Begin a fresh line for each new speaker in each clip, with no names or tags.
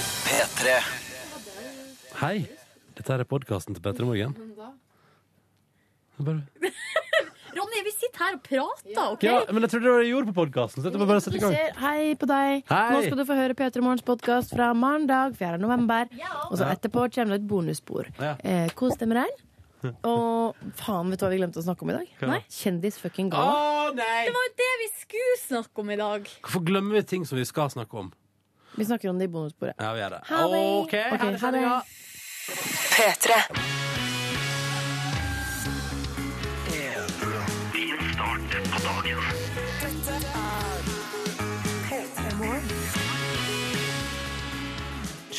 P3.
Hei, dette her er podkasten til Petter i morgen. Jeg Bare...
Ronny, vi sitter her og prater, OK?
Ja, men jeg trodde det var det jeg gjorde på podkasten. Så jeg bare å sette i gang.
Ser, hei på deg.
Hei.
Nå skal du få høre P3 Morgens podkast fra mandag 4. november. Og så etterpå kommer det et bonusspor.
Ja.
Eh, kos deg med den. Og faen, vet du hva vi glemte å snakke om i dag?
Hva da? Ah!
Kjendis-fucking
Å
gala.
nei!
Det var jo det vi skulle snakke om i dag.
Hvorfor glemmer vi ting som vi skal snakke om?
Vi snakker om det i bonussporet.
Ja, vi gjør det.
Ha det.
OK,
Ok,
ha det.
ha det.
Sandra.
P3.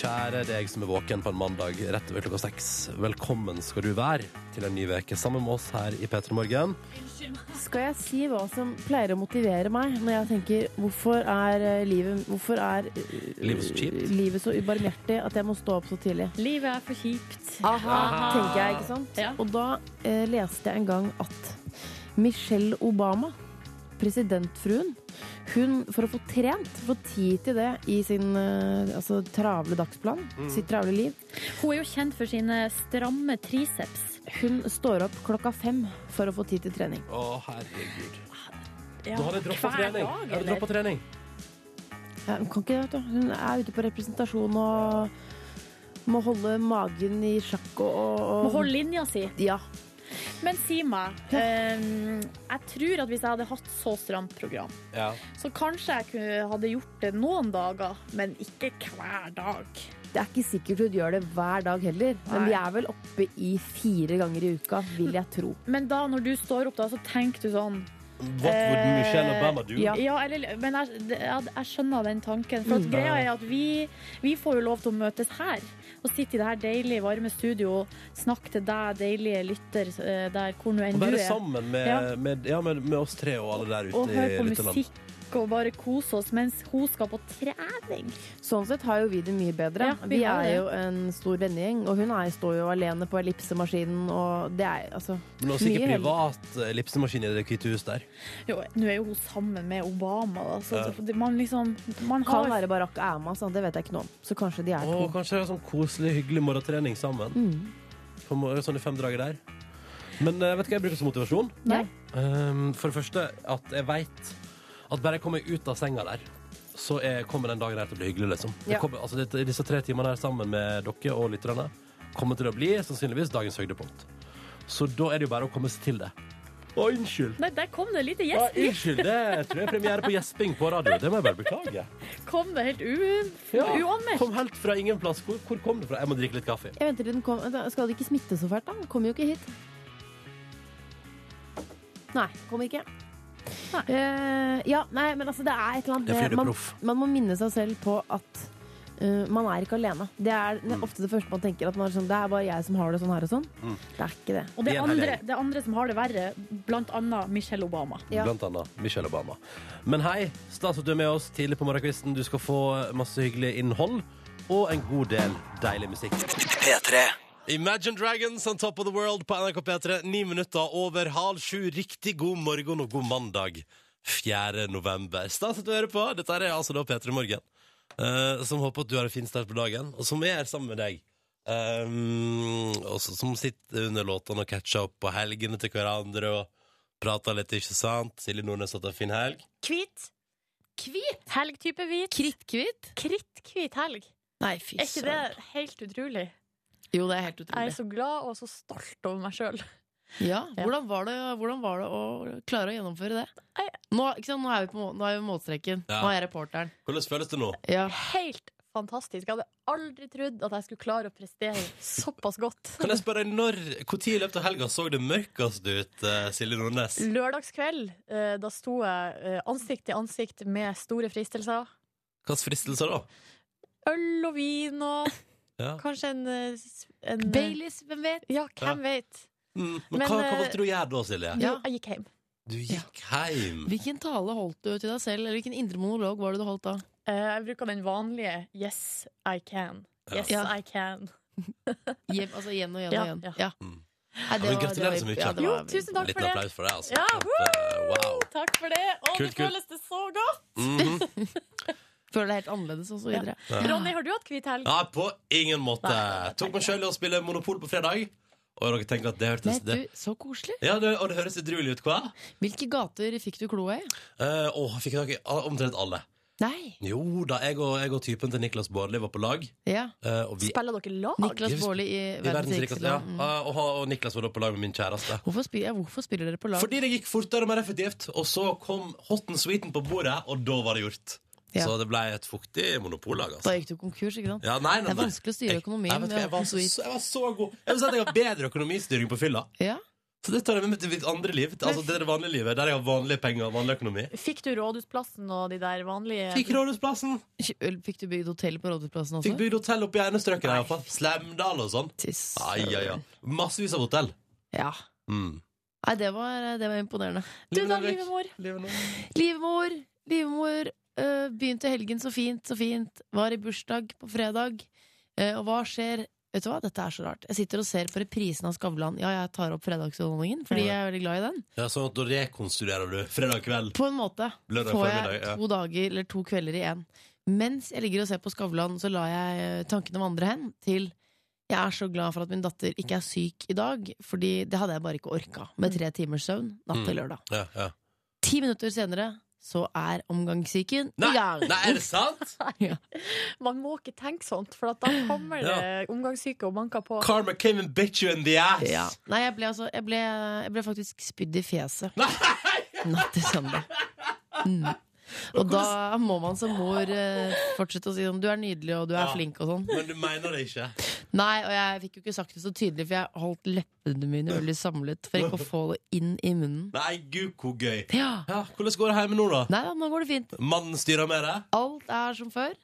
Kjære deg som er våken på en mandag rett over klokka seks. Velkommen skal du være til en ny uke sammen med oss her i P3 Morgen.
Skal jeg si hva som pleier å motivere meg når jeg tenker hvorfor er eh, livet Hvorfor er eh,
Livet så kjipt?
livet så ubarmhjertig at jeg må stå opp så tidlig?
Livet er for kjipt.
Aha, tenker jeg, ikke sant?
Ja.
Og da eh, leste jeg en gang at Michelle Obama, presidentfruen, hun, for å få trent, få tid til det i sin eh, altså, travle dagsplan,
Mm.
sitt travle liv,
Hun er jo kjent for sine stramme triceps.
hun står opp klokka fem for å få tid til trening.
Å, herregud.
Ja,
Nå har jeg droppet trening. Jeg har droppet trening.
Ja, hun kan ikke det, vet du. Hun er ute på representasjon og må holde magen i sjakk og, og
Må holde linja si.
Ja.
Men si meg, eh, jeg tror at hvis jeg hadde hatt så stramt program,
Ja.
så kanskje jeg kunne, hadde gjort det noen dager, men ikke hver dag.
Det er ikke sikkert hun gjør det hver dag heller, men
Nei.
vi er vel oppe i fire ganger i uka, vil jeg tro.
Men da, når du står opp, da, så tenker du sånn
What would Michelle Obama do?
ja.
Ja, eller, men jeg, det- jeg, jeg skjønner den tanken. For at
Mm.
greia er at vi, vi får jo lov til å møtes her. Og sitte i det her deilige, varme studio. Snakke til deg, deilige lytter, eh, der hvor nå enn
Og
du
være
er.
sammen med,
Ja.
med, ja, med, med oss tre og alle der ute
Og høre
i
på
lytterland.
musikk og bare kose oss mens hun skal på trening.
Sånn sett har jo vi det mye bedre.
Ja,
vi
vi har
er
det.
jo en stor vennegjeng, og hun er, står jo alene på ellipsemaskinen, og det er altså
Men også sikkert
mye heller.
privat eh, ellipsemaskin i det hvite hus der.
Jo, nå er jo hun sammen med Obama, da, så
Ja.
så det- man liksom man har,
Kan være Barack og Erma, sånn, det vet jeg ikke noe om. Så kanskje de er
Å,
to.
kanskje det er sånn koselig, hyggelig morgentrening sammen.
Mm.
På mor- sånn i fem dager der. Men eh, vet du hva jeg bruker som motivasjon?
Nei?
Ehm, for det første at jeg veit at bare jeg kommer ut av senga der, så er, kommer den dagen her til å bli hyggelig, liksom. Det
Ja.
Kommer, altså, dette- disse tre timene her sammen med dere og lytterne kommer til å bli sannsynligvis dagens høydepunkt. Så da er det jo bare å komme seg til det. Å, unnskyld!
Nei, der kom det en liten
Ja,
gjest.
unnskyld, det tror jeg er premiere på gjesping på radio. Det må jeg bare beklage.
Kom det helt u,
Ja,
uanmeldt.
Kom helt fra ingen plass. Hvor, hvor kom du fra? Jeg må drikke litt kaffe.
Jeg venter til den kom, da Skal det ikke smitte så fælt, da? Den Kommer jo ikke hit. Nei, kommer ikke.
Nei.
Eh, ja, nei, men altså, det er et eller annet
Det er fordi
med-
du er
man,
proff.
man må minne seg selv på at eh, man er ikke alene. Det er ofte det første man tenker. At man er sånn, det er bare jeg som har det sånn her og sånn. Det er ikke det.
Og det
Vi er en
er
hel
andre,
gjeng.
det er andre som har det verre, blant annet Michelle Obama.
Ja.
Blant annet Michelle Obama. Men hei, stas at du er med oss tidlig på morgenkvisten. Du skal få masse hyggelig innhold og en god del deilig musikk.
P3.
Imagine Dragons on Top of the World på NRK P3. Ni minutter over halv sju. Riktig god morgen og god mandag 4. november. Stas at du hører på. Dette er altså da P3 Morgen, eh, som håper at du har en fin start på dagen, og som er sammen med deg. Um, også, som sitter under låtene og catcher opp på helgene til hverandre og prater litt, ikke sant? Silje Nordnes har hatt en fin helg.
Hvit. Hvit helg type hvit.
Kritthvit?
Kritthvit helg.
Nei, fy
Er ikke det helt utrolig?
Jo, det er helt
Jeg er
utrolig.
så glad og så stolt over meg sjøl.
Ja, hvordan, var det, hvordan var det å klare å gjennomføre det?
Nei.
Nå, ikke sant? nå er vi på må- nå er vi på målstreken.
Ja.
Nå er jeg reporteren.
Hvordan føles det nå?
Ja.
Helt fantastisk. Jeg hadde aldri trodd at jeg skulle klare å prestere såpass godt.
Kan jeg spørre deg når, hvor tid i løpet av helga så det mørkest ut, eh, Silje Nordnes?
Lørdagskveld, eh, da sto jeg eh, ansikt til ansikt med store fristelser.
Hvilke fristelser da?
Øl og vin og
Ja.
kanskje en, eh, s- en
Baileys, hvem vet?
Ja,
Ja.
hvem vet?
Mm, men,
Men,
hva, hva
eh,
valgte du å gjøre da, Silje?
Jo,
Ja.
jeg gikk hjem.
Du gikk hjem.
Hvilken tale holdt du til deg selv, eller hvilken indre monolog var det du holdt da?
Eh, Jeg bruker den vanlige 'yes, I can'.
Ja.
Yes,
Ja.
I can.
Igjen, altså igjen og igjen
Ja,
og igjen.
ja.
Ja.
Mm.
Nei,
Ja, men gratulerer så mye.
det
Jo,
var-
tusen takk
Liten
for det.
applaus for deg, altså.
Ja,
At, eh, wow.
Takk for det. Å,
Kult,
det
kult.
føles det så godt!
Mhm.
Føler deg helt annerledes og så videre.
Ronny, har du hatt hvit helg?
Nei, på ingen måte. Tok meg sjøl i å spille Monopol på fredag, og dere tenker at det hørtes
Men
det.
du, så koselig.
Ja, det, og det høres utrolig ut, hva?
Hvilke gater fikk du kloa i?
Eh, Å, fikk tak i ah, omtrent alle.
Nei.
Jo da, jeg og, jeg og typen til Niklas Baarli var på lag,
Ja.
eh, og vi
Spiller dere lag?
Niklas
Gud.
Baarli i
i
Verdens
verdens rikeste. Ja.
land. Mm.
Ah, Og, han- og Niklas var da på lag med min kjæreste.
Hvorfor, spiller, ja, hvorfor spiller dere på lag?
Fordi det gikk fortere og mer effektivt, og så kom hot and sweeten på bordet, og da var det gjort.
Ja.
Så det ble et fuktig monopollag,
Da
altså.
gikk du konkurs, ikke sant?
Ja, nei, nei,
Det er
nei.
vanskelig å styre
Jeg-
økonomien
jeg vet
med
hva, jeg var
hot and sweet.
så- Jeg var så god. Jeg vil si at jeg har bedre økonomistyring på fylla.
Ja.
Så det tar jeg med meg til mitt andre liv. Altså det er det vanlige livet, der jeg har vanlige penger og vanlig økonomi.
Fikk du Rådhusplassen og de der vanlige
Fikk Rådhusplassen.
Kjø- Fikk du bygd hotell på Rådhusplassen også?
Fikk bygd hotell oppe i Einestrøket der, iallfall. Slemdal og sånn.
Tiss.
Ai, ai, ai. Massevis av hotell.
Ja.
Mm.
Nei, det var, eh, det var imponerende.
Du da,
Livet er vekk.
livmor?
Livet er vekk.
Livmor, livmor øh, begynte helgen så fint, så fint. Var i bursdag på fredag. Eh, og hva skjer? Vet du hva, Dette er så rart. Jeg sitter og ser på reprisen av Skavlan. Ja, jeg tar opp fredagsunderholdningen, fordi jeg er veldig glad i den.
Ja, sånn at da rekonstruerer du fredag kveld.
På en måte
Lørdag
får
formiddag, ja.
jeg to dager eller to kvelder i én. Mens jeg ligger og ser på Skavlan, så lar jeg eh, tankene vandre hen til jeg er så glad for at min datter ikke er syk i dag, fordi det hadde jeg bare ikke orka med
Mm.
tre timers søvn natt til lørdag.
Ja, ja.
Ti minutter senere så er omgangssyken i
Nei,
gang.
nei, er det sant?
Man må ikke tenke sånt, for at da kommer det omgangssyke og banker på.
Karma came and bit you in the ass.
Ja. Nei, jeg ble, altså, jeg, ble, jeg ble faktisk spydd i fjeset
Nei!
natt til søndag. Mm. Og da må man som mor eh, fortsette å si sånn Du er nydelig, og du er
Ja.
flink, og sånn.
Men du mener det ikke?
Nei, og jeg fikk jo ikke sagt det så tydelig, for jeg holdt leppene mine veldig samlet for ikke å få det inn i munnen.
Nei, gud, hvor gøy.
Ja.
Ja, Hvordan går det hjemme nå, da?
Nei da, nå går det fint.
Mannen styrer med det?
Alt er som før.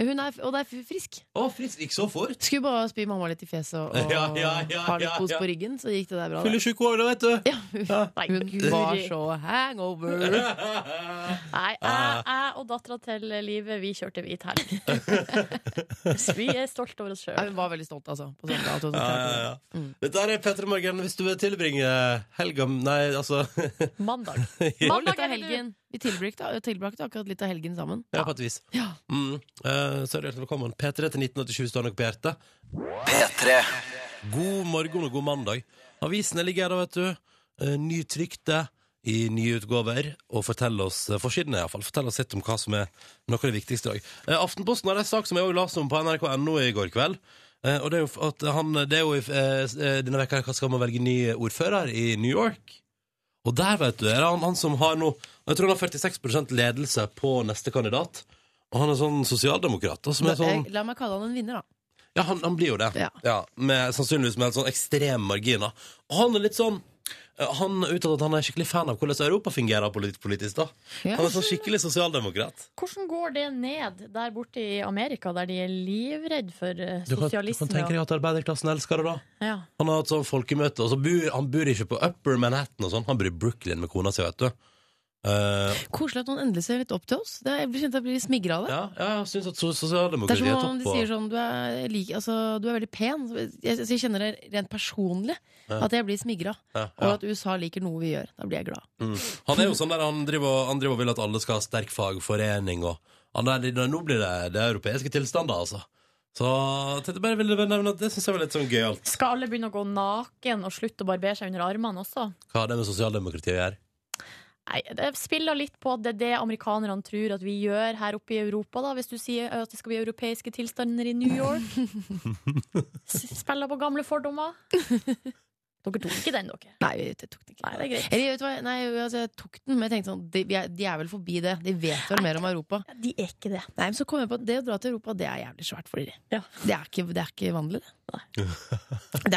Hun er, og det er frisk.
Å, frisk. Gikk så fort.
Skulle bare spy mamma litt i fjeset og, og
Ja, ja, ja,
ha litt
ja,
kos
ja.
på ryggen, så gikk det der bra. det.
Fyllesyk òg, da, vet du.
Ja, hun hun var så hangover.
Nei, jeg, jeg og dattera til Live, vi kjørte hvit helg. vi er stolte over oss
Ja,
sjøl.
hun var veldig stolt, altså. På søndag, at hun
Ja,
klarte
ja,
det.
ja. Dette her er Petter Morgen. Hvis du vil tilbringe helga Nei, altså
Mandag.
Og
Mandag
litt
er
av helgen. Vi tilbrakte, tilbrakte akkurat litt av helgen sammen.
Ja, på et vis.
Ja.
Mm. Eh, så er du hjertelig velkommen. P3 til 1987 står nok på hjertet.
P3
God morgen og god mandag. Avisene ligger her, da, vet du. Eh, Nytrykte i nye utgaver. Og fortell oss eh, forsidene, iallfall. Fortell oss litt om hva som er noe av det viktigste i dag. Eh, Aftenposten har en sak som jeg òg leste om på nrk.no i går kveld. Eh, Og det er jo f- at han Det er jo i f- eh, s- eh, denne veka her, skal man velge ny ordfører i New York. Og der, vet du, er det han, han som har nå Jeg tror han har 46 ledelse på neste kandidat. Og han er sånn sosialdemokrat. da, Som er sånn
Jeg- Eh, La meg kalle han en vinner, da.
ja, han, han blir jo det. Ja.
Ja.
med, sannsynligvis med helt sånn ekstreme marginer. Og han er litt sånn eh, Han uttaler at han er skikkelig fan av hvordan Europa fungerer polit- politisk. da
Ja.
Han er sånn skikkelig sosialdemokrat.
Hvordan går det ned der borte i Amerika, der de er livredd for eh,
Du kan, du kan
sosialisme?
tenke deg at arbeiderklassen elsker det, da.
ja.
Han har hatt sånn folkemøte, og så bor han bor ikke på Upper Manhattan og sånn. Han bor i Brooklyn med kona si, vet du. Eh,
Koselig at noen endelig ser litt opp til oss. Det, jeg blir kjent at jeg blir smigra av det.
ja, ja, jeg syns at sos-
Det er
sosialdemokratiet
som
er
om
topp
de
på
sier sånn du er, lik, altså, du er veldig pen. Så Jeg, så jeg kjenner det rent personlig
Ja.
at jeg blir smigra.
ja,
Og
ja.
at USA liker noe vi gjør. Da blir jeg glad.
Mm. Han er jo sånn der han driver, han driver og vil at alle skal ha sterk fagforening og han er, litt- Nå blir det, det er europeiske tilstander, altså. Så jeg tenkte bare ville nevne at det syns jeg var litt sånn gøyalt.
Skal alle begynne å gå naken og slutte å barbere seg under armene også?
Hva har det med sosialdemokratiet å gjøre?
Nei, Det spiller litt på at det er det amerikanerne tror at vi gjør her oppe i Europa. da Hvis du sier at det skal bli europeiske tilstander i New York. S- Spiller på gamle fordommer. Dere tok ikke den, dere.
Nei, jeg tok den ikke.
Nei, det er greit.
Eller, vet du hva? Nei, altså, jeg tok den, men jeg tenkte sånn de, vi er- de er vel forbi det. De vet vel mer om Europa.
De er ikke det.
Nei, men så kom jeg på at det å dra til Europa, det er jævlig svært for dere.
Ja.
Det, er ikke, det er ikke vanlig, det. Det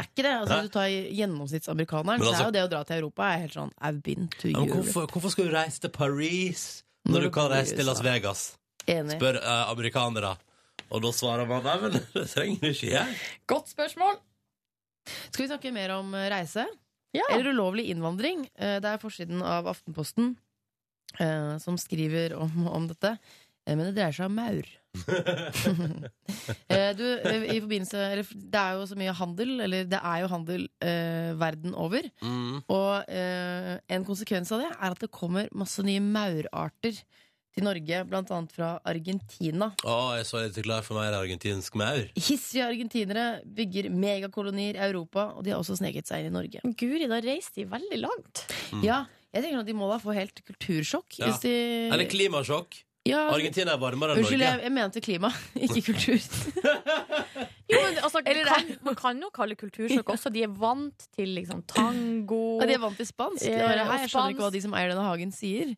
er ikke det. Altså,
Nei.
hvis du tar gjennomsnittsamerikaneren,
Men
så er
altså-
jo det å dra til Europa er helt sånn I've been to
Ja, men
Europe.
hvorfor, hvorfor skal du reise til Paris når
Når
du
du
kan
bor i
reise til Las
USA?
Vegas?
Enig.
Spør eh, amerikanere. Og da svarer man nei, men det trenger du ikke gjøre.
Godt spørsmål.
Skal vi snakke mer om eh, reise?
Ja.
Eller ulovlig innvandring. Eh, Det er forsiden av Aftenposten eh, som skriver om, om dette. Eh, Men det dreier seg om maur. Eh, du, eh, i forbindelse, eller, f- det er jo så mye handel, eller det er jo handel eh, verden over.
Mm.
Og eh, en konsekvens av det er at det kommer masse nye maurarter til Norge, blant annet fra Argentina.
Å, jeg er så litt klar for mer argentinsk maur.
Hissige argentinere bygger megakolonier i Europa, og de har også sneket seg inn i Norge.
Guri, da reiste de veldig langt.
Ja, jeg tenker at de må da få helt kultursjokk.
Ja.
Hvis de...
Eller klimasjokk.
ja,
Argentina er varmere enn
Unnskyld,
Norge.
jeg, jeg mente klima, ikke kultur.
Jo, men altså,
Eller det-
kan, Man kan jo kalle kultursjokk også. De er vant til liksom, tango.
Ja, de er vant til spansk. Det var det her. Jeg skjønner ikke hva de som eier denne hagen, sier.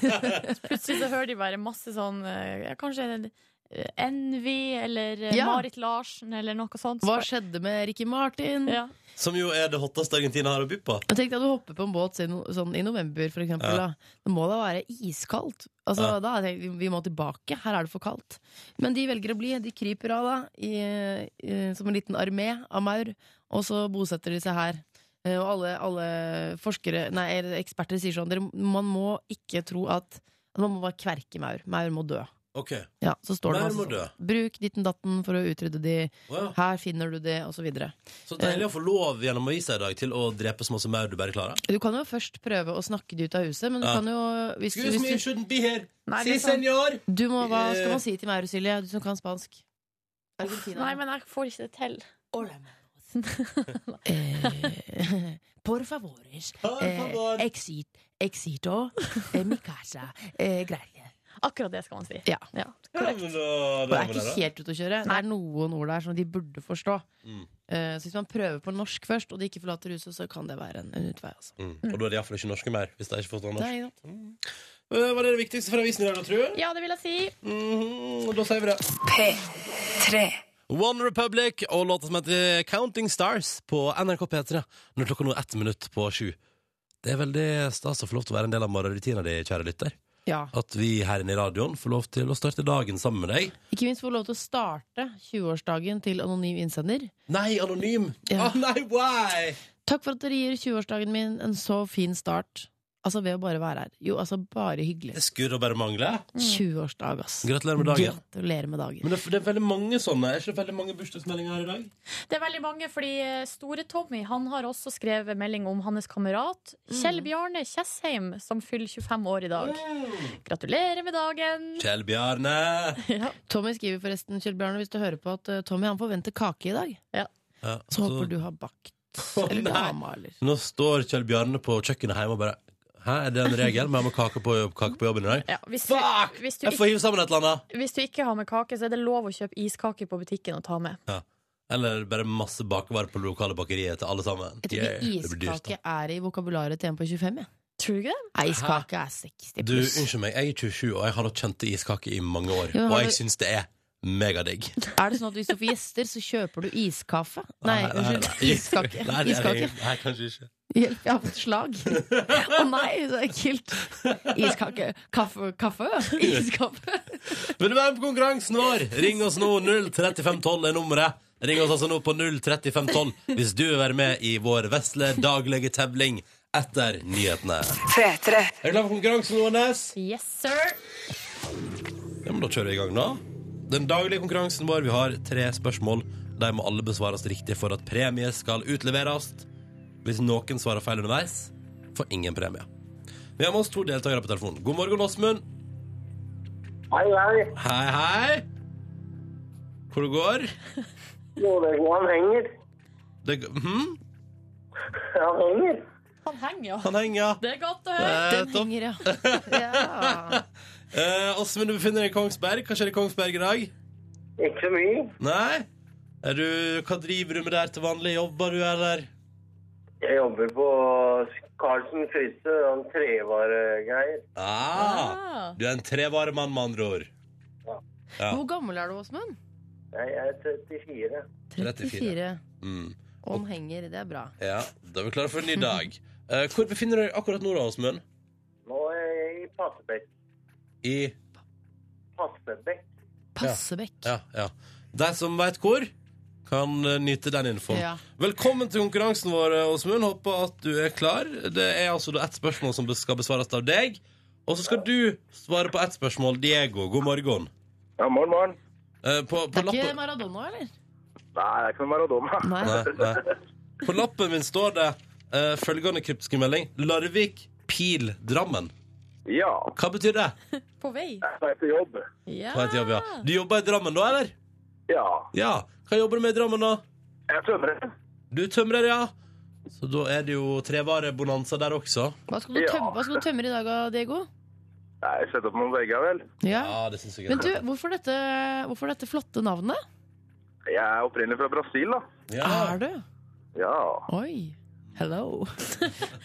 Plutselig så hører de bare masse sånn eh, ja, Kanskje eh, Envy eller eh,
Ja.
Marit Larsen eller noe sånt.
Hva skjedde med Ricky Martin?
ja.
Som jo er det hotteste Argentina har å by på.
Jeg tenkte at du hopper på en båt siden- sånn i november, for eksempel.
Ja.
Da. Det må da være iskaldt. Altså,
Ja.
da har jeg tenkt, vi må tilbake. Her er det for kaldt. Men de velger å bli. De kryper av, da, i, i, som en liten armé av maur. Og så bosetter de seg her. Eh, Og alle, alle forskere, nei, eller eksperter sier sånn dere, Man må ikke tro at, at Man må bare kverke maur. Maur må dø.
Ok,
Ja, så står det
maur
masse
må
sånn.
dø.
Bruk ditten datten for å utrydde de.
Å, ja.
Her finner du det, osv.
Så deilig å få lov gjennom avisa i dag til å drepe så masse maur du bare klarer.
Du kan jo først prøve å snakke de ut av huset, men du
Ja.
kan jo hvis,
Excuse Eh. me, you
hvis du,
shouldn't be here.
Nei,
si
det er sant.
senor!
du må, Hva skal man si til Mauro Silje, du som kan spansk? Argentina.
Nei, men jeg får ikke det til.
Eh, Por favores.
Por favor.
Eh, exit, exito. Eh, mi casa. Eh, gracias.
Akkurat det skal man si.
Ja.
Ja.
Ja, men da-
Og det
da
er
må det
ikke
da.
helt ute å kjøre. Det er noen ord der som de burde forstå.
Mm.
Eh, så hvis man prøver på norsk først, og de ikke forlater huset, så kan det være en, en utvei. Altså.
Mm. Og da er det iallfall ikke norske mer. Hvis de ikke forstår norsk.
Nei, ja.
Eh, Var det det viktigste fra avisen i dag, da, tror jeg?
ja, det vil jeg si.
Mhm, og da sier vi det.
P3.
One Republic og låta som heter Counting Stars på NRK P3 når klokka nå er ett minutt på sju. Det er veldig stas å få lov til å være en del av morgenrutina di, kjære lytter.
ja.
At vi her inne i radioen får lov til å starte dagen sammen med deg.
Ikke minst få lov til å starte 20-årsdagen til anonym innsender.
Nei, anonym!
Ja.
Å, nei, why?
Takk for at dere gir 20-årsdagen min en så fin start. Altså ved å bare være her. Jo, altså bare hyggelig.
Det skulle da bare mangle.
20-årsdag, ass.
Gratulerer med dagen.
Gratulerer med dagen.
Men det, det er veldig mange sånne. Er ikke det veldig mange bursdagsmeldinger her i dag?
Det er veldig mange, fordi eh, Store-Tommy han har også skrevet melding om hans kamerat Kjell Bjarne Tjessheim, som fyller 25 år i dag. Gratulerer med dagen!
Kjell Bjarne!
Ja.
Tommy skriver forresten, Kjell Bjarne, hvis du hører på at eh, Tommy han forventer kake i dag.
Ja,
Så håper du har bakt. Eller
Altså- nei.
dama, eller.
Nå står Kjell Bjarne på kjøkkenet hjemme og bare Hæ, er det en regel? Vi har med kake på, kake på jobben i dag.
Ja, hvis, du,
Fuck!
hvis, du
Jeg får
ikke,
hive sammen et eller annet.
hvis du ikke har med kake, så er det lov å kjøpe iskake på butikken og ta med.
Eller bare masse bakevarer på det lokale bakeriet til alle sammen.
Jeg tror
Yeah,
ikke
det blir dyrt, da.
iskake er i vokabularet til en på 25. Ja.
Tror du ikke det?
Nei, Iskake er 60
Du,
pluss.
unnskyld meg, jeg er 27, og jeg har nok kjent til iskake i mange år.
Ja, men
og
har
jeg
du-
syns det er megadigg.
Er det sånn at hvis du får gjester, så kjøper du iskaffe? Nei, unnskyld. Iskake.
Nei, det er det-
Iskake.
Nei, kanskje ikke.
Hjelp, jeg har fått slag. Å nei, så ekkelt. Iskake. Kaffe. Kaffe. Iskaffe.
Vil du være med på konkurransen vår? Ring oss nå. 03512 er nummeret. Ring oss altså nå på 03512 hvis du vil være med i vår vesle daglige tevling etter nyhetene.
P3.
Er du klar for konkurransen, Ånes?
Yes, sir!
Ja, men da kjører vi i gang, da. Den daglige konkurransen vår, vi har tre spørsmål. De må alle besvares riktig for at premie skal utleveres. Hvis noen svarer feil underveis, får ingen premie. Vi har med oss to deltakere på telefonen. God morgen, Åsmund.
Hei, hei.
Hei, hei. Hvor det går?
Jo, det går. Han henger.
Det, g- hm?
Han henger.
Han henger, ja.
Han henger, ja.
Det er godt å høre.
Eh,
Den
topp.
henger, ja. ja.
Eh, Åsmund, du befinner deg i Kongsberg. Hva skjer i Kongsberg i dag?
Ikke så mye.
Nei? Er du, hva driver du med der til vanlig? Jobber du, eller?
Jeg jobber på Carlsen Fryse, han trevaregreier.
Ah,
Ah.
du er en trevaremann, med andre ord. Ja.
Hvor gammel er du, Åsmund?
Nei, jeg er 34.
34. Mm.
Og han henger, det er bra.
Ja, da er vi klare for en ny dag. Eh, hvor befinner du deg akkurat nå, da, Åsmund?
Nå er jeg i Passebekk.
I
Passebekk.
Passebekk.
Ja, ja. De som veit hvor, kan eh, nyte den infoen.
Ja.
Velkommen til konkurransen vår, eh, Åsmund. Håper at du er klar. Det er altså da ett spørsmål som skal besvares av deg. Og så skal du svare på ett spørsmål. Diego, god morgen.
Ja, morgen, morgen.
Eh, på,
Det
på
er ikke
lappen
Maradona, eller?
Nei, det er ikke noe Maradona.
Nei.
Nei, nei. På lappen min står det eh, følgende kryptiske melding. Larvik, Pil, Drammen.
Ja.
Hva betyr det?
På vei.
Jeg er på jobb.
Ja.
På vei til jobb, ja. Du jobber i Drammen da, eller?
Ja.
Ja. Hva jobber du med i Drammen, da?
Jeg er tømrer.
Du er tømrer, ja. Så da er det jo trevarebonanza der også.
Hva skal du,
Ja.
tømme, hva skal du tømme i dag, da, Diego?
Nei, jeg setter opp noen vegger, vel.
Ja.
Ja, det synes jeg er
Men du,
bra.
hvorfor dette, hvorfor dette flotte navnet?
Jeg er opprinnelig fra Brasil, da.
ja.
Er du?
Ja.
Oi. Hello.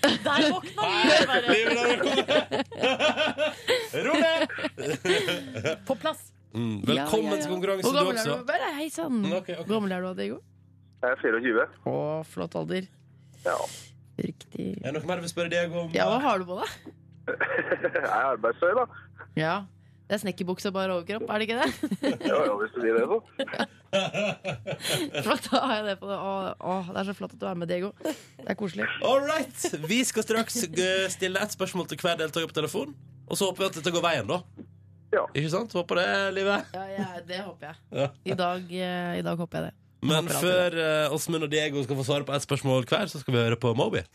Der våkna livet bare.
Ro ned!
På plass.
Mm, velkommen
Ja, ja, ja.
til konkurransen,
Hvor
du
gammel
også.
Er du? Bare, hei sann.
Mm, ok, ok.
Hvor gammel er du, Diego?
Jeg er 24.
Å, flott alder.
Ja.
Riktig.
Er det noe mer du vil spørre deg om?
Ja, hva har du på deg?
Jeg er arbeidstøy, da.
Ja. Det er snekkerbukse og bare overkropp, er det ikke det?
Ja, ja, hvis du sier det, så.
Flott, da har jeg det på deg. Å, å, det er så flott at du er med, Diego. Det er koselig.
All right! Vi skal straks eh, stille ett spørsmål til hver deltaker på telefon. Og så håper vi at dette går veien, da.
Ja.
Ikke sant? Håper det, Live.
Ja, ja, det håper jeg.
Ja.
I dag, eh, I dag håper jeg det.
Men
Håper alltid
før eh, Åsmund og Diego skal få svare på ett spørsmål hver, så skal vi høre på Moby.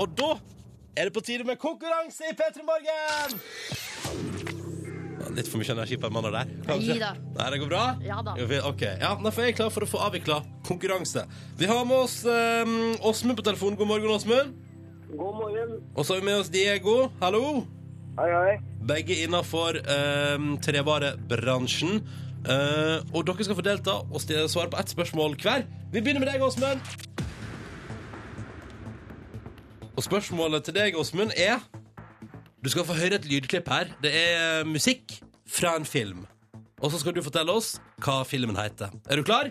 Og da er det på tide med konkurranse i P3 Morgen! Ja, Litt for mye energi på en mandag der.
Gi da.
Nei, det går bra?
Ja da.
Jo, vi- Ok, ja, Da er jeg klar for å få avvikla konkurranse. Vi har med oss eh, Åsmund på telefonen. God morgen, Åsmund.
God morgen.
Og så har vi med oss Diego. Hallo.
Hei, hei.
Begge innafor trevarebransjen. Eh, og dere skal få delta og stille- svare på ett spørsmål hver. Vi begynner med deg, Åsmund. Og spørsmålet til deg, Åsmund, er Du skal få høre et lydklipp her. Det er eh, musikk fra en film. Og så skal du fortelle oss hva filmen heter. Er du klar?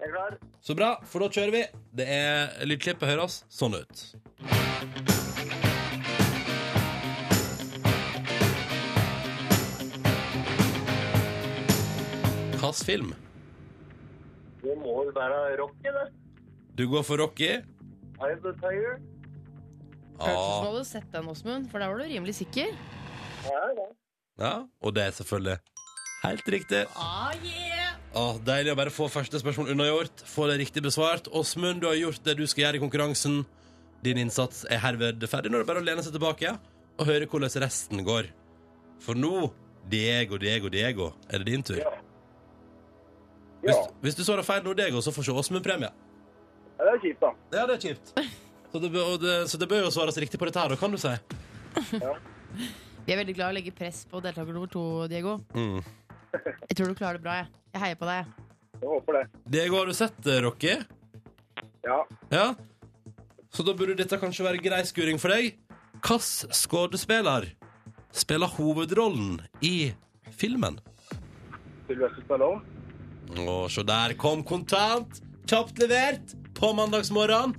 Jeg er klar.
Så bra, for da kjører vi. Det er lydklippet høres sånn ut. Hvilken film?
Det må vel være Rocky, det.
Du går for Rocky? Ah.
I'm the tiger.
Hørtes ut som du
Ja.
hadde sett den, Åsmund, for der var du rimelig sikker.
Ja, ja.
ja. Og det er selvfølgelig helt riktig.
Ah, yeah!
Åh, deilig å bare få første spørsmål unnagjort. Få det riktig besvart. Åsmund, du har gjort det du skal gjøre i konkurransen. Din innsats er herved ferdig. Nå er det bare å lene seg tilbake og høre hvordan resten går. For nå, Diego, Diego, Diego, er det din tur.
Ja. Ja,
Hvis, hvis du svarer feil nå, Diego, så får ikke Åsmund premie.
Ja, det er kjipt, da.
Ja, det er kjipt. Så det, bør- og det, så det bør jo svares riktig på dette her, da, kan du si.
Vi er veldig glad i å legge press på deltaker nummer to, Diego.
Mm.
Jeg tror du klarer det bra, jeg. Jeg heier på deg. jeg.
Jeg håper det.
Diego, har du sett eh, Rocky?
Ja.
Ja? Så da burde dette kanskje være grei skuring for deg. Hvilken skuespiller spiller hovedrollen i filmen?
Sylvester Stallone.
Å, se der kom kontant! Kjapt levert på mandagsmorgen.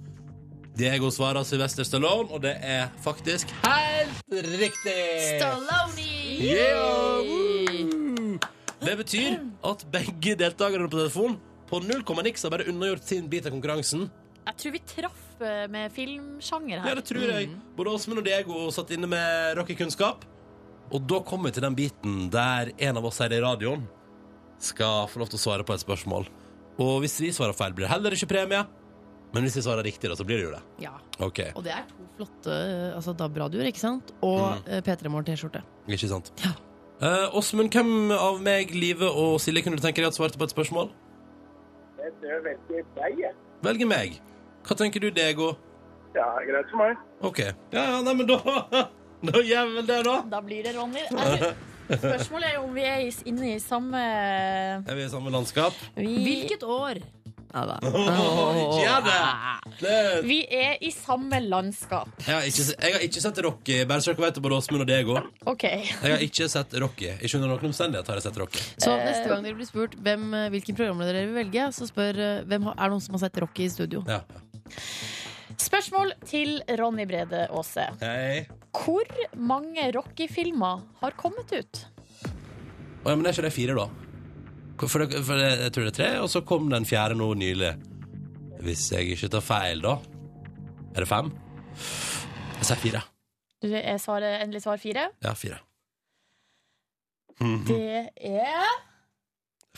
Diego svarer Sylvester Stallone, og det er faktisk helt riktig!
Stallone!
Yeah! Woo! Det betyr at begge deltakerne på telefon på null komma niks har bare unnagjort sin bit av konkurransen.
Jeg tror vi traff eh, med filmsjanger
Ja,
her.
det tror jeg. Både Åsmund og Diego satt inne med rockekunnskap. Og da kommer vi til den biten der en av oss her i radioen skal få lov til å svare på et spørsmål. Og hvis vi svarer feil, blir det heller ikke premie. Men hvis vi svarer riktig, da, så blir det jo det.
Ja.
Ok,
Og det er to flotte eh, altså DAB-radioer, ikke sant?
Mm.
Og eh, P3 Morgen-T-skjorte.
ikke sant?
Ja.
Eh, Åsmund, hvem av meg, Live og Silje kunne du tenke deg at svarte på et spørsmål?
Jeg dør veldig deg, jeg.
Velge meg. Hva tenker du, Diego?
Ja, greit for meg.
Ok. Ja, ja, nei, men da Da gjør vi vel det, da.
Da blir det Ronny. Jeg tror- Spørsmålet er jo om vi er is- inne i samme
Er vi i samme landskap?
vi,
Hvilket år? Ja da.
Ikke gjør det! det.
vi er i samme landskap.
Jeg har ikke, jeg har ikke sett Rocky. Bare så dere vet det, både Åsmund og Diego.
OK.
Jeg har ikke sett Rocky. Ikke under noen omstendighet har jeg sett Rocky.
Så neste gang dere blir spurt hvem, eh, hvilken programleder dere vil velge, så spør eh, hvem har, er det noen som har sett Rocky i studio.
Ja.
Spørsmål til Ronny Brede Aase.
Hei.
Hvor mange Rocky-filmer har kommet ut?
Å, ja, men det er ikke det fire, da? For, det, for det, jeg tror det er tre, og så kom den fjerde nå nylig. Hvis jeg ikke tar feil, da. Er det fem? Jeg sier fire.
Du er svaret, endelig svar fire.
Ja, fire.
Det er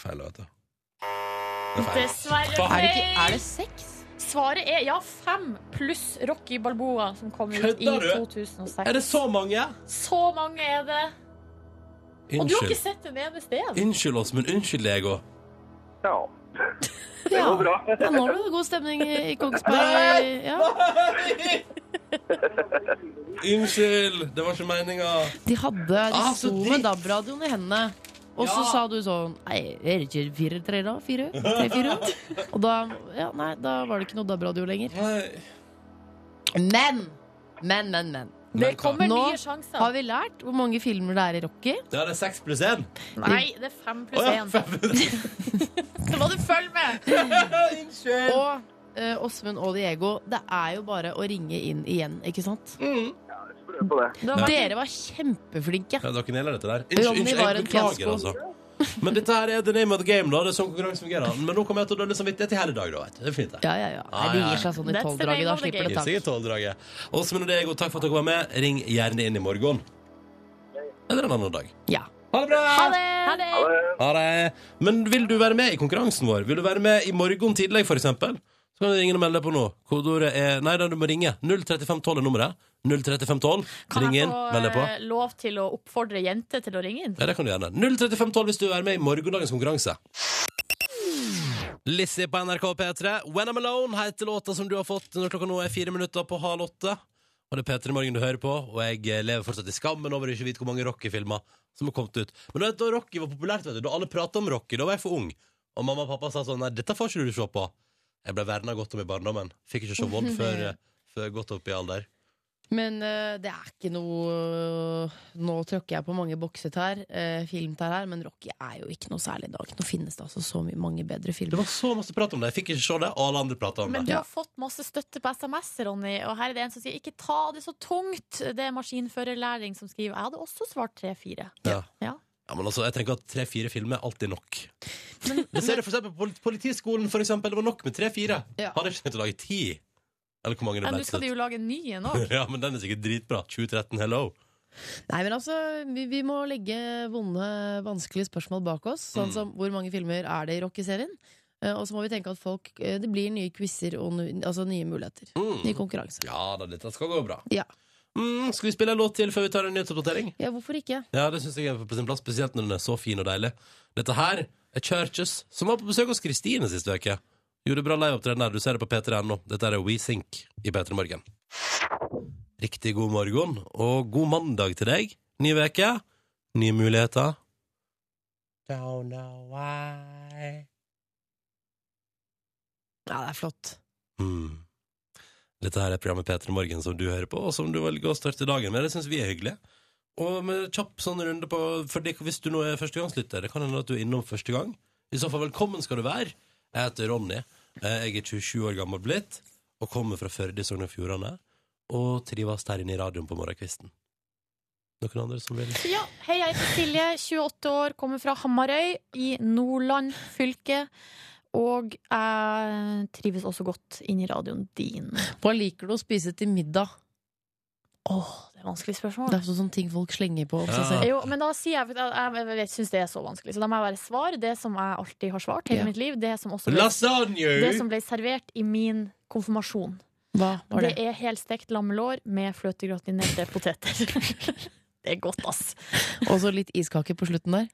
Feil, vet du. Det er feil.
dessverre
Er det,
feil.
ikke, er det seks?
Svaret er ja, fem pluss Rocky Balboa, som kom ut
Kødder
i
du?
2006.
Er det så mange?
Så mange er det. Og du har ikke
Unnskyld.
sett en eneste en.
Unnskyld, Åsmund. Unnskyld, Lego.
Ja. Det
Ja.
går bra.
Ja, nå ble det god stemning i Kongsberg. Ja.
Unnskyld, det var ikke meninga.
De hadde de
Ah, så
sto med
dritt.
DAB-radioen i hendene. Og så
Ja.
sa du sånn Nei, er det ikke fire, tre, da? Fire? Tre, fire? Og da, ja, nei, da var det ikke noe DAB-radio lenger. Men! Men, men, men.
Det kommer
Nå
nye
Har
sjanser.
vi lært hvor mange filmer det er i Rocky?
Ja, det er seks pluss én.
Nei, det er fem
Å
pluss
ja,
én.
fem.
Så må du følge med!
Unnskyld.
Og eh, Åsmund og Diego, det er jo bare å ringe inn igjen, ikke sant?
Prøv på det.
Dere var kjempeflinke.
Ja, dere nailer dette der. Unnskyld,
Ronny
unnskyld,
var
jeg
en
beklager,
fiasko.
altså. Men dette her er the name of the game, da. Det er sånn konkurransen fungerer. Men nå kommer jeg til å dølle samvittighet i hele dag, da. Vet du. Det er fint, det.
Ja, ja, ja. Nei, det
Ah, ja, ja.
gir seg sånn i
That's the
tolvdraget.
name
Da
of the
slipper det
Gir seg i
tak.
tolvdraget. Åsmund og Diego, takk for at dere var med. Ring gjerne inn i morgen. Eller en annen dag.
Ja.
Ha det bra!
Ha det! Ha det.
Ha det. Men vil du være med i konkurransen vår? Vil du være med i morgen tidlig, for eksempel? Så kan du ringe og melde deg på nå. Kodeordet er Nei, da, du må ringe. 03512 er nummeret. 03512.
Kan
Ring
jeg
inn,
få
meld deg på.
eh, lov til å oppfordre jenter til å ringe inn?
Ja, det kan du gjerne. 03512 hvis du vil være med i morgendagens konkurranse. Lissi på NRK P3. When I'm Alone heter låta som du har fått når klokka nå er fire minutter på halv åtte. Og det er P3 Morgen du hører på, og jeg eh, lever fortsatt i skammen over å ikke vite hvor mange Rocky-filmer som har kommet ut. Men du vet, da Rocky var populært, vet du, da alle prata om Rocky, da var jeg for ung. Og mamma og pappa sa sånn Nei, dette får ikke du se på. Jeg ble verna godt om i barndommen. Fikk ikke se vold før, eh, før godt opp i alder.
Men eh, det er ikke noe eh, Nå tråkker jeg på mange boksetær, uh, filmtær her, men Rocky er jo ikke noe særlig i dag. Nå finnes det altså så mye, mange bedre
Det
filmer.
var så masse prat om det. Jeg fikk ikke se det, og alle andre prata om det.
Men du har fått masse støtte på SMS, Ronny. Og her er det en som sier 'ikke ta det så tungt'. Det er maskinførerlæring som skriver. Jeg hadde også svart 3-4.
Ja.
Ja.
Ja, men altså, jeg tenker at tre-fire filmer er alltid nok. Men ser du for eksempel på Polit- Politiskolen, for eksempel. Det var nok med tre-fire.
Ja.
Hadde ikke tenkt å lage ti. Eller hvor mange det
Men
ble
nå skal de
til
jo
slutt.
lage en ny en òg.
Ja, men den er sikkert dritbra. 2013, hello.
Nei, men altså, vi, vi må legge vonde, vanskelige spørsmål bak oss. Sånn
Mm.
som hvor mange filmer er det i Rocky-serien? Eh, og så må vi tenke at folk eh, Det blir nye quizer og nu, altså nye muligheter.
Mm.
Ny konkurranse.
Ja da, dette skal gå bra.
Ja.
Mm, skal vi spille en låt til før vi tar en nyhetsoppdatering?
Ja, hvorfor ikke?
Ja, det syns jeg er på sin plass, spesielt når den er så fin og deilig. Dette her er Churches, som var på besøk hos Kristine sist uke. Gjorde bra liveopptreden her. Du ser det på p3.no. Dette er WeSync i P3 Morgen. Riktig god morgen, og god mandag til deg. Ny uke, nye muligheter. Don't know why.
Ja, det er flott.
Mm. Dette her er programmet P3 Morgen som du hører på, og som du velger å starte dagen med. Det syns vi er hyggelig. Og med kjapp sånn runde på for det, Hvis du nå er førstegangslytter, det kan hende at du er innom første gang. I så fall, velkommen skal du være. Jeg heter Ronny. Eh, Jeg er 27 år gammel blitt og kommer fra Førde i Sogn og Fjordane. Og trives der inne i radioen på morgenkvisten. Noen andre som vil?
Ja, hei, jeg heter Silje, 28 år, kommer fra Hamarøy i Nordland fylke. Og jeg trives også godt inni radioen din.
Hva liker du å spise til middag?
Åh, det er et vanskelig
Det
spørsmål.
er sånn sånn ting folk slenger på.
Ja.
Ja.
Jo, men da sier jeg Jeg, jeg, jeg syns det er så vanskelig, så da må jeg være svar. Det som jeg alltid har svart hele
Ja.
mitt liv, det som også ble, det
Lasagne!
som ble servert i min konfirmasjon,
Hva var
det
det?
er helstekt lammelår med fløtegratinerte poteter. Det er godt, ass.
Og så litt iskake på slutten der.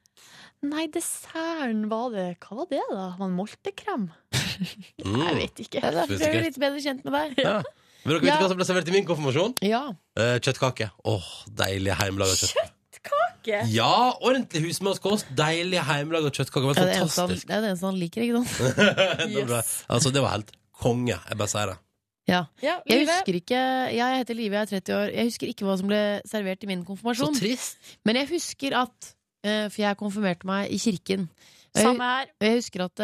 Nei, desserten var det Hva var det, da? Var det moltekrem? Jeg
Mm.
vet ikke.
Ja, da
Spesielt.
blir vi litt bedre kjent med deg.
Ja. Vil dere vite
Ja.
hva som ble servert i min konfirmasjon?
Ja.
Eh, Kjøttkake. Åh, deilig hjemmelaga kjøtt.
Kjøttkake?
Ja, ordentlig husmannskost. Deilig hjemmelaga kjøttkake. Det
Det er
var
det, eneste han,
fantastisk.
det er det eneste han liker, ikke sant?
Det var- altså, det var helt konge. Jeg bare sier det.
Ja.
Ja,
Jeg
Live.
husker ikke Jeg heter Live, jeg er 30 år. Jeg husker ikke hva som ble servert i min konfirmasjon.
trist.
Men jeg husker at eh, For jeg konfirmerte meg i kirken. Og Jeg,
Samme her.
og jeg husker at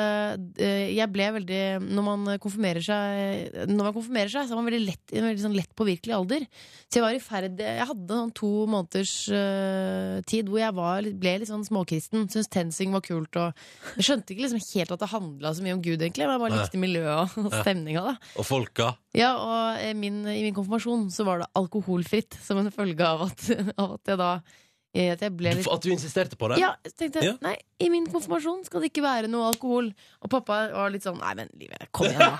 eh, jeg ble veldig Når man konfirmerer seg, eh, når man konfirmerer seg så er man veldig lett, i en veldig sånn lett påvirkelig alder. Så jeg var i ferd Jeg hadde sånn to måneders eh, tid hvor jeg var, ble litt sånn småkristen. Syntes TenSing var kult. Og jeg skjønte ikke liksom helt at det handla så mye om Gud, egentlig. Men jeg bare
Nei.
likte miljøet og
Ja.
stemninga. da
Og folka.
ja, og eh, min, i min konfirmasjon så var det alkoholfritt som en følge av at, av at jeg da eh, At jeg ble litt
Du- At du insisterte på det?
ja, så tenkte jeg,
Ja.
nei, I min konfirmasjon skal det ikke være noe alkohol. Og pappa var litt sånn Nei, men livet, kom igjen, da.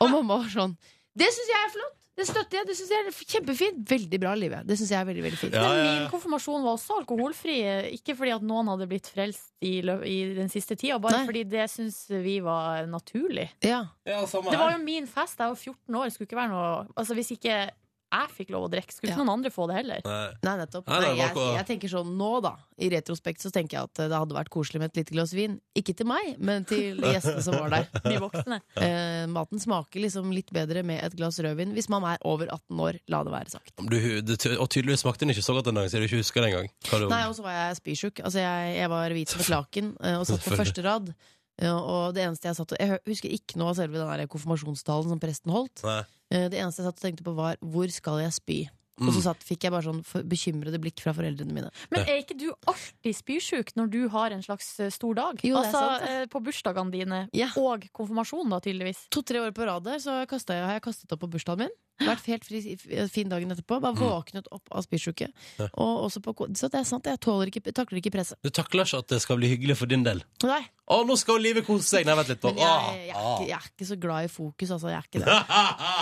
Og mamma var sånn Det syns jeg er flott! Det støtter jeg! Det syns jeg er kjempefint! Veldig bra, Live. Det syns jeg er veldig, veldig fint.
Ja,
Men
ja, ja.
min konfirmasjon var også alkoholfri. Ikke fordi at noen hadde blitt frelst i, lø- i den siste tida, bare
Nei.
fordi det syns vi var naturlig.
Ja.
Ja, samme
Det var
her.
jo min fest, jeg var 14 år. Skulle ikke være noe Altså Hvis ikke jeg fikk lov å drikke, skulle ikke
Ja.
noen andre få det heller.
Nei.
Nei, nettopp.
Nei,
Nei,
nei, det var
jeg,
ikke-
jeg tenker sånn nå, da. I retrospekt så tenker jeg at eh, det hadde vært koselig med et lite glass vin. Ikke til meg, men til gjestene som var der.
De voksne.
Eh, maten smaker liksom litt bedre med et glass rødvin hvis man er over 18 år, la det være sagt.
Du, du, og tydeligvis smakte den ikke så godt den dagen, så du ikke husker det engang. Hva du-
Nei, og så var jeg spysjuk. Altså, jeg, jeg var hvit som et laken eh, og satt på første rad. Eh, Og det eneste jeg satt og Jeg hø- husker ikke noe av selve den der konfirmasjonstalen som presten holdt.
Nei.
Eh, Det eneste jeg satt og tenkte på, var 'hvor skal jeg spy'? Og
Mm.
så satt, fikk jeg bare sånn for- bekymrede blikk fra foreldrene mine.
Men er ikke du alltid spysjuk når du har en slags eh, stor dag?
Jo, det er
altså
sant, det.
eh, på bursdagene dine
Ja.
og konfirmasjonen, da, tydeligvis.
To-tre år på rad der så kastet jeg, har jeg kastet opp på bursdagen min. Vært helt fri, eh, fin dagen etterpå. Bare våknet opp av spysjuke.
Ja.
Og også på ko- Så det er sant, jeg tåler ikke, takler ikke presset.
Du takler ikke at det skal bli hyggelig for din del.
Nei,
Å, nå skal jo livet kose seg! Nei, vent litt. Ah. På.
men jeg, jeg, er ikke, jeg er ikke så glad i fokus, altså. Jeg er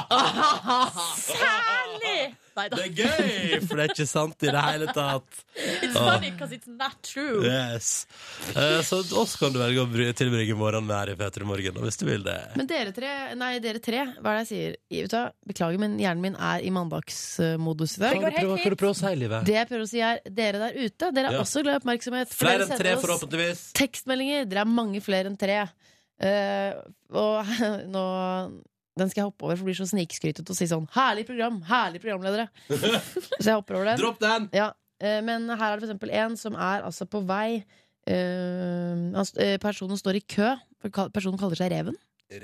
ikke det.
Særlig!
Ah.
Nei da.
Det er gøy, for det er ikke sant i det hele tatt.
It's funny because it's not true.
Yes. Eh, så oss kan du velge å bry- tilbringe morgenen med her i P3 Morgen, da, hvis du vil det.
Men dere tre, nei, dere tre, hva er det jeg sier? I- Vet du, hva? beklager, men hjernen min er i mandagsmodus i
Hva
dag.
går
du prøver-
helt
hva du prøver å si, Livet?
Det jeg prøver å si, er dere der ute, dere er
Ja.
også glad i oppmerksomhet. for
Flere
dere
enn
sender
tre,
oss-
forhåpentligvis.
Tekstmeldinger, dere er mange flere enn tre. Eh, og nå Den skal jeg hoppe over, for det blir så snikskrytete å si sånn 'herlig program', 'herlig programledere'. så jeg hopper over den.
Dropp den!
Ja, eh, men her er det for eksempel en som er altså på vei eh, han st- eh, Personen står i kø. for ka- Personen kaller seg Reven.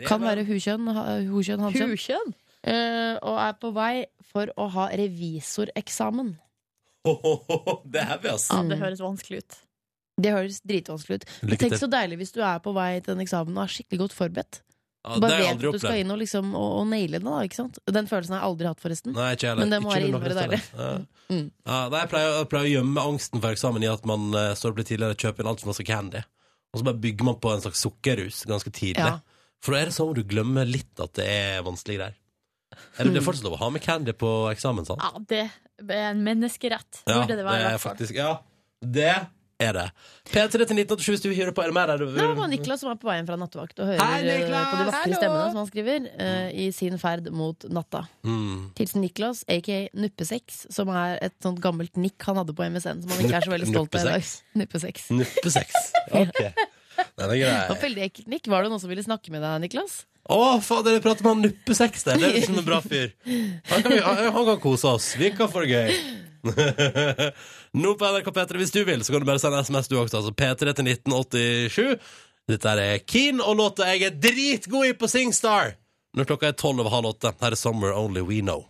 Kan være hukjønn, ha- hukjønn, hankjønn.
Hukjønn?
Eh, og er på vei for å ha revisoreksamen.
Ho, ho, ho, ho, Det er heavy, ass.
Ja, det høres vanskelig ut.
Det høres dritvanskelig ut. Men
Lykke
tenk
til.
så deilig hvis du er på vei til den eksamen og er skikkelig godt forberedt.
Ja, det
Bare
har jeg
vet
aldri
at du skal
opplevd.
inn og, liksom, og, og naile den. da, ikke sant? Den følelsen har jeg aldri hatt, forresten.
Nei, ikke heller.
Men det må
Ikke
være
noe
innmari Mm.
sted. Ja. Ja, nei, jeg, pleier, jeg pleier å gjemme angsten for eksamen i at man eh, står opp litt tidligere og kjøper inn altfor masse candy. Og så bare bygger man på en slags sukkerrus ganske tidlig.
Ja.
For da er det sånn at du glemmer litt at det er vanskelige greier. Eller det er fortsatt lov å ha med candy på eksamen, sant?
Ja, det er en menneskerett.
Ja,
Burde det være. i
er
hvert fall.
faktisk Ja, det er det. P3 til 1987 hvis du vil høre på. Er det mer der?
Det var Niklas som er på veien fra nattevakt og hører
Hei,
eh,
Niklas!
på de vakre
Hallo!
stemmene som han skriver eh, i sin ferd mot natta.
Mm.
Hilsen Niklas, aka Nuppesex, som er et sånt gammelt nikk han hadde på MSN som han ikke er så veldig stolt av i dag. Nuppesex.
Nuppesex. Ok. Den er
Det var
grei.
Veldig ekkelt nikk. Var det noen som ville snakke med deg, Niklas?
Å, fader, jeg prater med han nuppesex der. Det er liksom en bra fyr. Han kan, vi- han han kan kose oss. Vi kan få det gøy. Nå på NRK P3 hvis du vil, så kan du bare sende SMS du også. Altså P3 til 1987. Dette er Keen og låta jeg er dritgod i på Singstar. Når klokka er tolv over halv åtte. Her er Summer Only We Know.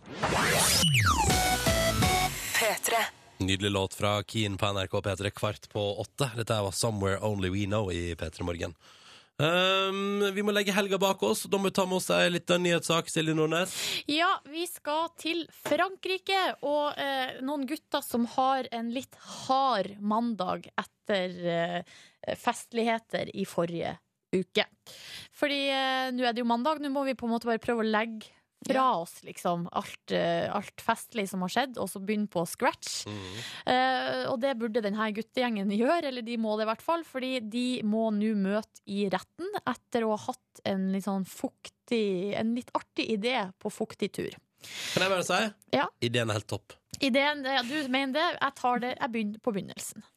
P3.
Nydelig låt fra Keen på NRK P3 kvart på åtte. Dette her var Somewhere Only We Know i P3 Morgen. Um, vi må legge helga bak oss. Da må vi ta med oss ei lita nyhetssak. Silje Nordnes.
Ja, vi skal til Frankrike og eh, noen gutter som har en litt hard mandag etter eh, festligheter i forrige uke. Fordi eh, nå er det jo mandag, nå må vi på en måte bare prøve å legge fra oss liksom alt, eh, alt festlig som har skjedd, og så begynne på scratch. Eh, og det burde denne guttegjengen gjøre, eller de må det i hvert fall, fordi de må nå møte i retten etter å ha hatt en litt sånn fuktig, en litt artig idé på fuktig tur.
Kan jeg bare si?
Ja.
Ideen er helt topp.
Ideen, ja, du mener det, jeg tar det, jeg begynner på begynnelsen.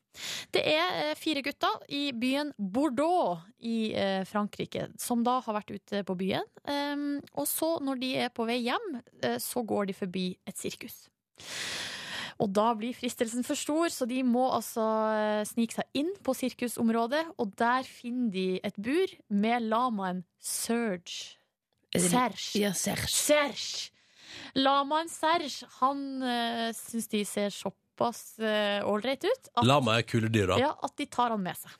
Det er eh, fire gutter i byen Bordeaux i eh, Frankrike, som da har vært ute på byen. Em, og så, når de er på vei hjem, eh, så går de forbi et sirkus. Og da blir fristelsen for stor, så de må altså eh, snike seg inn på sirkusområdet, og der finner de et bur med lamaen Serge. Serge.
Ja, Serge.
Serge. Lamaen Serge, han uh, syns de ser såpass eh, ålreit ut at,
La meg kule dyr, da.
ja, at de tar han med seg.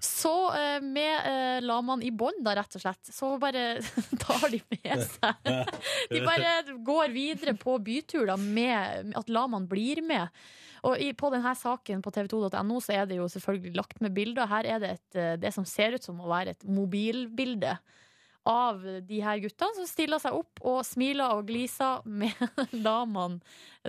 Så eh, med eh, lamaen i bånd, da, rett og slett, så bare tar de med seg De bare går videre på bytur, da, med at lamaen blir med. Og i, på denne saken på tv2.no så er det jo selvfølgelig lagt med bilder. Her er det et, eh, det som ser ut som å være et mobilbilde av de her guttene som stiller seg opp og smiler og gliser med damene.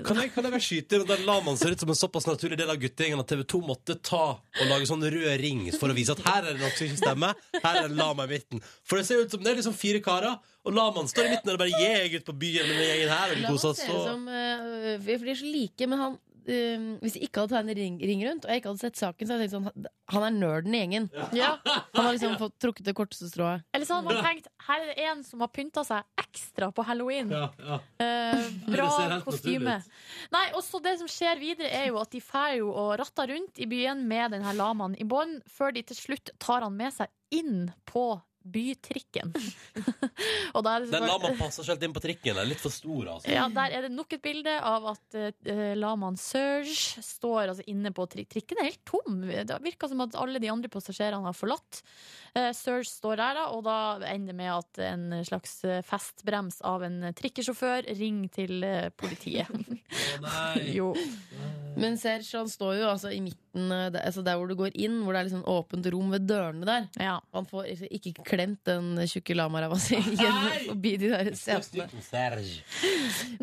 Kan jeg, kan jeg bare skyte inn at den lamaen ser ut som en såpass naturlig del av guttegjengen at TV 2 måtte ta og lage sånn rød ring for å vise at her er det noe som ikke stemmer. Her er det en lama i midten. For det ser ut som det er liksom fire karer, og lamaen står i midten og det bare jeg er ute på byen med den gjengen her og
La oss
koser oss.
se det
og-
som eh, Vi for de er så like, men han eh, Hvis jeg ikke hadde tegnet ring, ring rundt, og jeg ikke hadde sett saken, så hadde jeg tenkt sånn han- Han er nerden i gjengen.
Ja.
Han har liksom fått trukket det korteste strået.
Eller så hadde man tenkt her er det en som har pynta seg ekstra på halloween.
Ja, ja.
Eh, bra
Det ser helt
kostyme.
naturlig ut.
Nei, og så Det som skjer videre, er jo at de fær jo og ratter rundt i byen med den her lamaen i bånd, før de til slutt tar han med seg inn på bytrikken. og da er det
Den
selvfølgelig-
lamaen passer ikke helt inn på trikken. Den er litt for stor, altså.
Ja, Der er det nok et bilde av at uh, lamaen Serge står altså, inne på tri trikken. er helt tom. Det virker som at alle de andre passasjerene har forlatt. Eh, Serge står der, da, og da ender det med at en slags eh, festbrems av en trikkesjåfør ringer til eh, politiet.
Å, nei.
jo.
Men Serge han står jo altså i midten, eh, der, altså der hvor du går inn, hvor det er liksom åpent rom ved dørene der.
Ja.
Han får ikke- ikke klemt den tjukke lamaræva si gjennom forbi de der setene.
Serge.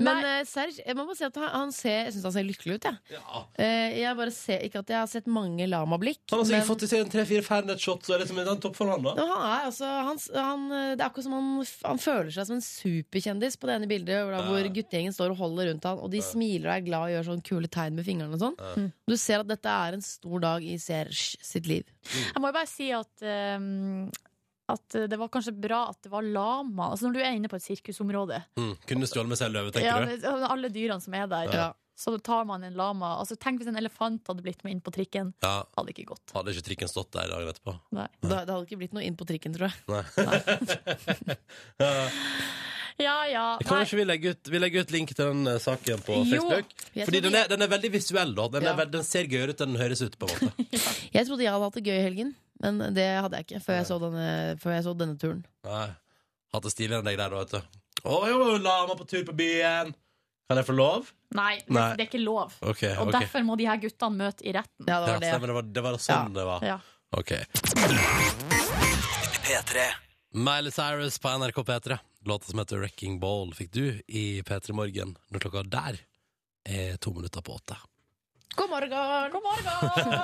Men eh, Serge, jeg må bare si at han, han ser, jeg syns han ser lykkelig ut, jeg.
Ja.
Eh, jeg bare ser ikke at jeg har sett mange lamablikk.
Han har sikkert
men-
fått i seg en tre-fire Fernet-shot, så er det som en toppforhånd, da.
Men han er altså han, han, eh, Det er akkurat som han, han føler seg som en superkjendis på det ene bildet, hvor, da,
Ja.
hvor guttegjengen står og holder rundt han og de smiler og er glad og gjør sånn kule tegn med fingrene og sånn. Du ser at dette er en stor dag i Serge sitt liv.
Jeg må jo bare si at eh, at eh, det var kanskje bra at det var lama. Altså Når du er inne på et sirkusområde,
Mm. Kunne stjålet med seg en løve, tenker
ja,
du?
men alle dyrene som er der,
Ja.
så tar man en lama. Altså Tenk hvis en elefant hadde blitt med inn på trikken.
Ja.
Hadde ikke gått.
Hadde ikke trikken stått der dagen etterpå?
Nei.
Det, det hadde ikke blitt noe inn på trikken, tror jeg.
Nei. Ja.
Ja, ja.
Kan
Nei.
ikke vi legge ut, vi legger ut link til den eh, saken på
Jo.
Facebook?
Jeg
Fordi
tror
den er, den er veldig visuell, da. Den,
Ja.
er, veld- den ser gøyere ut enn den høres ut, på en måte.
Jeg trodde jeg hadde hatt det gøy i helgen, men det hadde jeg ikke før jeg så denne, før jeg så denne turen.
Nei. Hatt det stiligere enn deg der, da, vet du. Å jo, lama på tur på byen! Kan jeg få lov?
Nei,
Nei.
det er ikke lov.
OK.
Og
ok
derfor må de her guttene møte i retten.
Ja, det
Ja,
var det.
stemmer, det var, det var sånn det var.
Ja.
OK. Miley Cyrus på NRK P3. Låta som heter 'Wrecking Ball' fikk du i P3 Morgen når klokka der er to minutter på åtte.
God morgen!
God morgen!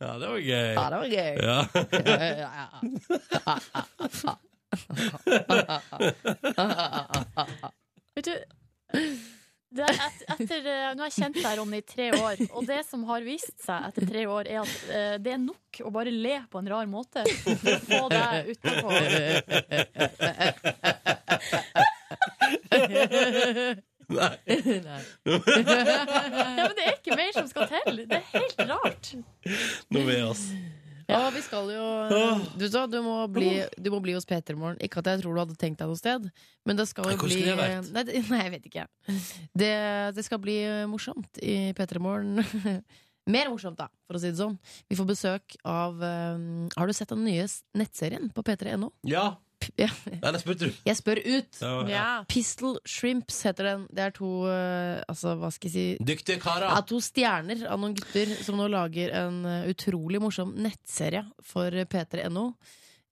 ja, det var gøy.
Ja, det var gøy.
Ja.
Vet du, det er et, etter, eh, nå har jeg kjent deg, Ronny, i tre år, og det som har vist seg etter tre år, er at eh, det er nok å bare le på en rar måte for å få deg utapå.
Nei.
Ja, men det er ikke mer som skal til. Det er helt rart.
Nå er vi oss.
Ja, vi skal jo Du, vet hva, du, må, bli, du må bli hos Peter i morgen. Ikke at jeg tror du hadde tenkt deg noe sted, men det skal
Nei,
jo
hvor
bli
skulle jeg vært?
nei, det- nei, jeg vet ikke. Det, det skal bli morsomt i Peter i morgen. Mer morsomt, da, for å si det sånn. Vi får besøk av eh, Har du sett den nye s- nettserien på p3.no?
Ja.
P- ja.
Nei, det spurte du.
Jeg spør ut!
Ja, ja.
Ja.
Pistol Shrimps heter den. Det er to eh, Altså, hva skal jeg si
Dyktige
ja.
karer.
to stjerner av noen gutter som nå lager en eh, utrolig morsom nettserie for eh, p3.no.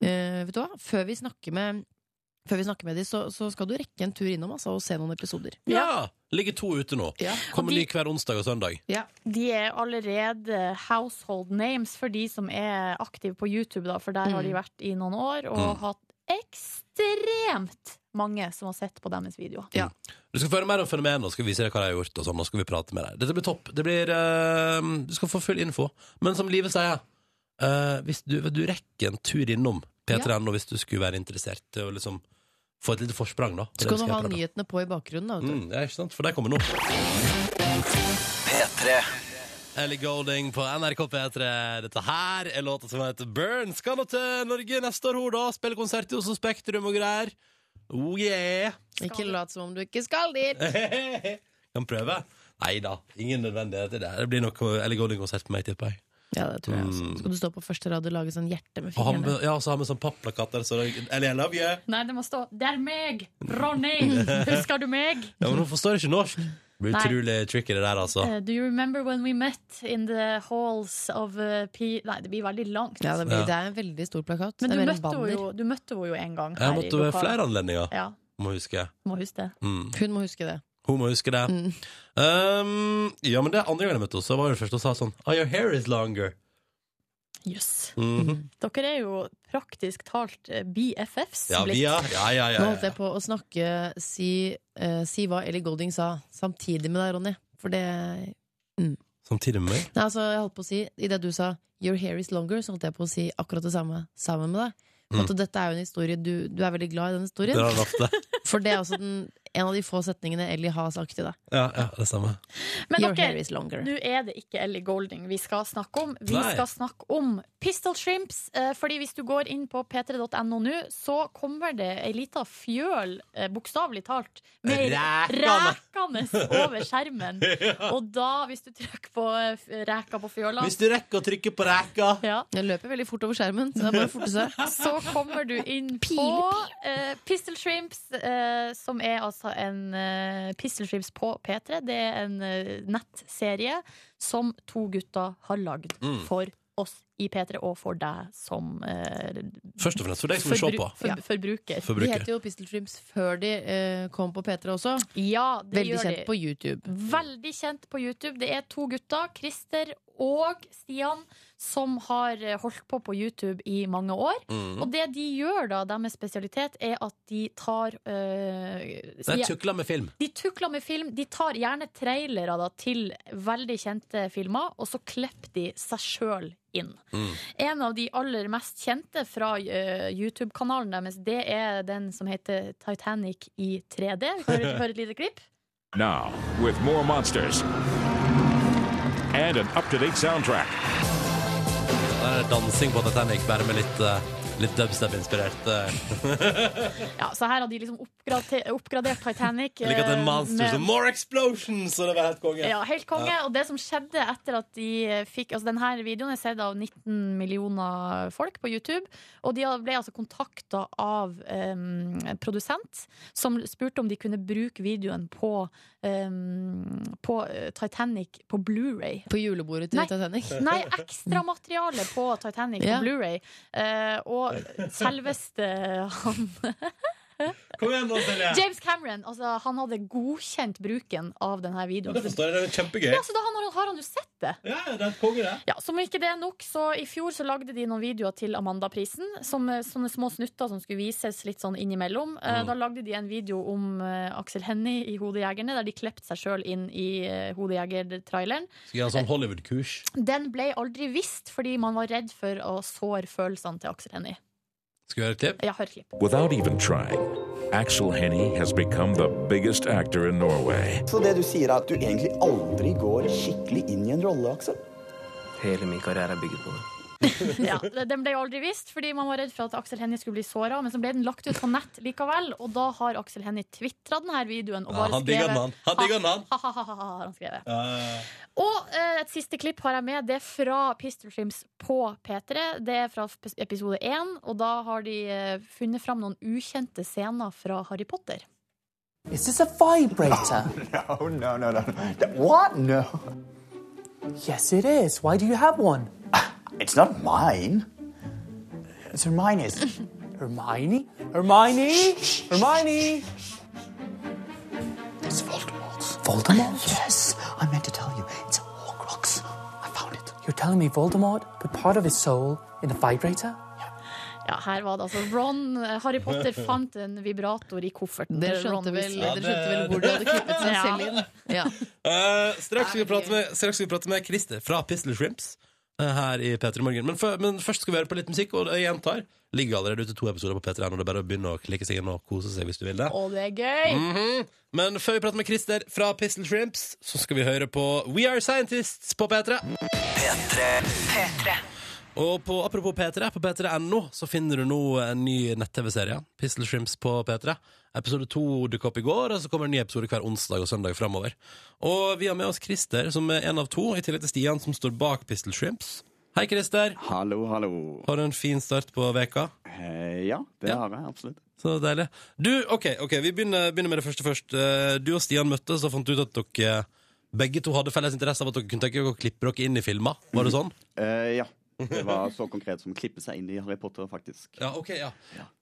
Eh, vet du hva? Før vi snakker med før vi snakker med de, så, så skal du rekke en tur innom altså, og se noen episoder.
Ja. Ligger to ute nå.
Ja.
Kommer
Og de-
ny hver onsdag og søndag.
De er allerede household names for de som er aktive på YouTube, da, for der har de vært i noen år og
Mm.
hatt ekstremt mange som har sett på deres videoer.
Du skal få høre mer om fenomenet og skal vise deg hva de har gjort. og sånn, og skal vi prate med deg. Dette blir topp. Det blir, eh, du skal få full info. Men som Live sier, eh, hvis du, du rekker en tur innom p3.no hvis du skulle være interessert. Og liksom få et lite forsprang, da.
Så kan du ha
jeg prøve.
nyhetene på i bakgrunnen. Da, vet du.
Mm, ja, ikke sant? For de kommer nå. P3. Ellie Golding på NRK P3. Dette her er låta som heter Burn. Skal nå til Norge neste år, hun da. Spille konsert i Oslo Spektrum og greier. Oh yeah!
Ikke lat som om du ikke skal
Eh.
dit!
kan prøve. Nei da, ingen nødvendighet i det. Det blir nok Ellie Golding-konsert på meg, tipper jeg.
Ja, det tror jeg også. Skal du stå på første rad og lage sånn hjerte med
Mm. Og ha med,
fingrene?
ja, så har vi sånn papplakat der, så det- Ellie, I love you.
Nei, det må stå 'Det er meg, Ronny'. Husker du meg?
Ja, men hun forstår ikke norsk. blir
Nei.
utrolig tricky, det der, altså.
Eh, do you remember when we met in the halls of eh, P... Nei, det blir veldig langt.
Ja, det, blir,
Ja.
det er en veldig stor plakat.
Men
det
du
er mer en
møtte, henne
banner.
jo, du møtte henne jo en gang
Jeg
her i
måtte ved
lokalet.
flere anledninger,
Ja,
må huske.
må huske det.
Mm.
Hun må huske det.
Hun må huske det.
Mm.
Um, ja, men det er andre gang jeg møtte henne, så var hun først og sa sånn Oh, your hair is longer.
Jøss.
Mhm.
Dere er jo praktisk talt eh, BFFs
Ja, vi
blitt.
er ja, ja, ja,
Nå
ja.
holdt jeg på å snakke si, eh, si hva Ellie Golding sa, samtidig med deg, Ronny. For det Nei,
Samtidig med meg.
altså, jeg holdt på å si Idet du sa 'Your hair is longer', så holdt jeg på å si akkurat det samme sammen med deg. For
Mm.
at dette er jo en historie du, du er veldig glad i den
Det
historien.
har hun ofte.
For det er også den, en av de få setningene Ellie har sagt til deg.
Ja, ja, det samme.
Men
Your
dere,
hair is longer.
Nå er det ikke Ellie Golding vi skal snakke om. Vi
Nei.
skal snakke om Pistol Shrimps. eh, Fordi hvis du går inn på p3.no nå, så kommer det ei lita fjøl, eh, bokstavelig talt, med
Rækene.
rekende over skjermen. Og da, hvis du trykker på eh, f- reka på fjøla
Hvis du rekker å trykke på reka
ja,
Jeg løper veldig fort over skjermen, så det er bare å forte seg.
så kommer du inn på eh, Pistol Shrimps, eh, som er altså en eh, Pistol Shrimps på P3. Det er en eh, nettserie som to gutter har lagd
Mm.
for oss i P3, og for deg som eh,
Først og fremst for deg som vil liksom se
forbru-
på.
for, forbruker.
De
Forbruket.
heter jo Pistol Shrimps før de eh, kom på P3 også.
Ja, det
Veldig
gjør
kjent
de.
på YouTube.
Veldig kjent på YouTube. Det er to gutter, Christer og Stian, som har eh, holdt på på YouTube i mange år.
Mm.
Og det de gjør, da, deres spesialitet, er at de tar øh,
Det er
sier-
tukla med film.
De tukler med film. De tar gjerne trailere da, til veldig kjente filmer, og så klipper de seg sjøl inn.
Mm.
En av de aller mest kjente fra øh, YouTube-kanalen deres, det er den som heter Titanic i 3D. Vi kan høre, høre et lite klipp.
Now, with more monsters and an up to date soundtrack.
Der er Eh, dansing på Titanic, bare med litt, eh, litt dubstep-inspirert. eh.
Ja, så her har de liksom oppgrade- oppgradert Titanic.
Jeg liker at det
øh,
er monsters
med-
og more explosions! Og det var helt konge.
Ja, helt konge. Og det som skjedde etter at de eh, fikk Altså, denne videoen er sett av 19 millioner folk på YouTube. Og de ble altså kontakta av em, en produsent som spurte om de kunne bruke videoen på, em, på eh, Titanic på Blu-ray.
På julebordet til
Nei.
Titanic.
Nei, ekstramateriale på Titanic
Ja.
på Blu-ray. Eh, og selveste han
Kom igjen, nå, Silje!
James Cameron, altså, han hadde godkjent bruken av denne
Ja,
videoen.
Det forstår jeg, det er kjempegøy.
Ja, så da har han- har han jo sett det.
Ja, det er et konge, det.
Ja, Som ikke det er nok, så i fjor så lagde de noen videoer til Amandaprisen. Som, eh, sånne små snutter som skulle vises litt sånn innimellom. Eh,
Mm.
Da lagde de en video om eh, Aksel Hennie i Hodejegerne, der de klepte seg sjøl inn i uh, Hodejegertraileren.
Skal jeg ha sånn Hollywood-kurs?
Den ble aldri vist fordi man var redd for å såre følelsene til Aksel Hennie.
Skal vi høre et klipp?
Jeg har klipp.
Without even trying, Axel Henny has become the biggest actor in Norway.
Så det du sier er at du egentlig aldri går skikkelig inn i en rolle, Aksel?
Hele min karriere er bygget på det.
Ja, den ble aldri vist fordi man var redd for at Aksel Hennie skulle bli såra, men så ble den lagt ut på nett likevel, og da har Aksel Hennie tvitra denne videoen og
Ja,
bare
han digger den, han. Han digger den, han.
Ha-ha-ha, har han skrevet.
Eh,
Og eh, et siste klipp har jeg med. Det er fra Pistol Shrimps på P3. Det er fra sp- episode 1, og da har de eh, funnet fram noen ukjente scener fra Harry Potter.
Is this a vibrator?
No, no, no, no. What? No.
yes, it is. Why do you have one?
It's not mine. It's Hermione's.
Hermione? Hermione? Hermione?
It's Voldemort's. Voldemort? Yes. I meant to tell you. It's a Horcrux. I found it.
You're telling me Voldemort put part of his soul in a vibrator?
Ja, her var det altså Ron eh, Harry Potter fant en vibrator i kofferten.
Dere
til Ron
skjønte vel,
Weasley.
dere skjønte vel hvor de hadde klippet seg
Ja.
selv inn? Ja.
eh, straks skal vi prate med, straks skal vi prate med Christer fra Pistol Shrimps eh, her i P3 Morgen. Men, før- men først skal vi høre på litt musikk, og jeg gjentar. Ligger allerede ute to episoder på P3 og det er bare å begynne å klikke seg inn og kose seg hvis du vil det.
Og det er gøy!
Mhm. Men før vi prater med Christer fra Pistol Shrimps, så skal vi høre på We Are Scientists på P3. Og på, apropos P3, på p3.no så finner du nå en ny nett-TV-serie. Pistol Shrimps på P3. Episode to dukket opp i går, og så kommer en ny episode hver onsdag og søndag framover. Og vi har med oss Christer, som er en av to, i tillegg til Stian, som står bak Pistol Shrimps. Hei, Christer.
Hallo, hallo.
Har du en fin start på veka?
Eh, ja, det
Ja.
har jeg absolutt.
Så deilig. Du, OK, ok, vi begynner, begynner med det første først. Eh, Du og Stian møttes og fant ut at dere begge to hadde felles interesse av at dere kunne tenke dere å klippe dere inn i filmer. Var det sånn?
Eh, ja. Det var så konkret som å klippe seg inn i Harry Potter, faktisk.
Ja, ok, ja.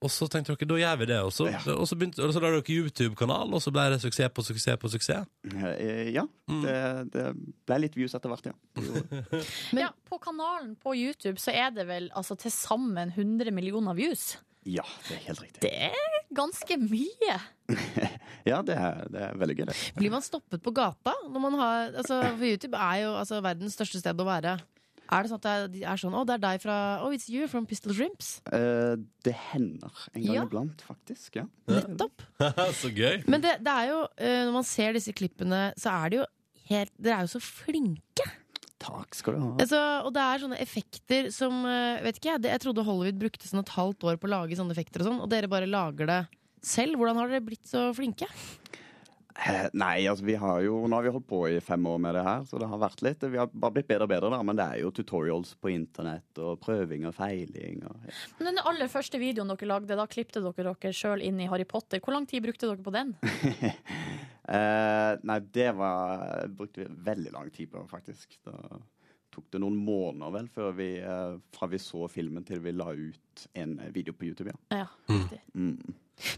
Og så tenkte dere da gjør vi det også. Og så, begynte, og så la dere YouTube-kanal, og så ble det suksess på suksess på suksess.
Eh, ja.
Mm.
Det, det ble litt views etter hvert, ja.
ja, på kanalen på YouTube så er det vel altså, til sammen 100 millioner views.
Ja, det er helt riktig.
Det er ganske mye.
Ja, det er, det er veldig gøy, det.
Blir man stoppet på gata? Når man har, altså, for YouTube er jo altså, verdens største sted å være. Er det sånn at det er, de er sånn Å, det er deg fra Oh, it's you from Pistol Shrimps.
Eh, det hender en gang
Ja.
iblant, faktisk. Ja.
Nettopp.
så gøy.
Men det, det er jo, eh, når man ser disse klippene, så er det jo helt Dere er jo så flinke.
Takk skal du ha.
Altså, og det er sånne effekter som eh, Vet ikke jeg, det, jeg trodde Hollywood brukte sånn et halvt år på å lage sånne effekter og sånn, og dere bare lager det selv. Hvordan har dere blitt så flinke?
Eh, Nei, altså vi har jo, nå har vi holdt på i fem år med det her, så det har vært litt. Vi har bare blitt bedre og bedre, da, men det er jo tutorials på internett og prøving og feiling. Og,
Men den aller første videoen dere lagde, da klippte dere dere sjøl inn i Harry Potter. Hvor lang tid brukte dere på den?
Eh, nei, det var, brukte vi veldig lang tid på, faktisk. Da tok det noen måneder vel før vi, eh, fra vi så filmen til vi la ut en video på YouTube. Ja.
Ja,
Mm.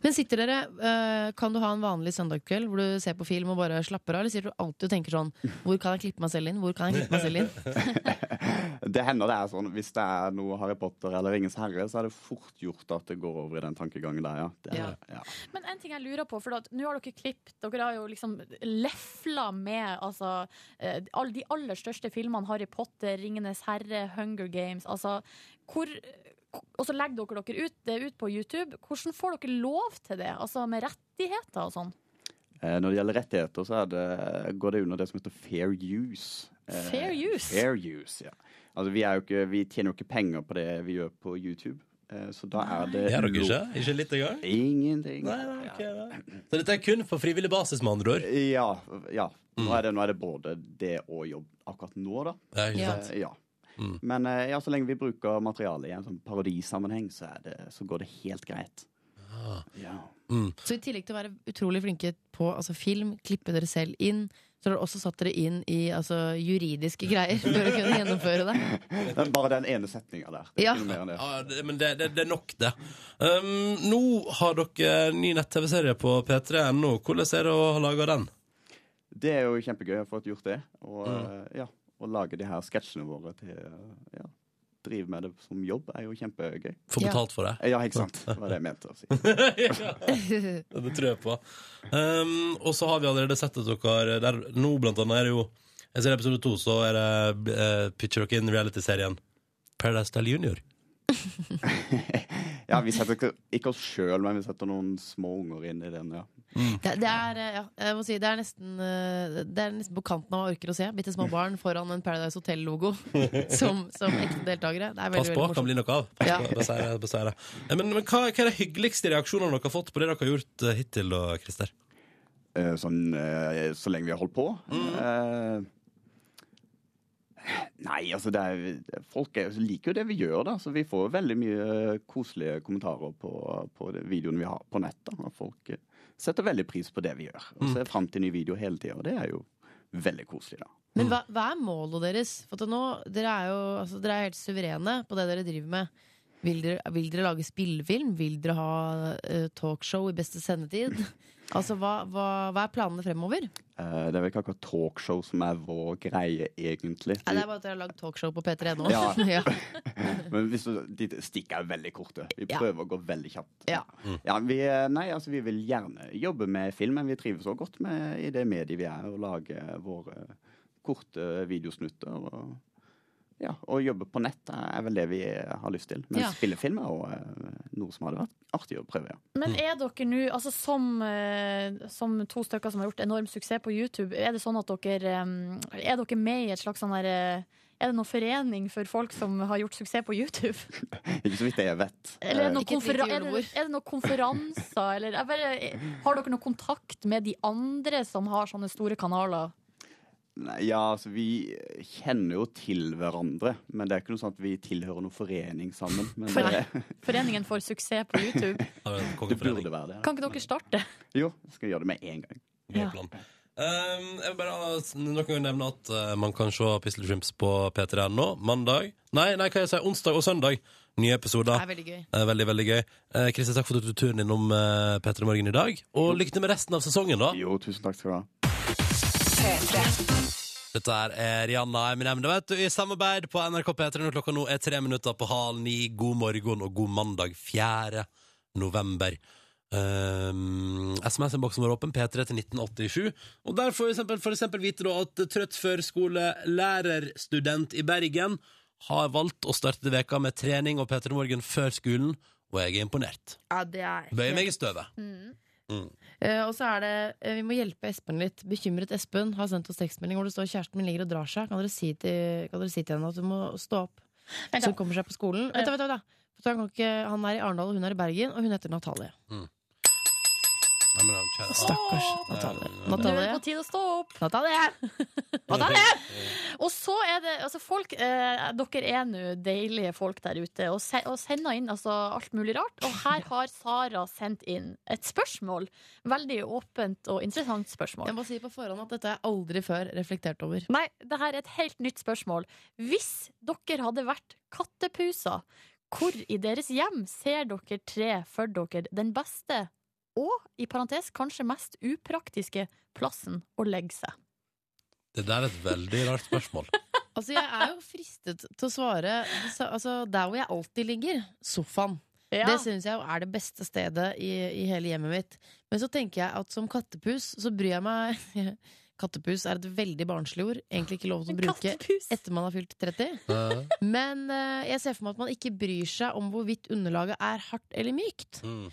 Men sitter dere, eh, Kan du ha en vanlig søndagskveld hvor du ser på film og bare slapper av? Eller sitter du alltid og tenker sånn Hvor kan jeg klippe meg selv inn? Hvor kan jeg klippe meg selv inn?
Det hender det er sånn, hvis det er noe Harry Potter eller Ringens herre, så er det fort gjort at det går over i den tankegangen der, ja. Det,
Ja.
ja.
Men en ting jeg lurer på, for at nå har dere klippet, dere har jo liksom lefla med altså, eh, all- de aller største filmene, Harry Potter, Ringenes Herre, Hunger Games, altså hvor og så legger dere dere ut, det ut på YouTube. Hvordan får dere lov til det? Altså Med rettigheter og sånn?
Eh, Når det gjelder rettigheter, så er det, går det under det som heter fair use. Eh,
Fair use?
Fair use, ja. Altså, vi, er jo ikke, vi tjener jo ikke penger på det vi gjør på YouTube, eh, så da er det
Det er dere
ulo-
ikke? Ikke litt engang?
Ingenting.
Nei, nei, ok, nei. Så dette er kun på frivillig basis, med andre ord?
Ja. ja.
Mm.
Nå, er det, nå er det både det og jobb akkurat nå, da.
Ja, ikke
Eh,
sant?
ja. Men eh, ja, så lenge vi bruker materialet i en sånn parodisammenheng, så, er det, så går det helt greit. Ja.
Så i tillegg til å være utrolig flinke på altså, film, klippe dere selv inn, så har dere også satt dere inn i altså, juridiske greier for å kunne gjennomføre det.
Men Bare den ene setninga der. Det er
Ja.
ikke noe mer enn det.
Ja, det, men det, det, det er nok, det. Um, nå har dere ny nett-TV-serie på p3.no. Hvordan er det å ha laga den?
Det er jo kjempegøy å få gjort det. Og, eh, ja, å lage de her sketsjene våre til eh, ja, Drive med det som jobb er jo kjempegøy. Eh,
Få
Ja.
betalt for det?
Ja, ikke sant? Det var det jeg mente å si.
Ja, Det tror jeg på. Um, og så har vi allerede sett at dere der, Nå, blant annet, er det jo Jeg ser i episode to, så er det eh, pitcher dere inn reality-serien Paradise Del Junior.
Ja, Vi setter ikke- ikke oss sjøl, men vi setter noen små unger inn i den. ja.
Det, det, er, eh, ja, jeg må si, det, er nesten, eh, det er nesten på kanten av hva jeg orker å se. Bitte små barn foran en Paradise Hotel-logo som, som ekte deltakere. Det er
Pass på,
veldig, veldig
kan
morsomt.
bli noe av. Pass
Ja.
på, bare sier det, bare sier det. Eh, Men, men hva, hva er de hyggeligste reaksjonene dere har fått på det dere har gjort eh, hittil, da, Christer?
Eh, Sånn eh, så lenge vi har holdt på. Eh, Nei, altså det er, Folk er, liker jo det vi gjør, da. Så vi får veldig mye koselige kommentarer på, på de videoene vi har på nett. da. Og folk eh, setter veldig pris på det vi gjør. Og ser fram til nye videoer hele tida. Og det er jo veldig koselig, da.
Men hva, hva er målet deres? For at nå, dere er jo altså, dere er helt suverene på det dere driver med. Vil dere, vil dere lage spillefilm? Vil dere ha eh, talkshow i beste sendetid? Altså, hva, hva, hva er planene fremover?
Eh, Det er vel ikke akkurat talkshow som er vår greie, egentlig.
Nei, det er bare at dere har lagd talkshow på P3.no.
Ja.
ja.
Men hvis du, de stikker er veldig korte. Vi
Ja.
prøver å gå veldig kjapt.
Ja.
Ja, vi, nei, altså, vi vil gjerne jobbe med film, men vi trives så godt med, i det mediet vi er, å lage våre korte videosnutter. Og, ja, og jobbe på nett er vel det vi har lyst til. Men
Ja.
spillefilm er jo eh, noe som hadde vært artig å prøve. Ja.
Men er dere nå, altså som, eh, som to stykker som har gjort enorm suksess på YouTube, er det sånn at dere eh, Er dere med i et slags sånn der eh, Er det noen forening for folk som har gjort suksess på YouTube?
Ikke så vidt jeg vet. Eh,
Eller er det, noen
Eh, Ikke et lite
konfera- er, det,
julebord.
er det noen konferanser, eller eh, jeg bare, Har dere noen kontakt med de andre som har sånne store kanaler?
Nei, Ja, altså vi kjenner jo til hverandre, men det er ikke noe sånn at vi tilhører noen forening sammen. Men
For-
det,
Foreningen for suksess på YouTube.
det burde være det.
Kan ikke dere starte?
Jo, skal jeg gjøre det med en gang.
Ja.
Um, jeg vil bare ha s- noen ganger nevne at eh, man kan se Pistol Shrimps på p3.no mandag. Nei, nei, hva jeg sier, onsdag og søndag. Nye episoder.
Det er veldig gøy.
Eh, veldig, veldig gøy. Eh, Kristin, takk for at du tok turen innom eh, P3 Morgen i dag. Og lykke til med resten av sesongen, da.
Jo, tusen takk skal du ha.
Dette her er Rihanna Eminem, det vet du, i samarbeid på NRK P3 når klokka nå er tre minutter på halv ni. God morgen og god mandag 4. november. Eh, Um, SMS-innboksen vår er åpen, P3 til 1987. Og der får vi eksempel, for eksempel vite da at trøtt førskolelærerstudent i Bergen har valgt å starte veka med trening og P3 Morgen før skolen, og jeg er imponert.
Ja, det er
Bøyer meg i støvet. Mm.
Eh, og så er det, eh, Vi må hjelpe Espen litt. Bekymret Espen har sendt oss tekstmelding hvor det står 'kjæresten min ligger og drar seg'. Kan dere si til, kan dere si til henne at hun må stå opp? Så hun kommer seg på skolen. Vent, da, vent, da, vent, da. For han, kan ikke, han er i Arendal, og hun er i Bergen, og hun heter Natalie.
Ja, men, kjære-
Stakkars
Ja,
Natalie.
ja, ja.
Nå er det
Eh, Natalie.
på tide å stå opp.
Natalie!
Og så er det altså folk eh, Dere er nå deilige folk der ute og, se, og sender inn altså, alt mulig rart. Og her har Sara sendt inn et spørsmål. Veldig åpent og interessant spørsmål.
Jeg må si på forhånd at dette er aldri før reflektert over.
Nei, det her er et helt nytt spørsmål. Hvis dere hadde vært kattepuser, hvor i deres hjem ser dere tre for dere den beste og, i parentes, kanskje mest upraktiske plassen å legge seg?
Det der er et veldig rart spørsmål.
Altså, jeg er jo fristet til å svare så, altså, der hvor jeg alltid ligger. Sofaen.
Ja.
Det syns jeg jo er det beste stedet i, i hele hjemmet mitt. Men så tenker jeg at som kattepus så bryr jeg meg Kattepus er et veldig barnslig ord. Egentlig ikke lov til å bruke etter man har fylt 30.
Ja.
Men eh, jeg ser for meg at man ikke bryr seg om hvorvidt underlaget er hardt eller mykt.
Mm.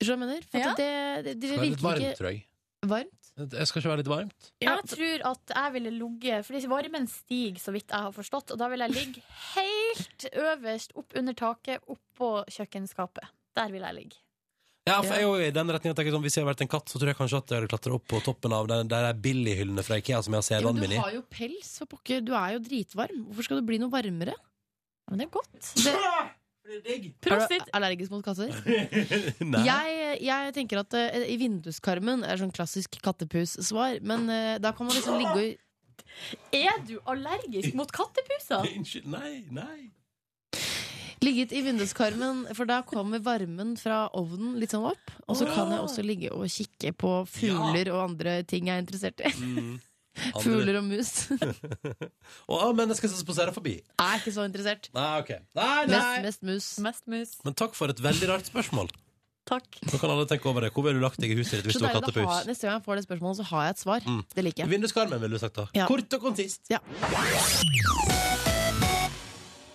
Skjønner du hva jeg mener? For
Ja.
at det, det, det
Det er litt
virker
varmt,
ikke
tror jeg.
varmt.
Jeg skal ikke være litt varmt.
Jeg tror at jeg ville ligget Fordi varmen stiger, så vidt jeg har forstått. Og da vil jeg ligge helt øverst opp under taket, oppå kjøkkenskapet. Der vil jeg ligge.
Ja, for jeg er jo i den retningen at jeg, sånn, Hvis jeg hadde vært en katt, så tror jeg kanskje at jeg hadde klatra opp på toppen av den der er billighyllene fra Ikea som jeg har
Ja,
CD-en
men
min
du
i.
har jo pels, for pokker. Du er jo dritvarm. Hvorfor skal du bli noe varmere?
Men det er godt.
Er du
Prosit!
allergisk mot katter?
Nei.
Jeg, jeg tenker at eh, i vinduskarmen er sånn klassisk kattepus-svar, men eh, da kan man liksom ligge og
Er du allergisk mot kattepuser?
Unnskyld, nei, nei.
Ligget i vinduskarmen, for da kommer varmen fra ovnen litt sånn opp. Og så kan jeg også ligge og kikke på fugler og andre ting jeg er interessert i.
Mm. Andre- ah,
Fugler og mus. Jeg
Og av mennesker som spaserer forbi.
er ikke så interessert.
Nei, ok. Nei,
Mest,
nei.
mest mus.
Mest mus.
Men takk for et veldig rart spørsmål.
Takk.
Nå kan alle tenke over det. Hvor ville du lagt deg i huset ditt hvis
Så
du var
deilig å ha,
kattepus?
neste gang jeg får det spørsmålet, så har jeg et svar.
Mm.
Det liker jeg.
Vinduskarmen, ville du sagt da.
Ja.
Kort og konsist.
Ja.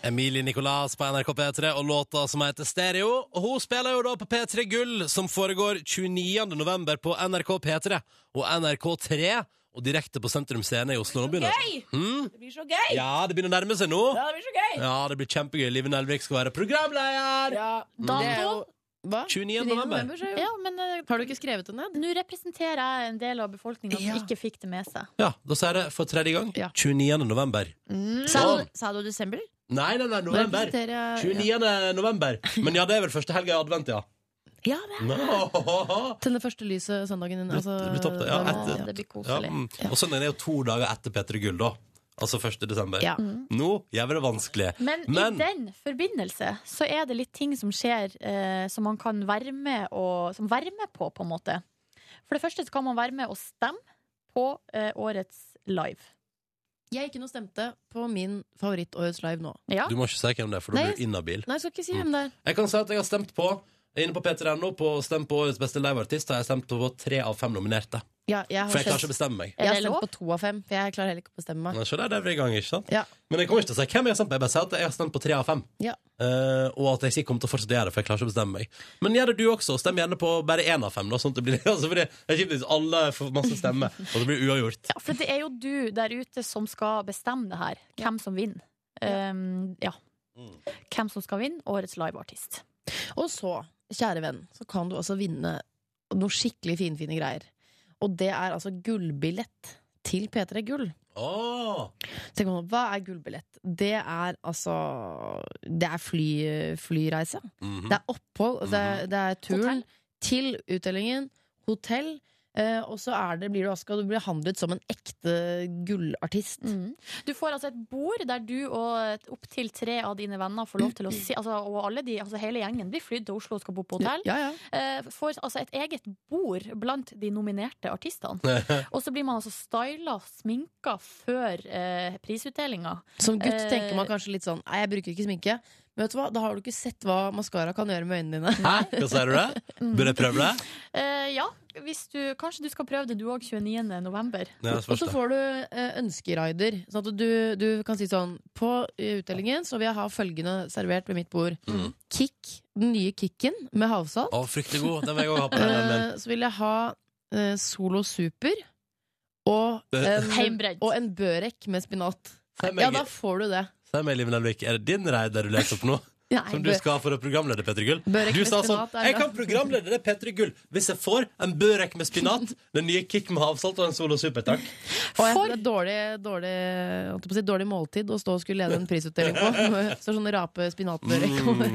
Emilie Nicolas på NRK P3 og låta som heter Stereo. Og hun spiller jo da på P3 Gull, som foregår 29. november på NRK P3 og NRK3. Og direkte på Sentrum Scene i Oslo. Nå begynner
Gøy!
Hmm?
Det blir så gøy!
Ja, det begynner å nærme seg nå.
Ja, det blir så gøy!
Ja, det blir kjempegøy. Live Nelvik skal være programleder!
Mm.
Det
Dato?
er jo- Hva?
29.
29.
november.
så er jo-
Ja, men eh,
Har du ikke skrevet det ned?
nå representerer jeg en del av befolkninga som
Ja.
ikke fikk det med seg.
Ja, da sier jeg det for tredje gang.
Ja. Mm.
29. november. Sånn.
Sa du, sa du desember? eh,
Nei, nei, nei,
Nå
november.
representerer jeg-
29. november. Men ja, det er vel første helga i advent, ja.
Ja, det er-
Nå.
Tenne første lyset søndagen din. Altså,
det blir topp, det. Ja,
den-
etter-
Å, det blir
Ja,
koselig.
mm. Og søndagen er jo to dager etter P3 Gull, da. Altså 1. desember.
Ja.
Nå gjør vi det vanskelig.
Men,
Men-
i den forbindelse så er det litt ting som skjer eh, som man kan være med, og, som være med på, på en måte. For det første så kan man være med og stemme på eh, årets live.
Jeg gikk inn og stemte på min favoritt Årets Live nå.
Ja.
Du må ikke si hvem det er, for da
Nei.
blir du inhabil.
Nei, jeg skal ikke
Mm.
si hvem det er.
Jeg kan si at jeg har stemt på Inne på p3.no på Stem på årets beste liveartist har jeg stemt på tre av fem nominerte.
Ja, jeg har
For jeg klarer
stemt,
ikke å bestemme meg.
jeg har
Er det
stemt
lov?
på to av fem, for jeg klarer heller ikke å bestemme meg.
Men så der, der er vi i gang, ikke sant?
Ja.
Men jeg kommer ikke til å si hvem jeg har stemt på. Jeg bare sier at jeg har stemt på tre av fem.
Ja.
Eh, og at jeg sikkert kommer til å fortsette å gjøre det, for jeg klarer ikke å bestemme meg. Men gjør det du også. Stem gjerne på bare én av fem. Da, sånn at det blir altså, fordi det er kjipt hvis alle får masse stemmer, og det blir uavgjort.
Ja, for det er jo du der ute som skal bestemme det her. Hvem som vinner. Um, ja.
Mm.
Hvem som skal vinne årets liveartist.
Og så, kjære venn, så kan du også vinne noe skikkelig finfine greier. Og det er altså gullbillett til P3 Gull. Så tenker man, Hva er gullbillett? Det er altså Det er fly, flyreise.
Mhm.
Mm.
Det er opphold, det, er- det er turen til utdelingen, hotell. eh, og så er det, blir du, også- skal du bli handlet som en ekte gullartist.
Mm. Du får altså et bord der du og opptil tre av dine venner får lov til å si altså, Og alle de, altså hele gjengen blir flydd til Oslo og skal bo på hotell.
Ja, ja.
Eh, får altså et eget bord blant de nominerte artistene. Og så blir man altså styla, sminka, før eh, prisutdelinga.
Som gutt tenker man kanskje litt sånn Nei, jeg bruker ikke sminke. Men vet du hva, da har du ikke sett hva maskara kan gjøre med øynene dine.
Hæ? Hva sier du det? Bør jeg prøve det?
Eh, ja, hvis du, kanskje du skal prøve det du òg 29. november.
Ja,
Og så får du eh, ønskerider. Sånn at du, du kan si sånn På utdelingen så vil jeg ha følgende servert ved mitt bord.
Mm.
Kick, den nye kicken med havsalt.
Å, fryktelig god. Den vil jeg også ha på den, den.
Eh, så vil jeg ha eh, Solo Super og en, og en børek med spinat.
Fem
Ja,
egg.
da får du det.
Si meg, Liv Nelvik, er det din reid der du leser opp nå?
Nei,
Som du
bør-
skal ha for å programlede Petter Gull? Du
Børek med
sa sånn
spinat er
Jeg
bra.»
kan programlede det Petter Gull hvis jeg får en børek med spinat, den nye Kick med havsalt og en Solo Super, takk.
Og jeg, det er dårlig, dårlig, jeg holdt på å si, dårlig måltid å stå og skulle lede en prisutdeling på. Så sånn rape spinatbørek.
Mm.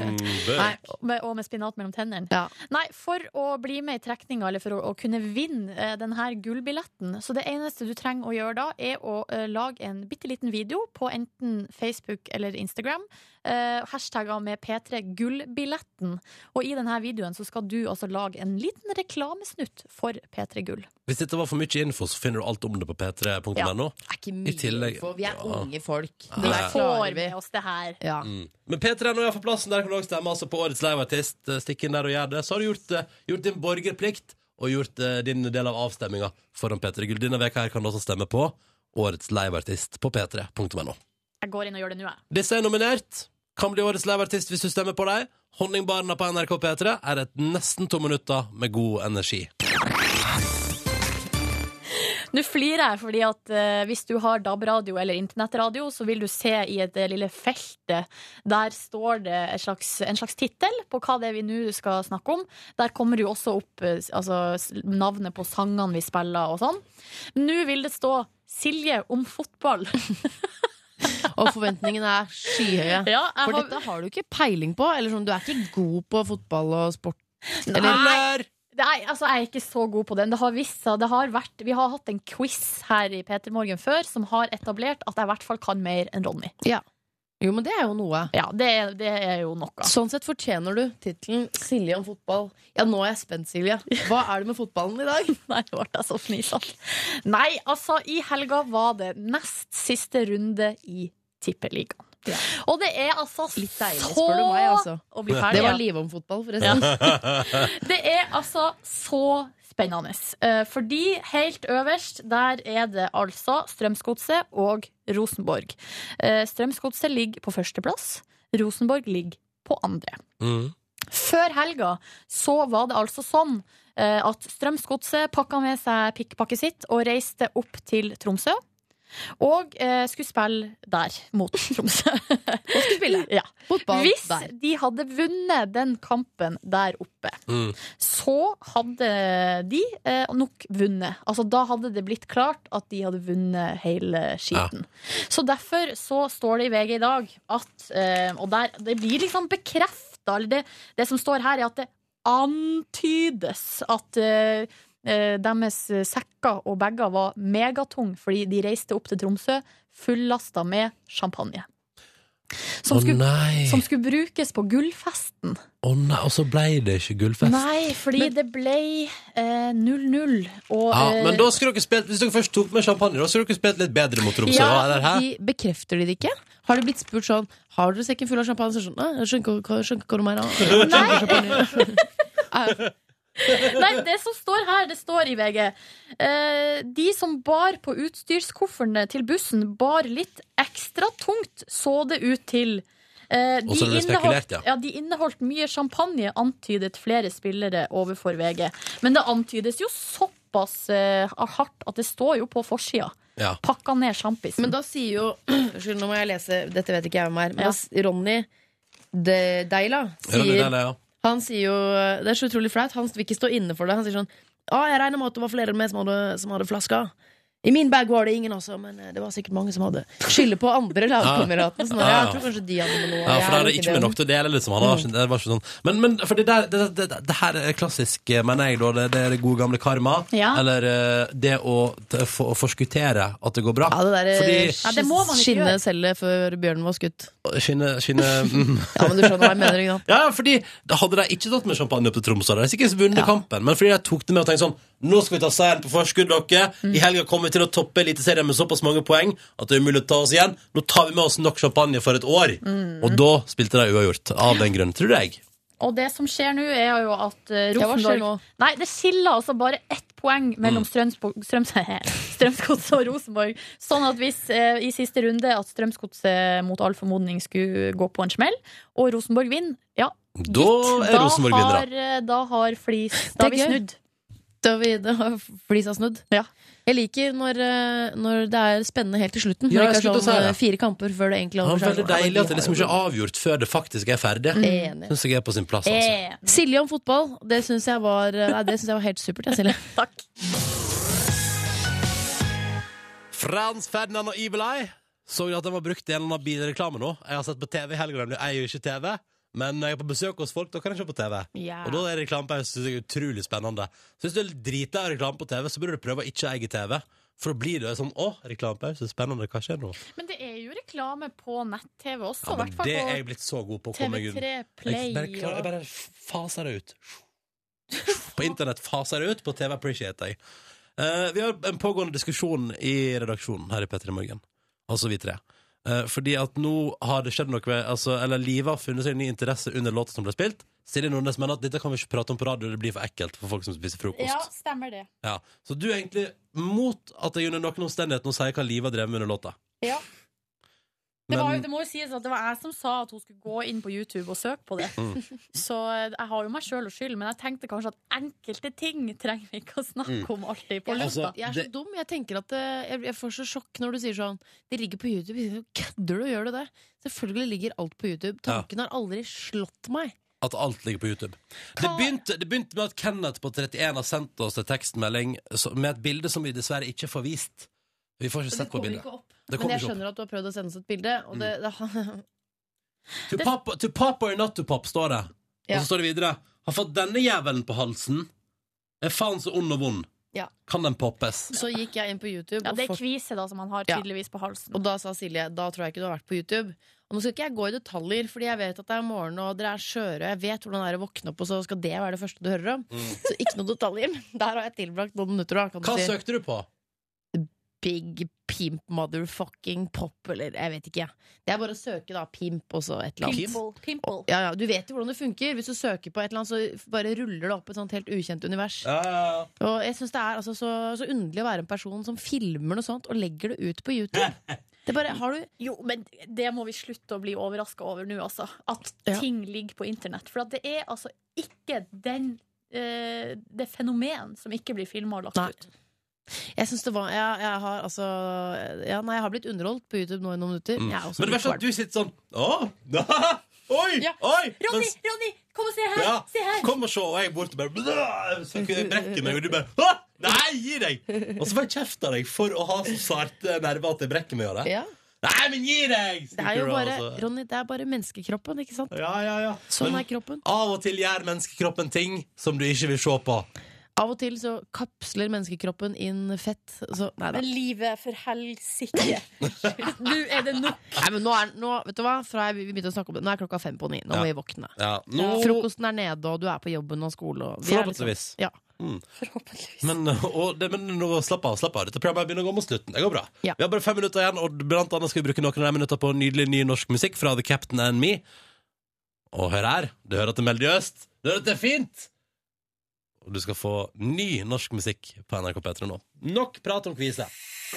Nei, med, og med spinat mellom tennene. Nei, for å bli med i trekninga, eller for å, å kunne vinne eh, denne gullbilletten, så det eneste du trenger å gjøre da, er å eh, lage en bitte liten video på enten Facebook eller Instagram. Eh, hashtagger med P3 Gullbilletten. Og i denne videoen så skal du altså lage en liten reklamesnutt for P3 Gull.
Hvis dette var for mye info, så finner du alt om det på p3.no.
Ikke
I tillegg
Vi er unge folk.
Det der klarer
vi. Med oss det her.
Ja.
Mm. Men P3 nå er for plassen der kan du også stemme altså på årets liveartist. Eh, Stikk inn der og gjør det. Så har du gjort, eh, gjort din borgerplikt og gjort eh, din del av avstemminga foran P3 Gull. Denne veka her kan du også stemme på årets liveartist på p3.no.
Jeg går inn og gjør det nå, jeg.
Disse er nominert. Kan bli årets liveartist hvis du stemmer på dem. Honningbarna på NRK P3 er et nesten to minutter med god energi.
Nå flirer jeg fordi at eh, hvis du har DAB-radio eller internettradio, så vil du se i et eh, lille feltet der står det en slags, en slags tittel på hva det er vi nå skal snakke om. Der kommer det jo også opp eh, s- altså, s- navnet på sangene vi spiller og sånn. Nå vil det stå Silje om fotball.
Og forventningene er skyhøye.
Ja, jeg
For
har-
dette har du ikke peiling på. Eller sånn, du er ikke god på fotball og sport.
Nei. Nei, altså Jeg er ikke så god på den. Det har vist seg, det har vært, vi har hatt en quiz her i P3 Morgen før som har etablert at jeg i hvert fall kan mer enn Ronny.
Ja. Jo, men det er jo noe.
Ja, det, er- det er jo noe.
Sånn sett fortjener du tittelen 'Silje om fotball'. Ja, nå er jeg spent, Silje. Hva er det med fotballen i dag?
Nei, nå ble jeg så fnisete. Nei, altså, i helga var det nest siste runde i Tippeligaen. Og det er altså så
spør du meg, altså.
Å bli ferdig,
det var
ja.
livet om fotball, forresten.
Ja. Det er altså så spennende. Eh, Fordi helt øverst, der er det altså Strømsgodset og Rosenborg. Eh, Strømsgodset ligger på førsteplass, Rosenborg ligger på andre.
Mm.
Før helga så var det altså sånn eh, at Strømsgodset pakka med seg pikkpakket sitt og reiste opp til Tromsø. Og eh, skulle spille der, mot Tromsø. og skulle spille ja.
fotball
Hvis
der.
de hadde vunnet den kampen der oppe,
Mm.
så hadde de eh, nok vunnet. Altså Da hadde det blitt klart at de hadde vunnet hele skiten. Så derfor så står det i VG i dag at eh, Og der, det blir liksom bekrefta, eller det, det som står her, er at det antydes at eh, eh, deres sekker og bager var megatung fordi de reiste opp til Tromsø fullasta med champagne. Som,
Å, nei.
skulle, som skulle brukes på gullfesten.
Å nei, og så ble det ikke gullfest.
Nei, fordi det ble eh, 0-0. og,
Ja,
eh,
men da skulle dere spilt, Hvis dere først tok med champagne, da skulle dere spilt litt bedre mot Tromsø.
Ja,
eller hæ?
de bekrefter de det ikke? Har de blitt spurt sånn Har dere sekken full av champagne? Så er det sånn, nei, jeg skjønner ikke hva- skjønner ikke hva du mener.
Nei, det som står her, det står i VG. Eh, de som bar på utstyrskofferne til bussen, bar litt ekstra tungt, så det ut til. Eh,
Og så er det spekulert, ja.
ja, de inneholdt mye champagne, antydet flere spillere overfor VG. Men det antydes jo såpass eh, hardt at det står jo på forsida.
Ja.
Pakka ned sjampisen.
Men da sier jo Unnskyld, nå må jeg lese. Dette vet ikke jeg hvem er. Men
Ja.
da s- Ronny De Deila sier
Ronny Deila, ja.
Han sier jo Det er så utrolig flaut. Han vil ikke stå inne for det. Han sier sånn Ja, jeg regner med at det var flere med som hadde, som hadde flaska. I min bag var det ingen, altså, men eh, det var sikkert mange som hadde. Skylder på andre lagkamerater. Sånn,
Ja, ja.
jeg tror kanskje de hadde med noe.
Ah. Ja,
jeg
for da
er
er det
jo
ikke med
det. Mm.
nok til å dele, liksom. Han har, ikke- det var ikke sånn. Men, men for det, der, det, det, det, det her er klassisk, eh, mener jeg, da. Det, det er det gode gamle karma.
Ja.
Eller eh, det å t- få- forskuttere at det går bra.
Ja, det der eh,
Fordi
sk- skinne celle før bjørnen var skutt.
Skinne, skinne mm.
Ja, men du skjønner hva jeg mener, ikke sant?
Ja, fordi da Hadde de ikke tatt med champagne opp til Tromsø, hadde de sikkert vunnet kampen. Men fordi de tok det med og tenkte sånn Nå skal vi ta seieren på forskudd, dere.
Mm.
I helga kommer vi til å toppe Eliteserien med såpass mange poeng at det er umulig å ta oss igjen. Nå tar vi med oss nok champagne for et år.
Mm.
Og da spilte de uavgjort, av den grunn, tror jeg.
Og det som skjer nå, er jo at eh,
Ja, hva skjer
Rosenborg
nå?
Nei, det skiller altså bare ett poeng mellom
Mm.
Strømsbo- Strøms Strømsgodset og Rosenborg. Sånn at hvis eh, i siste runde at Strømsgodset mot all formodning skulle gå på en smell, og Rosenborg vinner, ja,
Da er Rosenborg
da
vinnere.
har, eh, da har Flis Da har vi
Det er gøy.
snudd.
Da har vi da har flisa snudd. Jeg liker når, eh, når det er spennende helt til slutten.
Ja,
når det
jeg
ikke er
skulle til å si
sånn eh,
det.
fire kamper før det egentlig
Det var
over.
veldig deilig at det liksom ikke er avgjort før det faktisk er ferdig.
Mm.
Enig.
Syns jeg er på sin plass. Altså.
Eh,
Silje om fotball, det syns jeg, var- eh, nei, det synes jeg var helt supert. Jeg, Silje.
Frans Ferdinand og Evil Eye. Så du at den var brukt i en eller annen bilreklame nå? Jeg har sett på TV i helga. Jeg eier jo ikke TV, men når jeg er på besøk hos folk, da kan jeg se på TV.
Ja.
Og da er reklamepause synes jeg er utrolig spennende. Så hvis du er drita av reklame på TV, så burde du prøve å ikke eie TV. For da blir det sånn Å, reklamepause, spennende, hva skjer nå?
Men det er jo reklame på nett-TV også.
Ja,
i
men
hvert fall
det
på-
er jeg blitt så god på å komme meg unna.
TV3 Play
Jeg bare, klar, jeg bare faser det ut. På internett faser det ut, på TV appreciate jeg. Eh, vi har en pågående diskusjon i redaksjonen her i P3 Morgen, altså vi tre. Eh, fordi at nå har det skjedd noe ved- altså, Eller Live har funnet seg en ny interesse under låta som ble spilt. Silje Nordnes mener at dette kan vi ikke prate om på radio, det blir for ekkelt for folk som spiser frokost.
Ja, stemmer det.
Ja. Så du er egentlig mot at jeg under noen omstendighet nå sier hva Live har drevet med under låta.
Ja. Det, var, jo-
Men-
det må jo sies at det var jeg som sa at hun skulle gå inn på YouTube og søke på det.
Mm.
Så eh, jeg har jo meg sjøl å skylde, men jeg tenkte kanskje at enkelte ting trenger vi ikke å
Mm.
snakke om alltid på
Ja,
lufta.
altså,
jeg er så
det-
dum. Jeg tenker at eh, jeg, jeg får så sjokk når du sier sånn Det ligger på YouTube. Kødder du? Gjør du det? Selvfølgelig ligger alt på YouTube.
Ja.
Tanken har aldri slått meg.
At alt ligger på YouTube. Det begynte, det begynte med at Kenneth på 31 har sendt oss en tekstmelding så- med et bilde som vi dessverre ikke får vist. Vi får ikke sett på bildet. Det
Men
kommer
jeg
ikke opp. Mm.
skjønner at du har prøvd å sende oss et bilde. Og det, det,
To pop, to pop or not to pop, står det. Og
Ja.
så står det videre Har fått denne jævelen på halsen. Er faen så ond og vond.
ja.
Kan den poppes?
Så gikk jeg inn på YouTube.
Ja,
og
det er
fort-
kvise da som han har
Ja.
tydeligvis på halsen.
Og da sa Silje da tror jeg ikke du har vært på YouTube. Og Nå skal ikke jeg gå i detaljer, Fordi jeg vet at det er morgen og dere er skjøre. og Jeg vet hvordan det er å våkne opp, og så skal det være det første du hører om. Så ikke noen detaljer. men Der har jeg tilbrakt noen minutter. Da, kan
Mm. Hva
du si.
søkte du på?
Big pimp motherfucking pop, eller jeg vet ikke. jeg. Det er bare å søke da pimp og så et eller annet.
Pimple. Pimple.
Ja, ja, Du vet jo hvordan det funker. Hvis du søker på et eller annet, så bare ruller det opp et sånt helt ukjent univers. Og jeg synes det er altså så, så underlig å være en person som filmer noe sånt og legger det ut på YouTube. Det bare, har du
Jo, men det må vi slutte å bli overraska over nå, altså. At
Ja.
ting ligger på internett. For at det er altså ikke den eh, det fenomen som ikke blir filma og lagt
Nei.
ut.
Jeg synes det var jeg, jeg har altså ja, Nei, jeg har blitt underholdt på YouTube nå i noen minutter.
Mm.
Jeg er
Men
også
det
litt
verste er at
kvalm.
du sitter sånn Å! Oi! Oi!
Ronny,
Mens-
Ronny, kom og se her!
Ja,
Se her!
kom og se, og jeg er borte og bare «Blæh!» Så jeg brekker meg, og du bare «Åh, Nei, gi deg! Og så får jeg kjeft av deg for å ha så sarte nerver at jeg brekker meg av det.
Ja.
Nei, men gi deg!
Det er jo
skriker du,
bare,
altså.
Ronny, det er bare menneskekroppen, ikke sant?
Ja, ja, ja.
Sånn
Men
er kroppen.
Av og til gjør menneskekroppen ting som du ikke vil se på.
Av og til så kapsler menneskekroppen inn fett. Så, nei da.
Men livet, for helsike. Nå er det nok.
Nei, men nå er, nå, vet du hva? Fra jeg, vi begynte å snakke om det, nå er klokka fem på ni. Nå må
Ja.
vi våkne.
Ja, nå
Frokosten er nede, og du er på jobben og skole. Og vi er
Forhåpentligvis.
Liksom, ja.
Mm. Men, og det, men nå, slapp av, slapp av. Dette programmet begynner å gå mot slutten. Det går bra.
Ja.
Vi har bare fem minutter igjen, og blant annet skal vi bruke noen av de minutter på nydelig ny norsk musikk fra The Captain and Me. Og hør her. Du hører at det er melodiøst. Du hører at det er fint. Og du skal få ny norsk musikk på NRK P3 nå. Nok prat om kvise.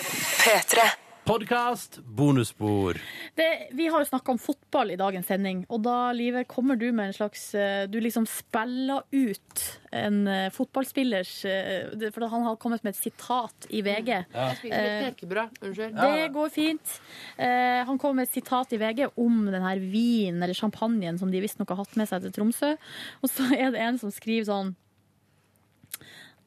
P3.
Podkast, bonusspor.
Det, vi har jo snakka om fotball i dagens sending, og da, Live, kommer du med en slags eh, Du liksom spiller ut en eh, fotballspillers eh, det- For han har kommet med et sitat i VG.
Jeg spiser litt
Eh,
knekkebrød. Unnskyld.
Det går fint. Eh, han kom med et sitat i VG om den her vinen eller champagnen som de visstnok har hatt med seg til Tromsø. Og så er det en som skriver sånn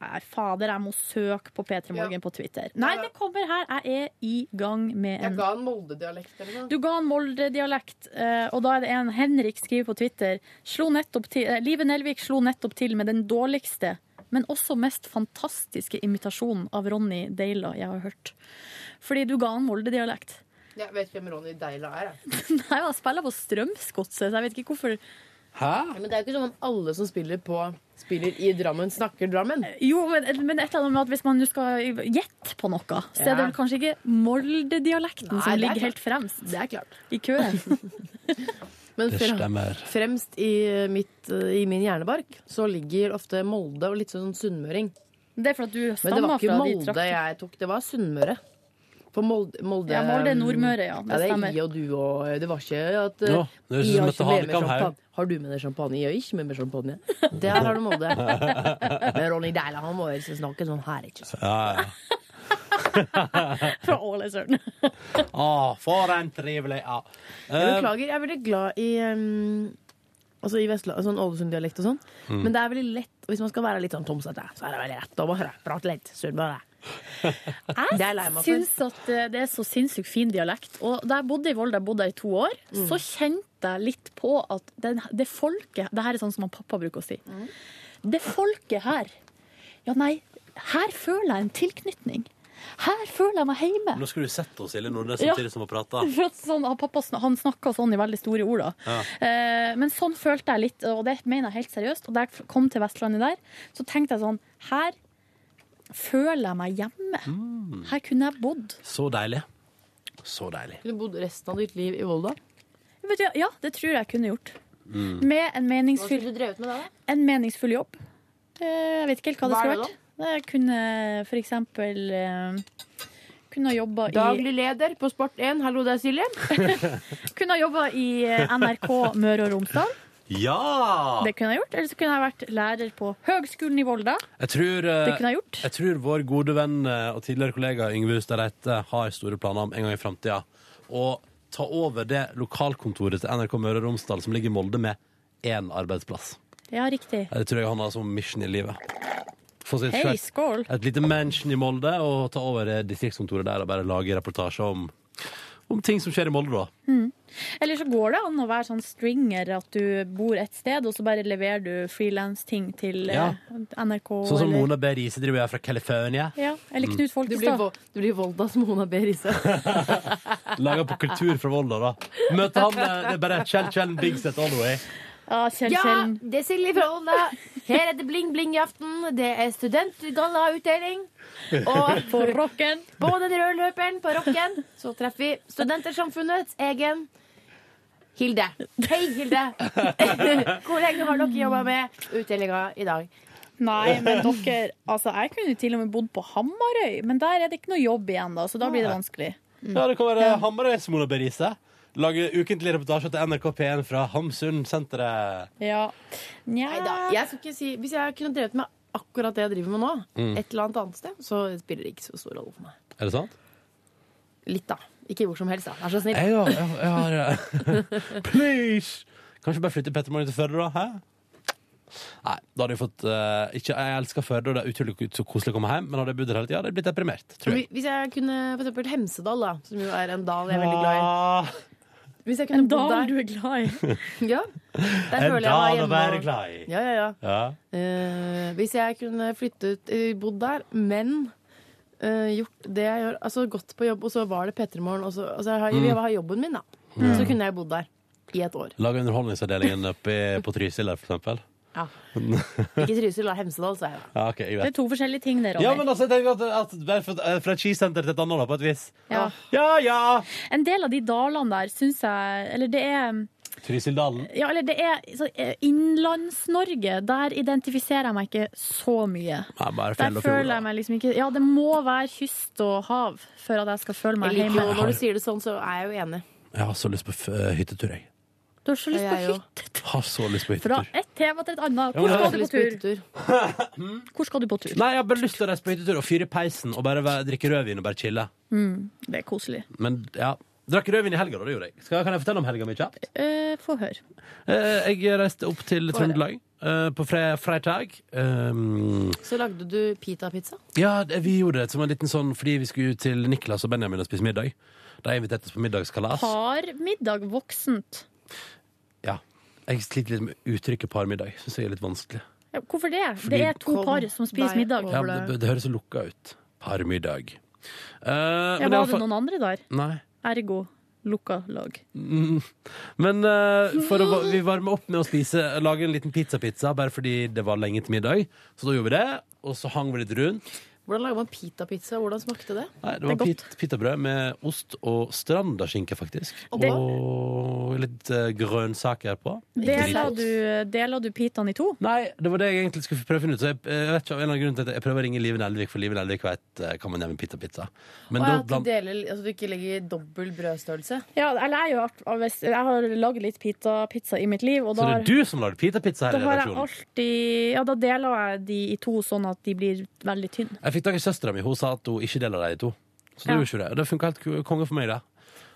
er fader, jeg må søke på P3 Morgen på Twitter. Nei, det kommer her. Jeg er i gang med en
Jeg ga en Molde-dialekt eller noe.
du ga en Molde-dialekt, eh, og da er det en Henrik skriver på Twitter slo nettopp til, eh, Live Nelvik slo nettopp til med den dårligste, men også mest fantastiske imitasjonen av Ronny Deila jeg har hørt. Fordi du ga en Molde-dialekt.
Jeg vet hvem Ronny Deila er. Jeg.
Nei, han spiller på Strømsgodset, så jeg vet ikke hvorfor
Ja, Men det er jo ikke sånn at alle som spiller på Spiller i Drammen, snakker Drammen.
Jo, men, men et eller annet med at hvis man nå skal gjette på noe, så er det
Ja.
vel kanskje ikke Molde-dialekten
Nei,
som
det er
ligger helt
klart.
fremst
Det er klart.
i køen.
Men
Det
frem-
stemmer.
fremst i, mitt, i min hjernebark så ligger ofte Molde og litt sånn sunnmøring.
Det er for at du
Men det
stammer
var
fra
ikke
de
Molde
traktene.
jeg tok, det var Sunnmøre. For Molde, Molde, mm,
Ja, Molde er Nordmøre, ja. Det
Det,
stemmer.
er i og du og Det var ikke at eh,
Ja, det er
«I
som
har
at
ikke
han
med meg
kan her».
champagne. Har du med deg champagne? Jeg har ikke med meg champagne. Der har du Molde. Men Ronny Deila han må jo ikke snakke sånn her. ikke sant?
Ja, ja.
Fra Ålesund.
Å, for en trivelig ja.
Jeg
Eh,
beklager, jeg er veldig glad i um, Altså i Vestland, sånn Ålesund-dialekt og sånn.
Mm.
Men det er veldig lett hvis man skal være litt sånn tomsete. Så er det veldig lett å bare prate litt sunnmøre. Det er jeg lei meg
Jeg
for.
syns at eh, det er så sinnssykt fin dialekt. Og da jeg bodde i Volda, jeg bodde der i to år,
Mm.
så kjente jeg litt på at den, det folket Det her er sånn som han pappa bruker å si.
Mm.
Det folket her Ja, nei, her føler jeg en tilknytning. Her føler jeg meg hjemme.
Nå skulle du sett oss, Silje Nordnes,
Ja.
samtidig som hun prata.
For at sånn, han pappa sn- han snakka sånn i veldig store ord, da.
Ja.
Eh, men sånn følte jeg litt, og det mener jeg helt seriøst. Og da jeg f- kom til Vestlandet der, så tenkte jeg sånn Her føler jeg meg hjemme.
Mm.
Her kunne jeg bodd.
Så deilig. Så deilig.
Kunne bodd resten av ditt liv i Volda.
Vet du, ja, det tror jeg jeg kunne gjort.
Mm.
Med en meningsfull,
du drevet med da?
en meningsfull jobb. Eh, jeg vet ikke helt hva det
Hva er
skulle
det
vært. Jeg kunne for eksempel eh, kunne ha jobba i,
Daglig leder på Sport1. Hallo, det er Silje.
kunne ha jobba i eh, NRK Møre og Romsdal.
Ja!
Det kunne jeg gjort. Eller så kunne jeg vært lærer på Høgskolen i Volda.
Jeg tror, eh,
Det kunne jeg gjort.
Jeg tror vår gode venn eh, og tidligere kollega Yngve Hustad Reite har store planer om en gang i framtida å ta over det lokalkontoret til NRK Møre og Romsdal som ligger i Molde, med én arbeidsplass.
Ja, riktig.
Det tror jeg han har som mission i livet. Få seg et
Hei,
svært-
skål.
Et lite mansion i Molde og ta over eh, distriktskontoret der og bare lage reportasjer om, om ting som skjer i Molde, da.
Mm. Eller så går det an å være sånn stringer, at du bor et sted, og så bare leverer du frilansting til eh,
Ja.
NRK.
Sånn som
eller-
Mona Mm. B. Riise driver jeg fra California.
Ja, eller Knut
Du blir,
Folkestad.
vo du blir Voldas Mona B. Riise.
Laga på kultur fra Volda, da. Møter han eh, Det er bare Kjell Kjell Bigset all the way.
Ja, Kjell
Ja,
Kjell.
det er Silje fra Volda. Her er det bling-bling i aften. Det er studentgallautdeling. Og
På rocken.
på den røde løperen på Rocken så treffer vi Studentersamfunnets egen Hilde. Hei, Hilde. Hvor lenge har dere jobba med utdelinga i dag?
Nei, men dere Altså, jeg kunne til og med bodd på Hamarøy, men der er det ikke noe jobb igjen, da, så da blir det vanskelig.
Mm.
Ja, det kan være Hamarøys Mona B. Riise. Lage ukentlig reportasje til NRK P1 fra Hamsun-senteret.
Ja. Nja
Neida, jeg skal ikke si Hvis jeg kunne drevet med akkurat det jeg driver med nå,
Mm.
et eller annet annet sted, så spiller det ikke så stor rolle for meg.
Er det sant?
Litt, da. Ikke hvor som helst, da. Vær så snill.
Jeg, har- jeg, har- jeg har eh, Please! Kanskje bare flytte Petter Morgen til Førde, da? Hæ? Nei, da hadde jeg fått eh, ikke, Jeg elsker Førde, og det er utrolig ko- så koselig å komme hjem, men hadde jeg bodd der hele tida, hadde jeg blitt deprimert. Tror jeg.
Hvis jeg kunne for eksempel Hemsedal, da, som jo er en dal jeg er veldig glad i.
Ah,
Hvis jeg kunne
En
bodd
dal
der,
du er glad i.
ja, der
En
føler jeg meg
dal å
hjemme.
være
og-
glad i.
Ja, ja, ja.
Ja.
Eh, hvis jeg kunne flyttet, eh, bodd der, men eh, gjort det jeg gjør, altså gått på jobb, og så var det P3morgen, og så altså, jeg har,
Mm.
jeg har jobben min, da.
Mm.
Så kunne jeg bodd der i et år.
Lage underholdningsavdelingen oppe i- på Trysil der, for eksempel.
Ja. Ikke Trysil, da. Hemsedal, sa jeg da.
Ja, ok, jeg
Det er
vet.
to forskjellige ting, det, Ronny.
Ja, men altså, jeg tenker at, at bare fra, eh, fra et skisenter til et annet, da, på et vis.
Ja.
Ja, ja!
En del av de dalene der syns jeg Eller det er
Tryssildalen.
Ja, eller det er så, eh, Innlands-Norge, der identifiserer jeg meg ikke så mye.
Nei, bare fjell
Der
og fjord.
føler
da.
jeg meg liksom ikke Ja, det må være kyst og hav for at jeg skal føle meg
Jeg liker jo,
hjemme.
Når du sier det sånn, så er jeg jo enig.
Jeg har så lyst på f eh, hyttetur, jeg.
Du har så lyst på
Jeg jo.
hytte.
Har så lyst på
Fra
hyttetur.
ett tema til et annet.
Ja,
Hvor
men
skal
Jeg har
du på
lyst på
tur?
hyttetur.
Hvor skal du på tur?
Nei, jeg har bare lyst til å reise på hyttetur og fyre i peisen og bare være- drikke rødvin og bare chille.
Mm, det er koselig.
Men ja, drakk rødvin i helga, da, det gjorde jeg. Skal, kan jeg fortelle om helga mi kjapt?
Eh, få høre.
Eh, Jeg reiste opp til Trøndelag. Eh, eh, på fre fredag. Um,
Så lagde du pita-pizza.
ja, det, vi gjorde det som en liten sånn fordi vi skulle ut til Niklas og Benjamin og spise middag. De inviterte oss på middagskalas.
Har middag voksent?
Ja. Jeg sliter litt med uttrykket parmiddag. Syns jeg er litt vanskelig.
Ja, Hvorfor det?
Fordi-
Det er to
Kom
par som spiser
deg
middag.
Ja, men det, det høres så lukka ut. Parmiddag. Eh,
Ja,
men
var
det
det noen andre der?
Nei.
Ergo lukka lag.
Mm. Men eh, for å, va- vi varmer opp med å spise lage en liten pizza-pizza, bare fordi det var lenge til middag. Så da gjorde vi det, og så hang vi litt rundt.
Hvordan lager man pita-pizza? Hvordan smakte det?
Nei, det var pit- pitabrød med ost og strandaskinke, faktisk.
Og det-
Og litt eh, grønnsaker på.
Deler
Dritgodt.
du, deler du pitene i to?
Nei, det var det jeg egentlig skulle prøve å finne ut. Så jeg, eh, jeg vet ikke av en eller annen grunn til at jeg prøver å ringe Live Nelvik, for Live Nelvik vet eh, hva man gjør med pita-pizza. Men
Å, ja,
da
at du
bland...
deler, altså du ikke legger dobbel brødstørrelse?
Ja, eller jeg, har jo- jeg har lagd litt pita, pizza i mitt liv, og
Så
da,
det er du som lager pita-pizza her
da
i
har jeg
redaksjonen?
alltid Ja, da deler jeg de i to, sånn at de blir veldig tynne.
Jeg fikk tak i søstera mi. Hun sa at hun ikke deler dem i to. Så det
Ja.
gjorde ikke det. Og det funka helt ku- konge for meg, det.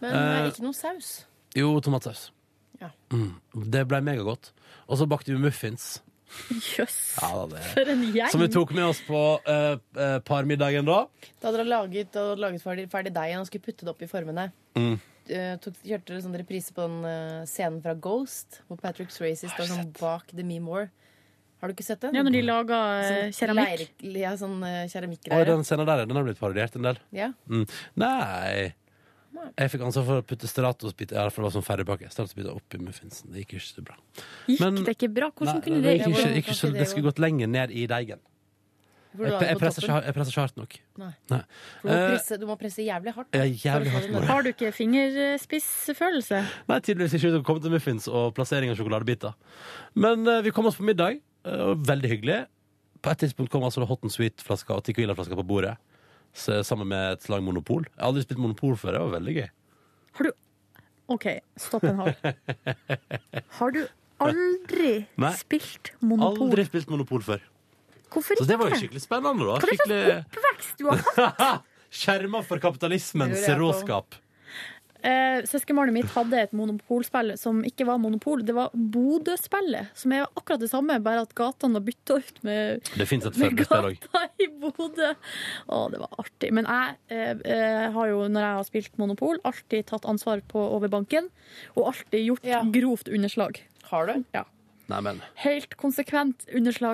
Men
Eh,
ikke noe saus.
Jo, tomatsaus.
Ja.
Mm. Det ble megagodt. Og så bakte vi muffins. Ja, da, det.
For en gjeng.
Som vi tok med oss på eh, eh, parmiddagen da.
Da hadde dere laget, da hadde dere laget ferdig, ferdig deigen og skulle putte det opp i formene.
Mm.
Eh, tok, kjørte dere sånn reprise på den eh, scenen fra Ghost, hvor Patrick Swayze står sånn bak The Meme War. Har du ikke sett den?
Ja, når de lager, eh, keramikk.
leir- ja, sånn eh,
Og
keramikkgreier.
den scenen der den har blitt parodiert en del.
Ja.
Mm. Nei Jeg fikk ansvar for å putte Stratos-bit Ja, for det var sånn ferdigpakke. Stratos-bit oppi muffinsen. Det gikk ikke så bra.
Gikk
Men-
det ikke bra? Hvordan
Nei,
kunne
det
det
gikk ikke, ikke, så, det skulle gått lenger ned i deigen.
Hvor du
Jeg,
la
jeg,
det på
presser ikke,
toppen.
har- jeg presser ikke hardt nok.
Nei.
Nei.
For Du, må
Eh,
presse, du må presse jævlig hardt.
Ja, jævlig hardt må jeg.
Har du ikke fingerspissfølelse?
Nei, tydeligvis ikke uten å komme til muffins og plassering av sjokoladebiter. Men eh, vi kom oss på middag, eh, og veldig hyggelig. På et tidspunkt kom altså det hot and sweet-flaska og tequila-flaska på bordet. Så, sammen med et slag Monopol. Jeg har aldri spilt Monopol før, det var veldig gøy.
OK, stopp en hal. Har du aldri
Nei.
spilt monopol?
Aldri spilt Monopol før.
Hvorfor
Så
ikke?
det var jo skikkelig spennende, da.
Hva er det
Skikkelig
slags oppvekst du har hatt?
Skjerma for kapitalismens
Det lurer jeg på.
råskap.
Eh, Søskenbarnet mitt hadde et monopolspill som ikke var monopol. Det var Bodø-spillet, som er akkurat det samme, bare at gatene var bytta ut med
Det fins et
med
førdespill òg.
gata i Bodø. Å, det var artig. Men jeg eh, eh, har jo, når jeg har spilt Monopol, alltid tatt ansvar på over banken. Og alltid gjort grovt underslag.
Har du?
Ja.
Nei, men
Helt konsekvent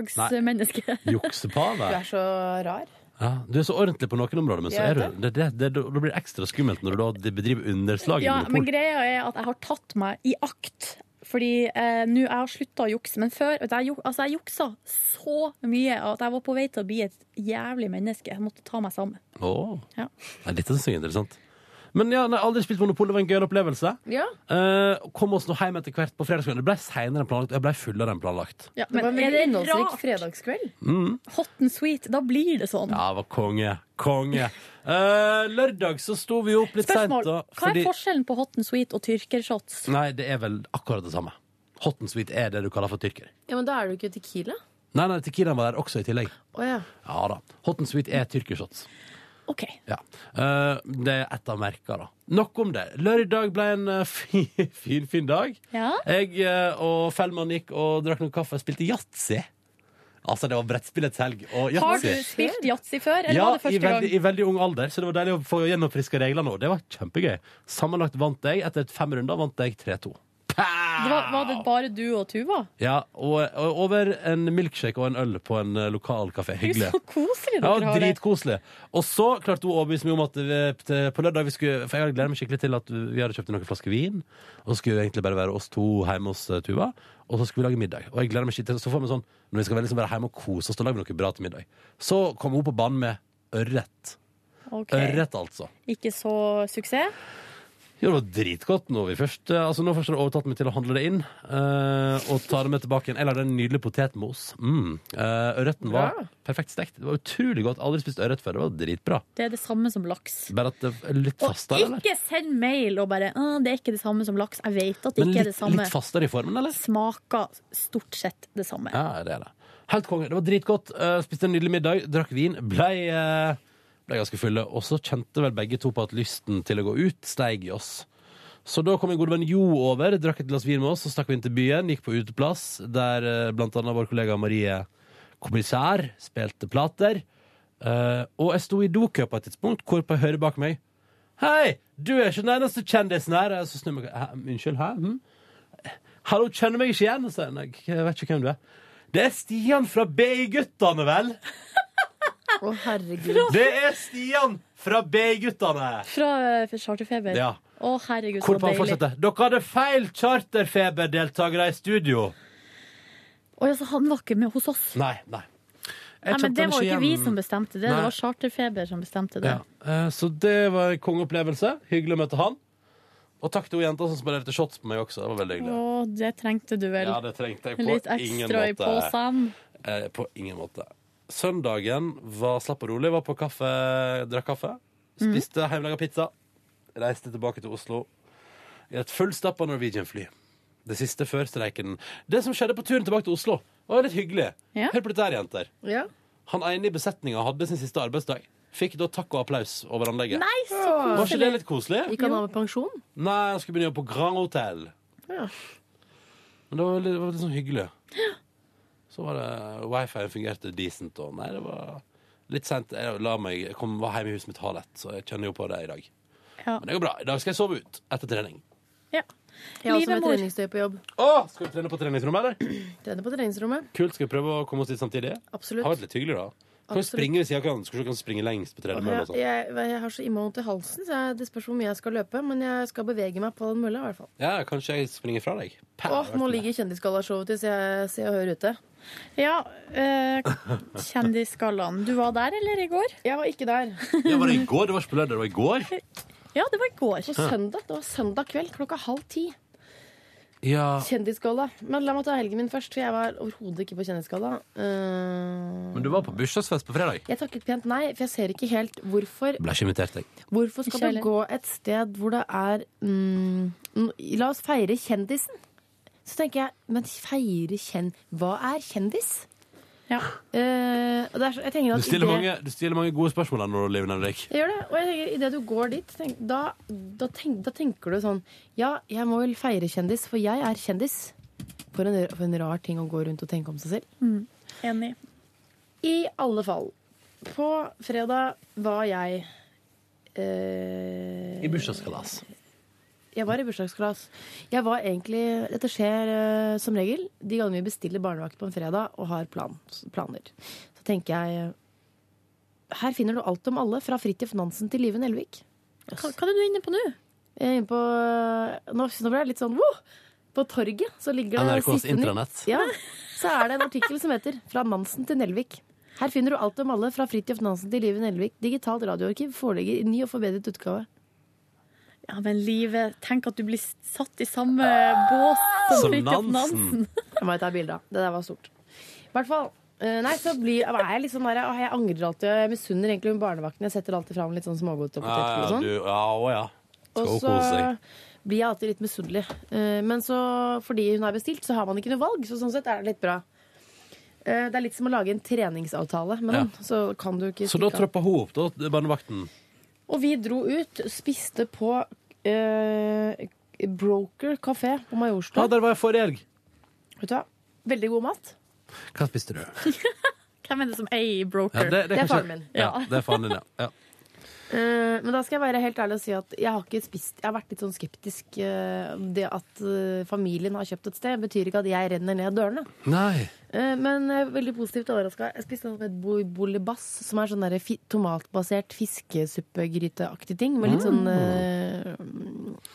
underslagsmenneske.
juksepave.
Du er så rar.
Ja, du er så ordentlig på noen områder, men så
Ja,
er du det, det, det, Da blir det ekstra skummelt når du da bedriver underslag i
Ja, men
Monopol.
greia er at jeg har tatt meg i akt. Fordi eh, nå jeg har slutta å jukse, men før vet du, jeg, juk- altså, jeg juksa så mye at jeg var på vei til å bli et jævlig menneske. Jeg måtte ta meg sammen.
Åh.
Ja.
Nei, dette synes jeg er interessant. Men ja, nei, aldri spilt Monopol. Det var en gøy opplevelse.
Ja.
Eh, kom oss nå hjem etter hvert på fredagskvelden. Det ble senere enn planlagt. og Jeg ble fullere enn planlagt.
Ja,
det
men
var en
er
veldig
det
innholdsrik
rart?
fredagskveld.
Mm.
Hot and sweet, da blir det sånn.
Ja, det var konge. Konge. Eh, lørdag så sto vi opp litt seint.
Spørsmål.
da,
Hva er
fordi-
forskjellen på hot and sweet og tyrkershots?
Nei, det er vel akkurat det samme. Hot and sweet er det du kaller for tyrker.
Ja, men da er du ikke tequila.
Nei, nei, tequilaen var der også i tillegg.
Å ja.
Ja da. Hot and sweet er tyrkershots.
OK.
Ja. Eh, det er ett av merkene, da. Nok om det. Lørdag ble en eh, fin, fin, fin dag.
Ja.
Jeg eh, og Fellmann gikk og drakk noe kaffe og spilte yatzy. Altså, det var brettspillets helg og
Har du
yatzy.
spilt yatzy før, eller
Ja,
var det
i
første
veldig, i
gang?
veldig ung alder, så det var deilig å få gjennomfriska reglene òg. Det var kjempegøy. Sammenlagt vant jeg etter et fem runder vant jeg 3-2.
Det var, var det bare du og Tuva?
Ja, og, og over en milkshake og en øl på en eh, lokal kafé. Hyggelig.
Så koselig
Ja,
dere har det.
dritkoselig. Og så klarte hun å overbevise meg om at vi, til, på lørdag vi skulle, For jeg hadde gledet meg skikkelig til at vi hadde kjøpt noen flasker vin, og så skulle det egentlig bare være oss to hjemme hos eh, Tuva, og så skulle vi lage middag. Og jeg gleder meg skikkelig til Så får vi sånn Når vi skal være liksom bare hjemme og kose oss, da lager vi noe bra til middag. Så kom hun på banen med ørret.
Ok.
Ørret, altså.
Ikke så suksess?
Jo, det var dritgodt nå. Vi først, eh, altså, nå først har det overtatt meg til å handle det inn eh, og ta det med tilbake igjen. Jeg lagde en nydelig potetmos. Mm. Eh, ørreten var
Bra.
perfekt stekt. Det var utrolig godt. Aldri spist ørret før. Det var dritbra.
Det er det samme som laks.
Bare at det er litt fastere, eller?
Ikke send mail og bare «Å, 'Det er ikke det samme som laks'. Jeg vet at det
Men
ikke er det
litt,
samme.
litt fastere i formen, eller?
Smaker stort sett det samme.
Ja, det er det. Helt konge. Det var dritgodt. Eh, spiste en nydelig middag, drakk vin, blei eh, ble ganske fulle. Og så kjente vel begge to på at lysten til å gå ut steig i oss. Så da kom en god venn Jo over, drakk et glass vin med oss, så stakk vi inn til byen, gikk på uteplass, der eh, blant annet vår kollega Marie Kommissær spilte plater. Eh, og jeg sto i dokø på et tidspunkt, hvorpå jeg hører bak meg Hei, du er ikke den eneste kjendisen her. Så snur jeg meg «Hæ? Unnskyld, hæ? Hm? Hallo, kjenner meg ikke igjen? Og så, nei, jeg vet ikke hvem du er. Det er Stian fra BI-guttene, vel?
Å, herregud.
Det er Stian fra BI-guttene!
Fra eh, for charterfeber?
Ja.
Å, herregud, så
Hvorpå han
deilig.
fortsetter. Dere hadde feil charterfeberdeltakere i studio.
Å, ja, så han var ikke med hos oss.
Nei, nei.
Nei, men det var jo ikke vi som bestemte det.
Nei.
Det var charterfeber som bestemte det.
ja. Eh, Så det var en kongeopplevelse. Hyggelig å møte han. Og takk til hun jenta som spanderte shots på meg også. Det var veldig hyggelig.
Å, det trengte du vel.
Ja, det trengte jeg på
Litt
ingen
ekstra i
måte.
posen.
Eh, På ingen måte. Søndagen var slapp og rolig. Var på kaffe, drakk kaffe. Spiste hjemmelaga pizza. Reiste tilbake til Oslo i et fullstappa Norwegian-fly. Det siste før streiken. Det som skjedde på turen tilbake til Oslo, var litt hyggelig. Hør på dette her, jenter.
Ja.
Han ene i besetninga hadde sin siste arbeidsdag. Fikk da takk og applaus over anlegget.
Nei, så
Var ikke
koselig.
det litt koselig?
Gikk han av med pensjon?
Nei, han skulle begynne å jobbe på Grand Hotel.
Ja.
Men det var litt, det var litt sånn hyggelig. Så var det Wifi fungerte decent, og nei, det var litt sent. Jeg la meg, jeg kom, var hjemme i huset mitt halv ett, så jeg kjenner jo på det i dag.
Ja.
Men det går bra. I dag skal jeg sove ut etter trening.
Jeg har også med
Livemor.
treningstøy på jobb.
Å, skal vi trene på treningsrommet, eller?
Trener på treningsrommet.
Kult, skal vi prøve å komme oss dit samtidig? Det
Absolutt.
har vært litt hyggelig, da. Kan vi
Absolutt.
springe ved siden av hverandre? Skal vi se om vi kan springe lengst på tredemølla
Ja,
og sånn?
jeg, jeg har så innmari vondt i halsen, så jeg, det spørs hvor mye jeg skal løpe. Men jeg skal bevege meg på den mølla, i hvert fall.
Ja, kanskje jeg springer fra deg. Pæ,
Åh, nå ligger Kjendisgallashowet til Se Se og Hør ute.
Ja, eh, Kjendisgallaen. Du var der, eller, i går?
Jeg var ikke der.
Ja, var det i går? Det var ikke på lørdag, det var i går?
Ja, det var i går.
På søndag, det var søndag kveld klokka halv ti.
Ja.
Kjendisgalla. Men la meg ta helgen min først, for jeg var overhodet ikke på Kjendisgalla. Eh,
Men du var på bursdagsfest på fredag.
jeg takket pent nei, for jeg ser ikke helt hvorfor
Ble ikke invitert, jeg.
Hvorfor
Ikke
skal du
heller.
gå et sted hvor det er mm, n- La oss feire kjendisen. Så tenker jeg, men feire kjenn... Hva er kjendis? Eh,
Ja.
det er, så- jeg tenker
Du
at
stiller,
i det-
mange, du stiller mange gode spørsmål da, når du lever Henrik.
Jeg gjør det, og jeg tenker, i det du går dit, tenk, da, da, tenk, da tenker du sånn Ja, jeg må vel feire kjendis, for jeg er kjendis. For en, for en rar ting å gå rundt og tenke om seg selv.
Mm. Enig.
I alle fall. På fredag var jeg eh,
I bursdagskalas.
Jeg var i bursdagsklass. Jeg var egentlig, Dette skjer eh, som regel de gangene vi bestiller barnevakt på en fredag og har plan, planer. Så tenker jeg eh, Her finner du alt om alle, fra Fridtjof Nansen til Live Nelvik.
Hva, hva er du inne på nå?
Jeg er inne på Nå, nå ble jeg litt sånn wow! På torget så ligger det
NRKs
siste nytt.
intranett.
Ja, så er det en artikkel som heter 'Fra Nansen til Nelvik'. Her finner du alt om alle fra Fridtjof Nansen til Live Nelvik. Digitalt radioarkiv foreligger i ny og forbedret utgave.
Ja, men livet Tenk at du blir satt i samme bås som
Som
Fridtjof
Nansen.
Nansen.
Jeg må ta bilde av. Det der var stort. I hvert fall. eh, Nei, så blir, er jeg litt sånn der, åh, jeg angrer alltid. og Jeg misunner egentlig hun barnevakten. Jeg setter alltid fram litt sånn smågodt og
Ja,
potetgull og
ja,
sånn.
du, ja, å, ja. Skal
Og
hun
så
kose seg.
blir jeg alltid litt misunnelig. Eh, Men så, fordi hun er bestilt, så har man ikke noe valg. Så sånn sett er det litt bra. Eh, Det er litt som å lage en treningsavtale med
Ja.
noen. Så kan du ikke
Så da
stikke av.
troppa hun opp, da, barnevakten.
Og vi dro ut, spiste på eh, Broker kafé på Majorstua.
Ja, der var jeg forrige helg.
Vet du hva? Veldig god mat.
Hva spiste du?
Hvem er det som eier broker?
Ja,
Det er
kanskje-
faren min.
Ja,
Ja.
det er faren din, ja. ja.
Eh, men da skal jeg være helt ærlig og si at jeg har ikke spist Jeg har vært litt sånn skeptisk. eh, det at eh, familien har kjøpt et sted, betyr ikke at jeg renner ned dørene.
Nei.
Eh, Men jeg er veldig positivt overraska. Jeg spiste noe som het bo- bolibass, som er sånn der fi tomatbasert fiskesuppegryteaktig ting. Med litt sånn eh,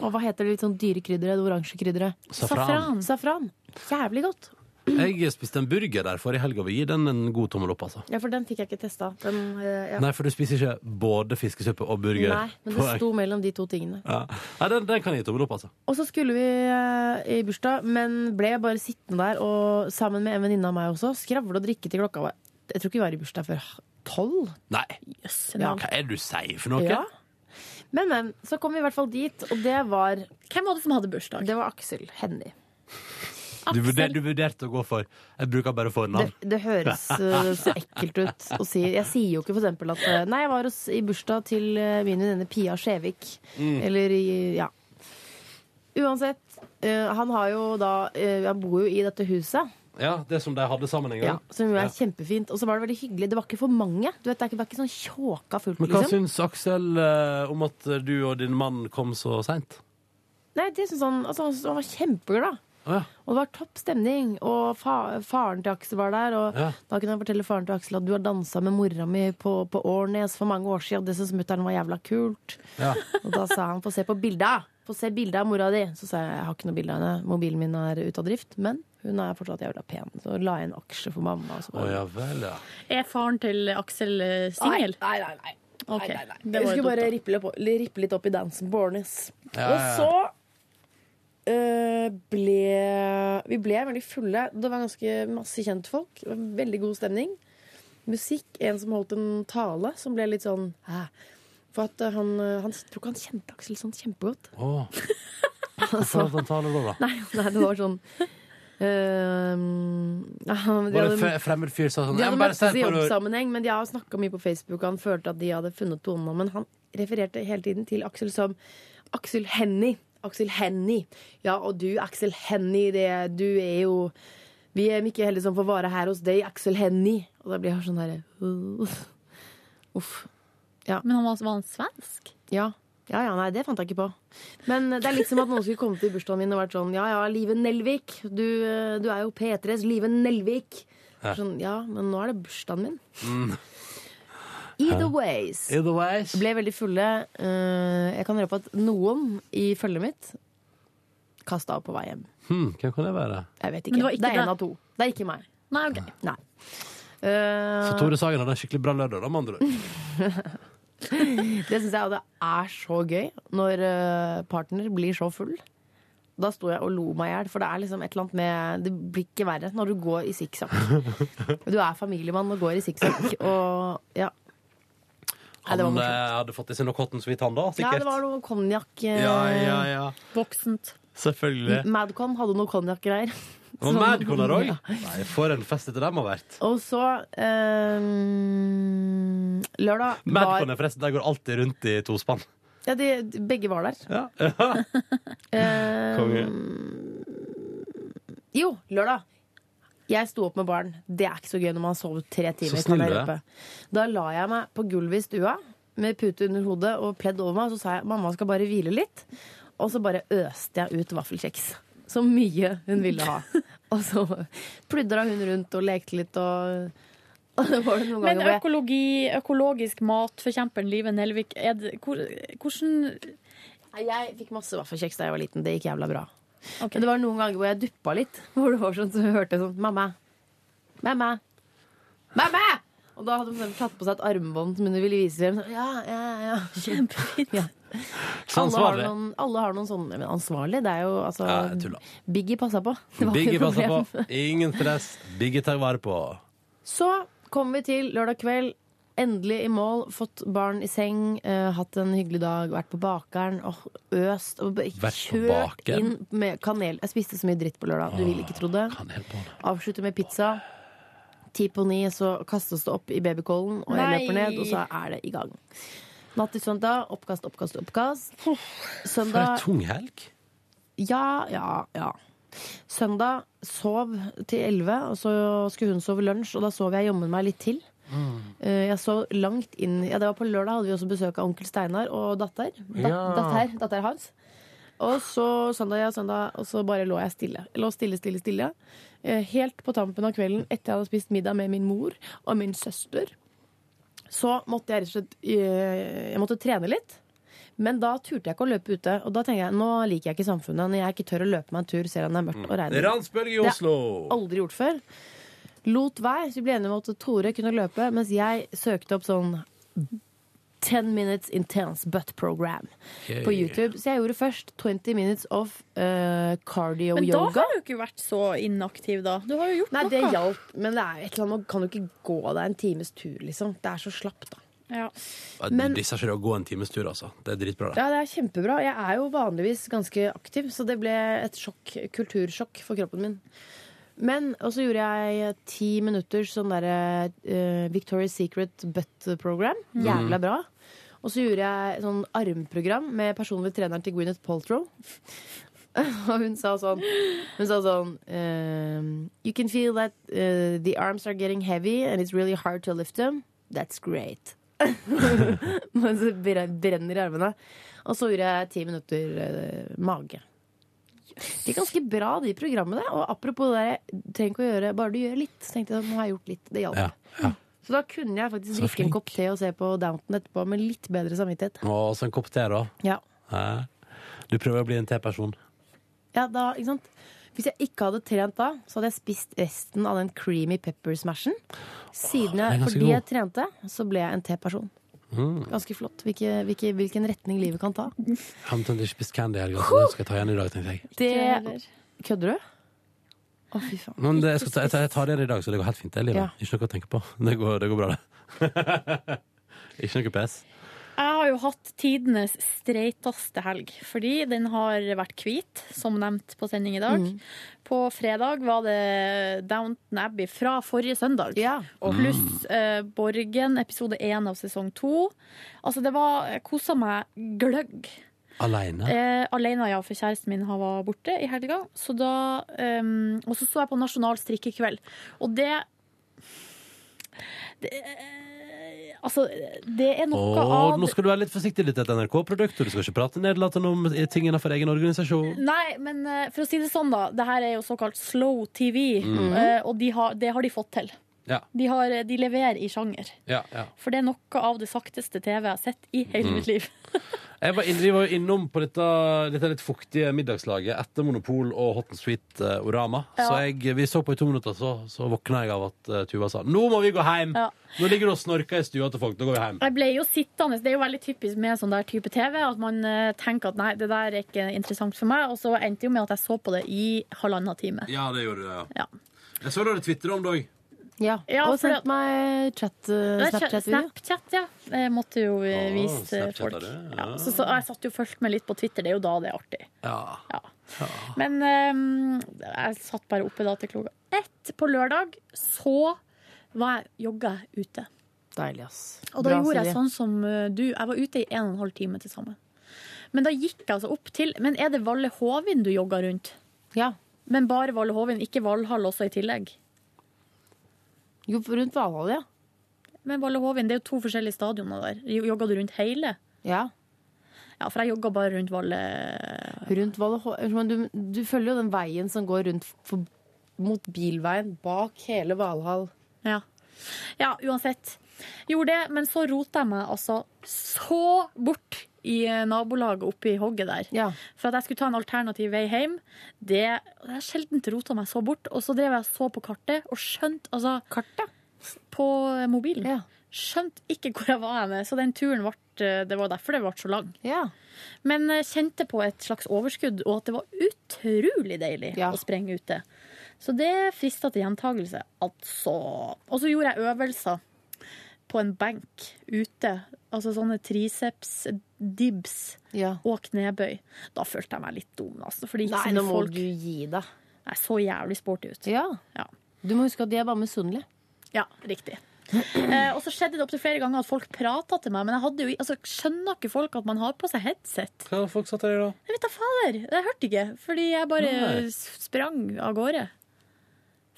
Og hva heter det litt sånn dyre krydderet? Det oransje krydderet? Mm.
Safran.
Safran. Jævlig godt.
Jeg spiste en burger der forrige helg, og vi gir den en god tommel opp, altså.
Ja, for den fikk jeg ikke testa. Den, eh, ja.
Nei, for du spiser ikke både fiskesuppe og burger.
Nei, men
på
det
en-
sto mellom de to tingene.
ja. Nei, den, den kan jeg gi tommel opp, altså.
Og så skulle vi eh, i bursdag, men ble bare sittende der og sammen med en venninne av meg også skravle og drikke til klokka var Jeg tror ikke vi var i bursdag før tolv.
Nei.
Ja.
Hva er det du sier for noe?
Ja. Men, men. Så kom vi i hvert fall dit, og det var
Hvem var det som hadde bursdag?
Det var Aksel Hennie.
Du, vurder, du vurderte å gå for Jeg bruker bare fornavn.
Det, det høres eh, så ekkelt ut å si. Jeg sier jo ikke for eksempel at eh, Nei, jeg var hos, i bursdag til eh, min venninne Pia Skjevik.
Mm.
Eller i- ja. uansett, eh, han har jo da eh, Han bor jo i dette huset.
Ja, det som de hadde sammen en
Ja,
gang.
som jo er kjempefint. Og så var det veldig hyggelig. Det var ikke for mange. Du vet, det er ikke, det var ikke sånn tjåka fullt,
Men hva
liksom.
syns Aksel eh, om at du og din mann kom så seint?
Nei, det syns han altså, han- Han var kjempeglad.
Å ja.
Og det var topp stemning. Og fa faren til Aksel var der. Og
Ja.
da kunne han fortelle faren til Aksel at du har dansa med mora mi på, på Årnes for mange år siden, og det syntes mutter'n var jævla kult.
Ja.
Og da sa han få se på bilda! Få se bildet av mora di! Så sa jeg jeg har ikke noe bilde av henne, mobilen min er ute av drift. Men hun er fortsatt jævla pen. Så la jeg inn aksjer for mamma. Og så
Å ja vel, ja.
Er faren til Aksel eh, singel?
Nei, nei, nei.
Ok,
Nei, nei, nei.
det
Jeg
var jo
skulle
dumt,
bare
da.
rippe litt, opp, rippe litt opp i dansen på Ornis.
Ja,
Og
ja, ja.
så øh, ble Vi ble veldig fulle. Det var ganske masse kjentfolk. Det var Veldig god stemning. Musikk. En som holdt en tale som ble litt sånn Hæ? For at øh, han, øh, han tror ikke han kjente Aksel sånn kjempegodt.
Å. Hvorfor hadde han tale da, da?
Nei, nei, Altså, det var sånn øh, ja, de
Var det
hadde-
en fe- fremmed fyr som sa sånn
de
«Jeg
hadde
må bare
møttes
se
i
på det».
jobbsammenheng, men de har snakka mye på Facebook. og Han følte at de hadde funnet tonen, men han refererte hele tiden til Aksel som Aksel Hennie. Aksel Hennie. Ja, og du, Aksel Hennie, det du er jo Vi er mye heldige som får vare her hos deg, Aksel Hennie. Og da blir jeg sånn herre Uff. Ja.
Men han var, var han svensk?
Ja. Ja, ja, nei, det fant jeg ikke på. Men det er litt som at noen skulle komme til bursdagen min og vært sånn Ja, ja, Live Nelvik. Du, eh, du er jo P3s Live Nelvik.
Ja.
Sånn, ja, men nå er det bursdagen min.
Mm.
Either ways.
Either ways.
Ble veldig fulle. Eh, Jeg kan røpe at noen i følget mitt kasta av på vei hjem.
Hm, hvem kan det være?
Jeg vet
Men
ikke.
det var
Det,
ikke
er
deg?
en av to. Det er ikke meg.
Nei, ok.
Nei. Eh,
Så Tore Sagen hadde en skikkelig bra lørdag, da, med andre ord.
det syns jeg og det er så gøy når eh, partner blir så full. Da sto jeg og lo meg i hjel, for det er liksom et eller annet med Det blir ikke verre når du går i sikksakk. Du er familiemann og går i sikksakk, og ja.
Han
Nei, det var
eh,
morsomt.
hadde fått i seg noe cotton sweet, han da,
Ja,
sikkert.
det var noe konjakk. eh,
ja, ja, ja.
Voksent.
Selvfølgelig.
Madcon hadde noe konjakkgreier.
Det var Madcon der òg. Nei, for en fest etter dem har vært.
Og så eh, Lørdag
Madcon er forresten, der går alltid rundt i to spann.
Ja, de, begge var der.
Ja. Ja.
Eh,
Konge.
jo, lørdag. Jeg sto opp med barn. Det er ikke så gøy når man har sovet tre timer.
Så snill
kan jeg
du er.
røpe. Da la jeg meg på gulvet i stua med pute under hodet og pledd over meg, og så sa jeg mamma skal bare hvile litt. Og så bare øste jeg ut vaffelkjeks. Så mye hun ville ha. Og så pludra hun rundt og lekte litt og, og det var det noen
Men
ganger hvor jeg-
økologi, økologisk matforkjemperen Live Nelvik, er det, hvor, hvordan
Nei, Jeg fikk masse vaffelkjeks da jeg var liten. Det gikk jævla bra. Men det var noen ganger hvor jeg duppa litt. Hvor det var sånn, så hørte jeg sånn Mamma! Mamma! Mamma! Og da hadde hun for eksempel tatt på seg et armbånd som hun ville vise frem. Så, Ja, ja, ja. Kjempefint. Ja.
Så
Alle, har
ansvarlig.
noen, alle har noen sånne Men ansvarlig, det er jo altså
Ja, jeg tulla.
Biggie passa på. Det var
Biggie
ikke noe
passer på.
problem.
Ingen stress. Biggie tar vare på.
Så kom vi til lørdag kveld. Endelig i mål, fått barn i seng, eh, hatt en hyggelig dag, vært på bakeren og øst. Og bare
Vært på
kjørt
bakeren?
inn med kanel. Jeg spiste så mye dritt på lørdag, du vil ikke tro det. Avslutte med pizza. Ti på ni, så kastes det opp i babycallen, og jeg
Nei.
løper ned, og så er det i gang. Natt til søndag, oppkast, oppkast, oppkast.
For ei
Søndag
tung helg.
ja, ja, ja. Søndag sov til elleve, og så skulle hun sove lunsj, og da sov jeg jammen meg litt til. Eh, Jeg så langt inn Ja, det var på lørdag hadde vi også besøk av onkel Steinar og datter. Da,
Ja.
datter, datter hans. Og så søndag, ja, søndag, og så bare lå jeg stille. Jeg lå stille, stille, stille. Eh, Helt på tampen av kvelden, etter jeg hadde spist middag med min mor og min søster, så måtte jeg rett og slett eh, Jeg måtte trene litt. Men da turte jeg ikke å løpe ute. Og da tenker jeg, nå liker jeg ikke samfunnet når jeg ikke tør å løpe meg en tur selv om Mm. det er mørkt og regner.
Ransbølge i
Det har
Oslo.
jeg aldri gjort før. Lot være, så vi ble enige om at Tore kunne løpe, mens jeg søkte opp sånn 10 Minutes Intense Butt Program
Ok.
på YouTube. Så jeg gjorde først 20 Minutes of eh, Cardio
Men da
Yoga.
har du ikke vært så inaktiv, da. Du har jo gjort
Nei,
noe.
det hjalp, men det er jo et eller annet, man kan jo ikke gå deg en times tur, liksom. Det er så slapt, da.
Ja.
Ja,
Men-
Disse er ikke det å gå en times tur, altså. Det er dritbra, det.
Ja, det er kjempebra. Jeg er jo vanligvis ganske aktiv, så det ble et sjokk, kultursjokk for kroppen min. Men, og så gjorde jeg ti minutters sånn derre eh, Victoria's Secret butt-program.
Mm.
Jævla bra. Og så gjorde jeg sånn armprogram med personlig treneren til Gwyneth Paltrow. Og hun sa sånn, hun sa sånn ehm, You can feel that eh, the arms are getting heavy and it's really hard to lift them. That's great. Men så bren- brenner i armene. Og så gjorde jeg ti minutter eh, mage. Det gikk ganske bra, de programmene. Og apropos det der, trenger ikke å gjøre, bare du gjør litt. Så tenkte jeg, nå har jeg gjort litt. Det hjalp.
Ja, ja.
Så da kunne jeg faktisk
Så
drikke en kopp te og se på Downton etterpå med litt bedre samvittighet.
Og så en kopp te, da.
Ja.
Hæ? Du prøver å bli en te-person.
Ja, da, ikke sant? Hvis jeg ikke hadde trent da, så hadde jeg spist resten av den creamy pepper-smashen. Siden
den
jeg,
er ganske
fordi jeg trente, så ble jeg en T-person.
Mm. Jeg
Ganske flott hvilke, hvilke, hvilken retning livet kan ta.
har omtrent ikke spist candy i helga, så det skal jeg ta igjen i dag, tenkte jeg.
Det Kødder du? Å, fy faen.
Men det, jeg, skal ta, jeg, tar, jeg tar det i dag, så det går helt fint. Det er livet. Ikke noe å tenke på. Det går, det går bra, det. ikke noe pes.
Jeg har jo hatt tidenes streiteste helg, fordi den har vært hvit, som nevnt på sending i dag. På fredag var det Downton Abbey fra forrige søndag, og pluss eh, Borgen, episode én av sesong to. Altså, det var Jeg kosa meg gløgg.
Aleine.
Eh, alene, ja, for kjæresten min han var borte i helga. Så da, ehm, og så så jeg på Nasjonal strikkekveld. Og det, det eh, Altså, det er noe
Åh,
av
nå skal du være litt forsiktig. Litt et NRK-produkt, og du skal ikke prate nedlatende om ting innenfor egen organisasjon.
Nei, men eh, for å si det sånn, da. Det her er jo såkalt slow TV,
Mm.
eh, og de har, det har de fått til.
Ja.
De, har, eh, de leverer i sjanger.
Ja, ja.
For det er noe av det sakteste TV jeg har sett i hele
Mm.
mitt liv.
Jeg var inne, vi var jo innom på dette, dette litt fuktige middagslaget etter Monopol og Hot and Sweet eh, Orama. Så jeg, vi så på i to minutter, så, så våkna jeg av at eh, Tuva sa nå må vi gå hjem!
Ja.
Nå ligger du og snorker i stua til folk. Nå går vi hjem.
Jeg ble jo sittende. Det er jo veldig typisk med sånn der type TV at man eh, tenker at nei, det der er ikke interessant for meg. Og så endte jo med at jeg så på det i halvannen time.
Ja, det gjorde du.
Ja.
Jeg så dere tvitra om det òg.
Ja.
Ja,
og
for
sendt meg chat, eh,
Nei,
Snapchat-video.
Snapchat, ja. Jeg måtte jo eh, vise
Snapchat er
folk.
det,
Ja.
ja.
Så, så jeg satt jo og fulgte med litt på Twitter. Det er jo da det er artig.
Ja.
Men eh, jeg satt bare oppe da til klokka ett på lørdag. Så var jeg, jogga jeg ute.
Deilig, ass.
Og da
Bra,
gjorde jeg
Silje.
sånn som eh, du. Jeg var ute i en og en halv time til sammen. Men da gikk jeg altså opp til Men er det Valle Hovin du jogga rundt?
Ja.
Men bare Valle Hovin, ikke Valhall også i tillegg?
Jo, rundt Valhall, ja.
Men Valle Hovin, det er jo to forskjellige stadioner der. Jo- Jogga du rundt hele?
Ja.
Ja, for jeg jogga bare rundt Valle
Rundt Valle Hå- Men du, du følger jo den veien som går rundt for, mot bilveien bak hele Valhall.
Ja. Ja, uansett. Gjorde det, men så rota jeg meg altså så bort i eh, nabolaget oppe i hogget der. For at jeg skulle ta en alternativ vei hjem. Det Jeg har sjelden rota meg så bort. Og så drev jeg og så på kartet og skjønte altså På mobilen. Skjønte ikke hvor jeg var henne. Så den turen ble Det var derfor det ble så lang. Men eh, kjente på et slags overskudd, og at det var utrolig deilig å sprenge ute. Så det frista til gjentagelse, altså. Og så gjorde jeg øvelser på en benk ute. Altså sånne triceps, dibs og knebøy. Da følte jeg meg litt dum, altså. For det gikk
Nei,
så
nå
mye
må
folk.
du gi deg.
Jeg så jævlig sporty ut.
Ja.
Ja.
Du må huske at de er bare misunnelige.
Ja, riktig. Eh, og så skjedde det opptil flere ganger at folk prata til meg, men jeg hadde jo, altså, skjønner ikke folk at man har på seg headset?
Hva har folk satt der i da?
Jeg vet da fader. Jeg hørte ikke, fordi jeg bare
Nei.
s- sprang av gårde.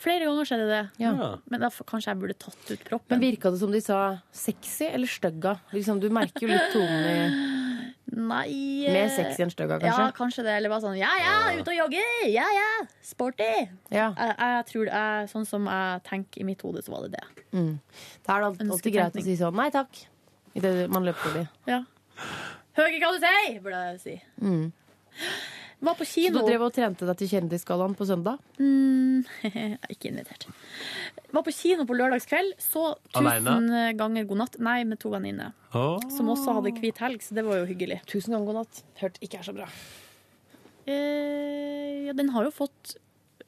Flere ganger skjedde det.
Ja.
Men da f- kanskje jeg burde tatt ut proppen.
Men virka det som de sa sexy eller stygga? Liksom, du merker jo litt tonen i
Nei eh,
Mer sexy enn stygga, kanskje?
Ja, kanskje det. Eller bare sånn ja ja, ute og jogger! Ja ja, sporty! Jeg, jeg tror det er sånn som jeg tenker i mitt hode, så var det det.
Mm. Da er det alltid, alltid greit å si sånn nei takk, idet man løper forbi.
Ja. Hører ikke hva du sier, burde jeg si.
Mm.
Var på
Så
kino.
du drev og trente deg til Kjendisgallaen på søndag?
Mm, jeg er ikke invitert. Var på kino på lørdagskveld, så tusen
Alene?
ganger god natt. Nei, med to venninner. Som også hadde hvit helg, så det var jo hyggelig.
Tusen ganger god natt. Hørt ikke er så bra.
Eh, ja, den har jo fått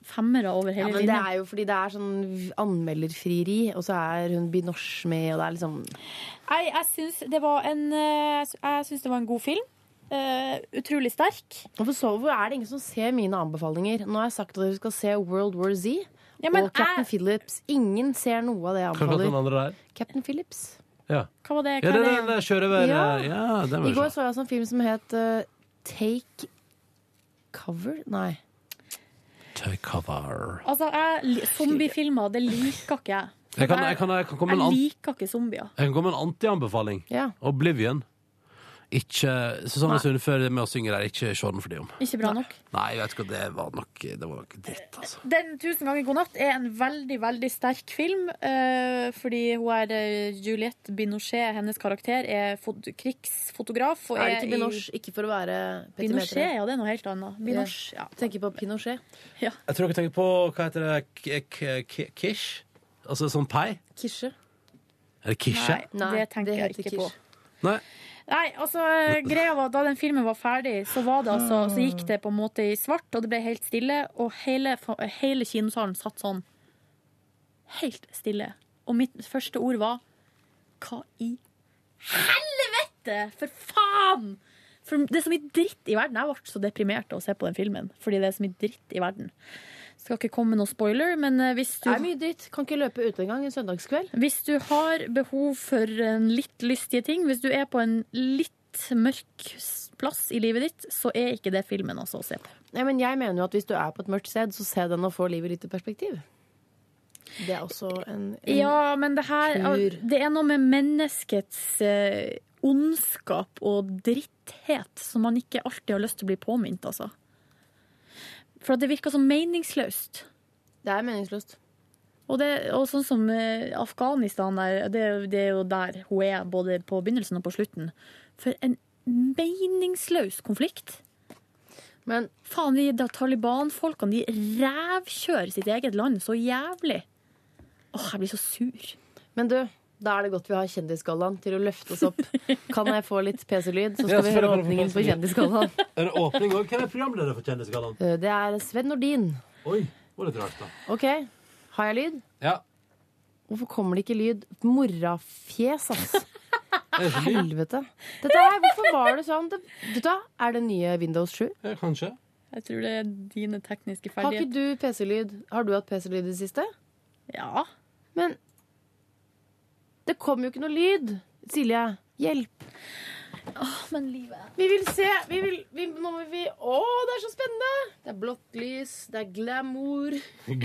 femmere over
Ja,
hele
men det
linja.
er jo fordi det er sånn anmelderfrieri, og så er hun Binoche med, og det er liksom
Nei, jeg syns det var en eh, Jeg syns det var en god film. Eh, utrolig sterk.
Hvorfor så, hvor er det ingen som ser mine anbefalinger? Nå har jeg sagt at dere skal se World War Z
Ja, men
og Captain Phillips. Ingen ser noe av det jeg
Hva kalte den
anbefaler.
andre der?
Captain Phillips.
Ja.
Hva var det?
Ja, den, den der kjører over
Ja.
Ja, den
I
var
går så jeg også en film som het eh, Take Cover? Nei.
Cover.
Altså, jeg, Zombiefilmer, det liker ikke jeg.
Jeg kan, jeg, kan, jeg, kan komme med en an-
liker ikke zombier.
jeg kan komme med en anti-anbefaling.
Ja.
Oblivion. Ikke Susanne
Nei.
Sundfør med å synge der, ikke se den for dem.
Ikke bra nok.
Nei, jeg vet ikke, det var nok, det var nok dritt, altså.
Den 'Tusen ganger god natt' er en veldig veldig sterk film. eh, fordi hun er eh, Juliette Binochet, hennes karakter, er fot krigsfotograf. Og
Er det ikke
i-
Binoche? Ikke for å være petimeter.
Pinochet, ja, det er noe helt annet. Binoche, ja.
Tenker på Pinochet.
Jeg tror dere tenker på hva heter det, k k k kish? Altså sånn pai?
Kisje.
Er det kishe?
Nei, det tenker jeg ikke på.
Nei.
Nei, altså greia var Da den filmen var ferdig, så, var det, altså, så gikk det på en måte i svart, og det ble helt stille. Og hele, fa- hele kinosalen satt sånn helt stille. Og mitt første ord var Hva i helvete?! For faen! For det er så mye dritt i verden. Jeg ble så deprimert av å se på den filmen. Fordi det er så mye dritt i verden. Skal ikke komme med noe spoiler, men eh, hvis du
Det er mye dritt. Kan ikke løpe ute engang en søndagskveld.
hvis du har behov for en litt lystige ting, hvis du er på en litt mørk s- plass i livet ditt, så er ikke det filmen altså å se på.
Nei, men jeg mener jo at hvis du er på et mørkt sted, så se den og få livet litt i perspektiv. Det er også en, en
Ja, men det her
Tur.
Det er noe med menneskets eh, ondskap og dritthet som man ikke alltid har lyst til å bli påminnet, altså. For at det virker så meningsløst.
Det er meningsløst.
Og, det, og sånn som eh, Afghanistan der, det, er jo- det er jo der hun er både på begynnelsen og på slutten. For en meningsløs konflikt.
Men
faen, de da Taliban-folkene de rævkjører sitt eget land så jævlig. Åh, jeg blir så sur.
Men du, da er det godt vi har Kjendisgallaen til å løfte oss opp. Kan jeg få litt PC-lyd, så skal
Ja, selvfølgelig
vi
kan
høre
du få
åpningen på
PC-lyd.
Kjendisgallaen.
Er det åpning òg? Hvem er programleder for Kjendisgallaen?
Eh, Det er Sven Nordin.
Oi, det var litt rart, da.
OK, har jeg lyd?
Ja.
Hvorfor kommer det ikke lyd? Morrafjes, ass.
Er det så mye?
Helvete. Dette her, hvorfor var det sånn? Det, vet du hva, er det nye Windows 7?
Ja, kanskje.
Jeg tror det er dine tekniske
Har ikke
ferdigheter.
du PC-lyd? Har du hatt PC-lyd i det siste?
Ja.
Men det kom jo ikke noe lyd. Silje, hjelp.
men livet
Vi vil se. Vi vil, vi, nå må vi Å, det er så spennende! Det er blått lys, det er glamour.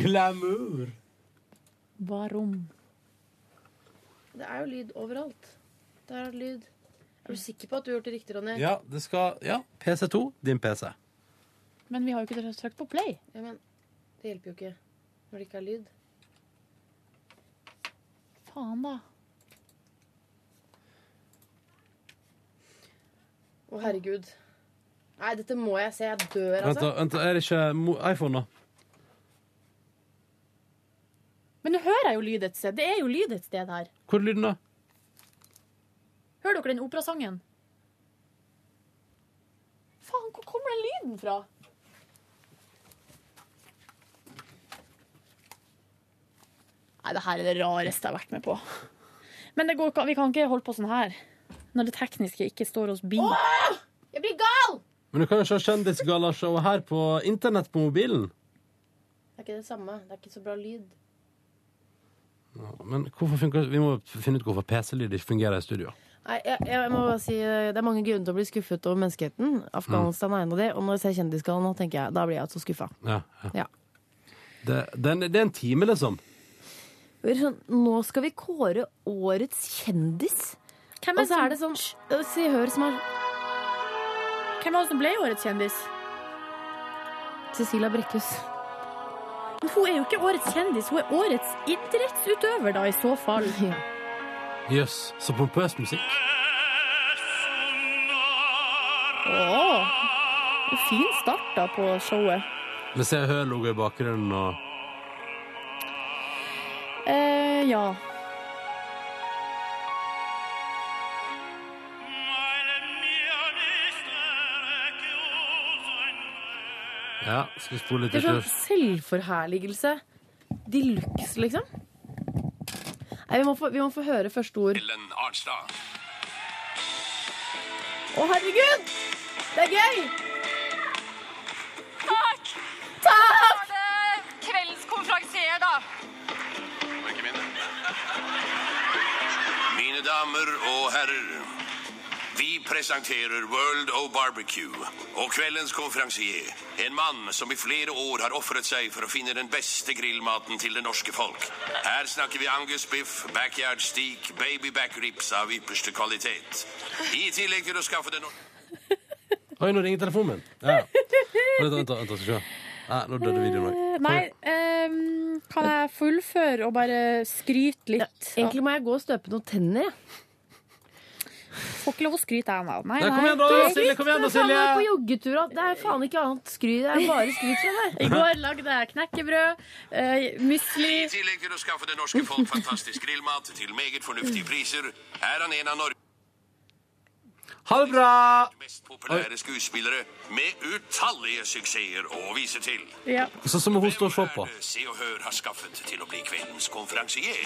Glamour.
Barom.
Det er jo lyd overalt. Der er det lyd. Er du sikker på at du har gjort det riktig, Ronny?
Ja, det skal Ja, PC2. Din PC.
Men vi har jo ikke trykt på play.
Ja, men det hjelper jo ikke når det ikke er lyd.
Faen, da.
Å, herregud. Nei, dette må jeg se. Jeg dør,
Vent, da.
altså.
vent, da, Er det ikke mo- iPhone, da?
Men nå hører jeg jo lyd et sted. Det er jo lyd et sted her.
Hvor er lyden, da?
Hører dere den operasangen? Faen, hvor kommer den lyden fra? Nei, det her er det rareste jeg har vært med på. Men det går, ikke- vi kan ikke holde på sånn her. Når det tekniske ikke står oss bi.
Jeg blir gal!
Men du kan jo se Kjendisgallashow her på internett på mobilen.
Det er ikke det samme. Det er ikke så bra lyd.
Ja, Men hvorfor funker Vi må finne ut hvorfor PC-lyd ikke fungerer i studio.
Nei, jeg, jeg må bare si eh, Det er mange grunner til å bli skuffet over menneskeheten. Afghanistan er en av de. Og når jeg ser Kjendisgallaen nå, tenker jeg altså da blir jeg så skuffa.
Ja, ja.
Ja.
Det, det, er en- det er en time, liksom.
Det er Sånn, nå skal vi kåre årets kjendis.
Hvem
Og så er det sånn øh, Se og Hør som er
Hvem var det som ble årets kjendis?
Cecilia Brekkhus.
Men hun er jo ikke årets kjendis, hun er årets idrettsutøver, da, i så fall.
Jøss, så pompøs musikk.
Åh. En Fin start da på showet.
Men se og hør logo i bakgrunnen og
Eh, ja.
Ja, skal vi spole litt
Det er sånn
utover?
selvforherligelse de luxe, liksom. Nei, vi må, få, vi må få høre første ord. Å,
Ellen Arnstad.
herregud! Det er gøy!
Takk! Takk! Da var det kveldens konferansier, da.
Og ikke minne. Mine damer og herrer, Vi presenterer World O' Barbecue og kveldens konferansier. En mann som i flere år har ofret seg for å finne den beste grillmaten til det norske folk. Her snakker vi angusbiff, backyard steak, babyback ribs av ypperste kvalitet. I tillegg til å skaffe den
Oi, nå ringer telefonen min. Ja. Vent, vent, vent, vent, skal vi se. Nei, nå døde videoen òg.
Eh, Nei, ehm, kan jeg fullføre og bare skryte litt?
Egentlig må jeg gå og støpe noen tenner.
Får ikke lov å skryte, jeg nå. Nei,
Nei,
nei.
Du, du er faen meg På joggetur, at det er faen ikke annet skryt. Det er bare skryt fra deg.
I går lagde jeg knekkebrød, uh,
I
musli
tillegg til å skaffe det norske folk fantastisk grillmat til meget fornuftige priser, er han en av Norges
Ha det bra!
mest populære skuespillere med utallige suksesser å vise til.
Sånn som hun står og ser på.
Se og Hør har skaffet til å bli kveldens konferansier.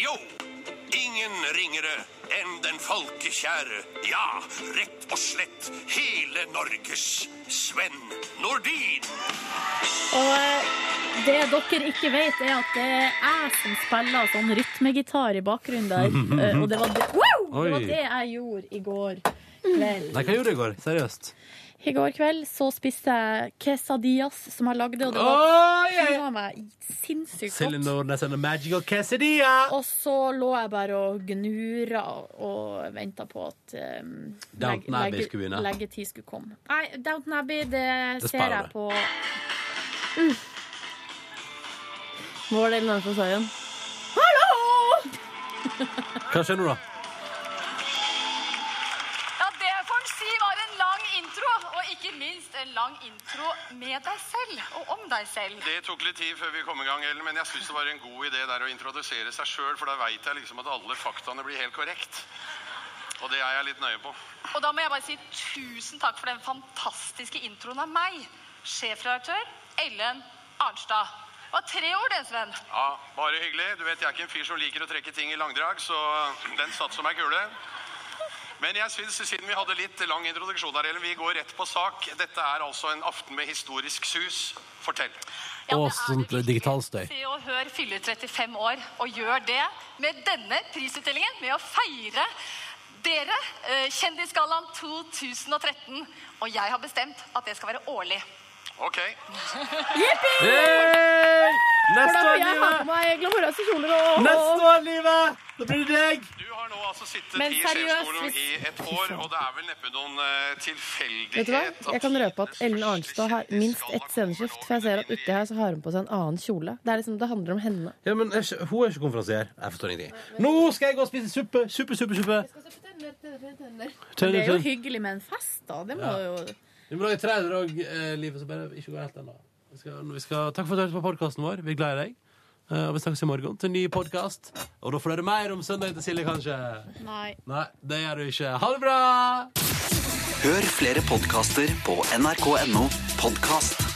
Jo, ingen ringere enn den folkekjære, ja, rett og slett hele Norges Sven Nordin.
Og eh, det dere ikke vet, er at det er jeg som spiller sånn rytmegitar i bakgrunnen der. Eh, Og det var det, wow! det
Oi.
var det jeg gjorde i går kveld.
Nei, hva gjorde du i går? Seriøst.
I går kveld så spiste jeg quesadillas som jeg lagde, og det
var
oh, yeah. meg sinnssykt
Silje
godt.
Nordnes and the Magical Quesadilla.
Og så lå jeg bare og gnura og venta på at um,
Downton Abbey skulle begynne.
leggetid skulle komme. Nei, Downton Abbey, det,
Det
ser
sparer
jeg
du.
på Mm.
Hva var det Ellen Arnesen sa igjen?
Hallo!
Hva skjer nå, da?
Ja, det får en si var en lang intro, og ikke minst en lang intro med deg selv, og om deg selv.
Det tok litt tid før vi kom i gang, Ellen, men jeg syns det var en god idé der å introdusere seg sjøl, for da veit jeg liksom at alle faktaene blir helt korrekt. Og det er jeg litt nøye på.
Og da må jeg bare si tusen takk for den fantastiske introen av meg, sjefredaktør Ellen Arnstad. Det var tre år det, Sven.
Ja, Bare hyggelig. Du vet, jeg er ikke en fyr som liker å trekke ting i langdrag, så den satt som ei kule. Men jeg synes, siden vi hadde litt lang introduksjon her, Ellen, vi går rett på sak. Dette er altså en aften med historisk sus. Fortell.
Og sånt digitalstøy.
Se og Hør fyller 35 år og gjør det med denne prisutdelingen, med å feire dere, eh, Kjendisgallaen 2013. Og jeg har bestemt at det skal være årlig.
OK.
Jippi!
Yay! Neste år, livet!
meg glamorøse kjoler
Neste år, livet! Da blir det deg!
Men
altså Sittet i
seriøst,
sjefsstolen i
hvis-
et år, og det er vel neppe noen eh, tilfeldighet
Vet du hva? Jeg kan røpe at Ellen Arnstad har minst ett sceneskift. For jeg ser at uti her så har hun på seg en annen kjole. Det, er liksom, det handler om henne.
Ja, men er ikke, Hun er ikke konferansier. Jeg forstår ingenting. Nå skal jeg gå og spise suppe! Suppe, suppe, suppe!
Men Det er jo
Tønne,
hyggelig med en fest, da. Det må
Ja.
jo
Vi må lage trailer og eh, livet, så bare ikke gå helt ennå. Vi skal, vi skal, takk for at du hørte på podkasten vår. Vi er glad i deg. Eh, og vi snakkes i morgen til en ny podkast. Og da får du høre mer om søndagen til Silje, kanskje.
Nei.
Nei, det gjør du ikke. Ha det bra!
Hør flere podkaster på nrk.no podkast.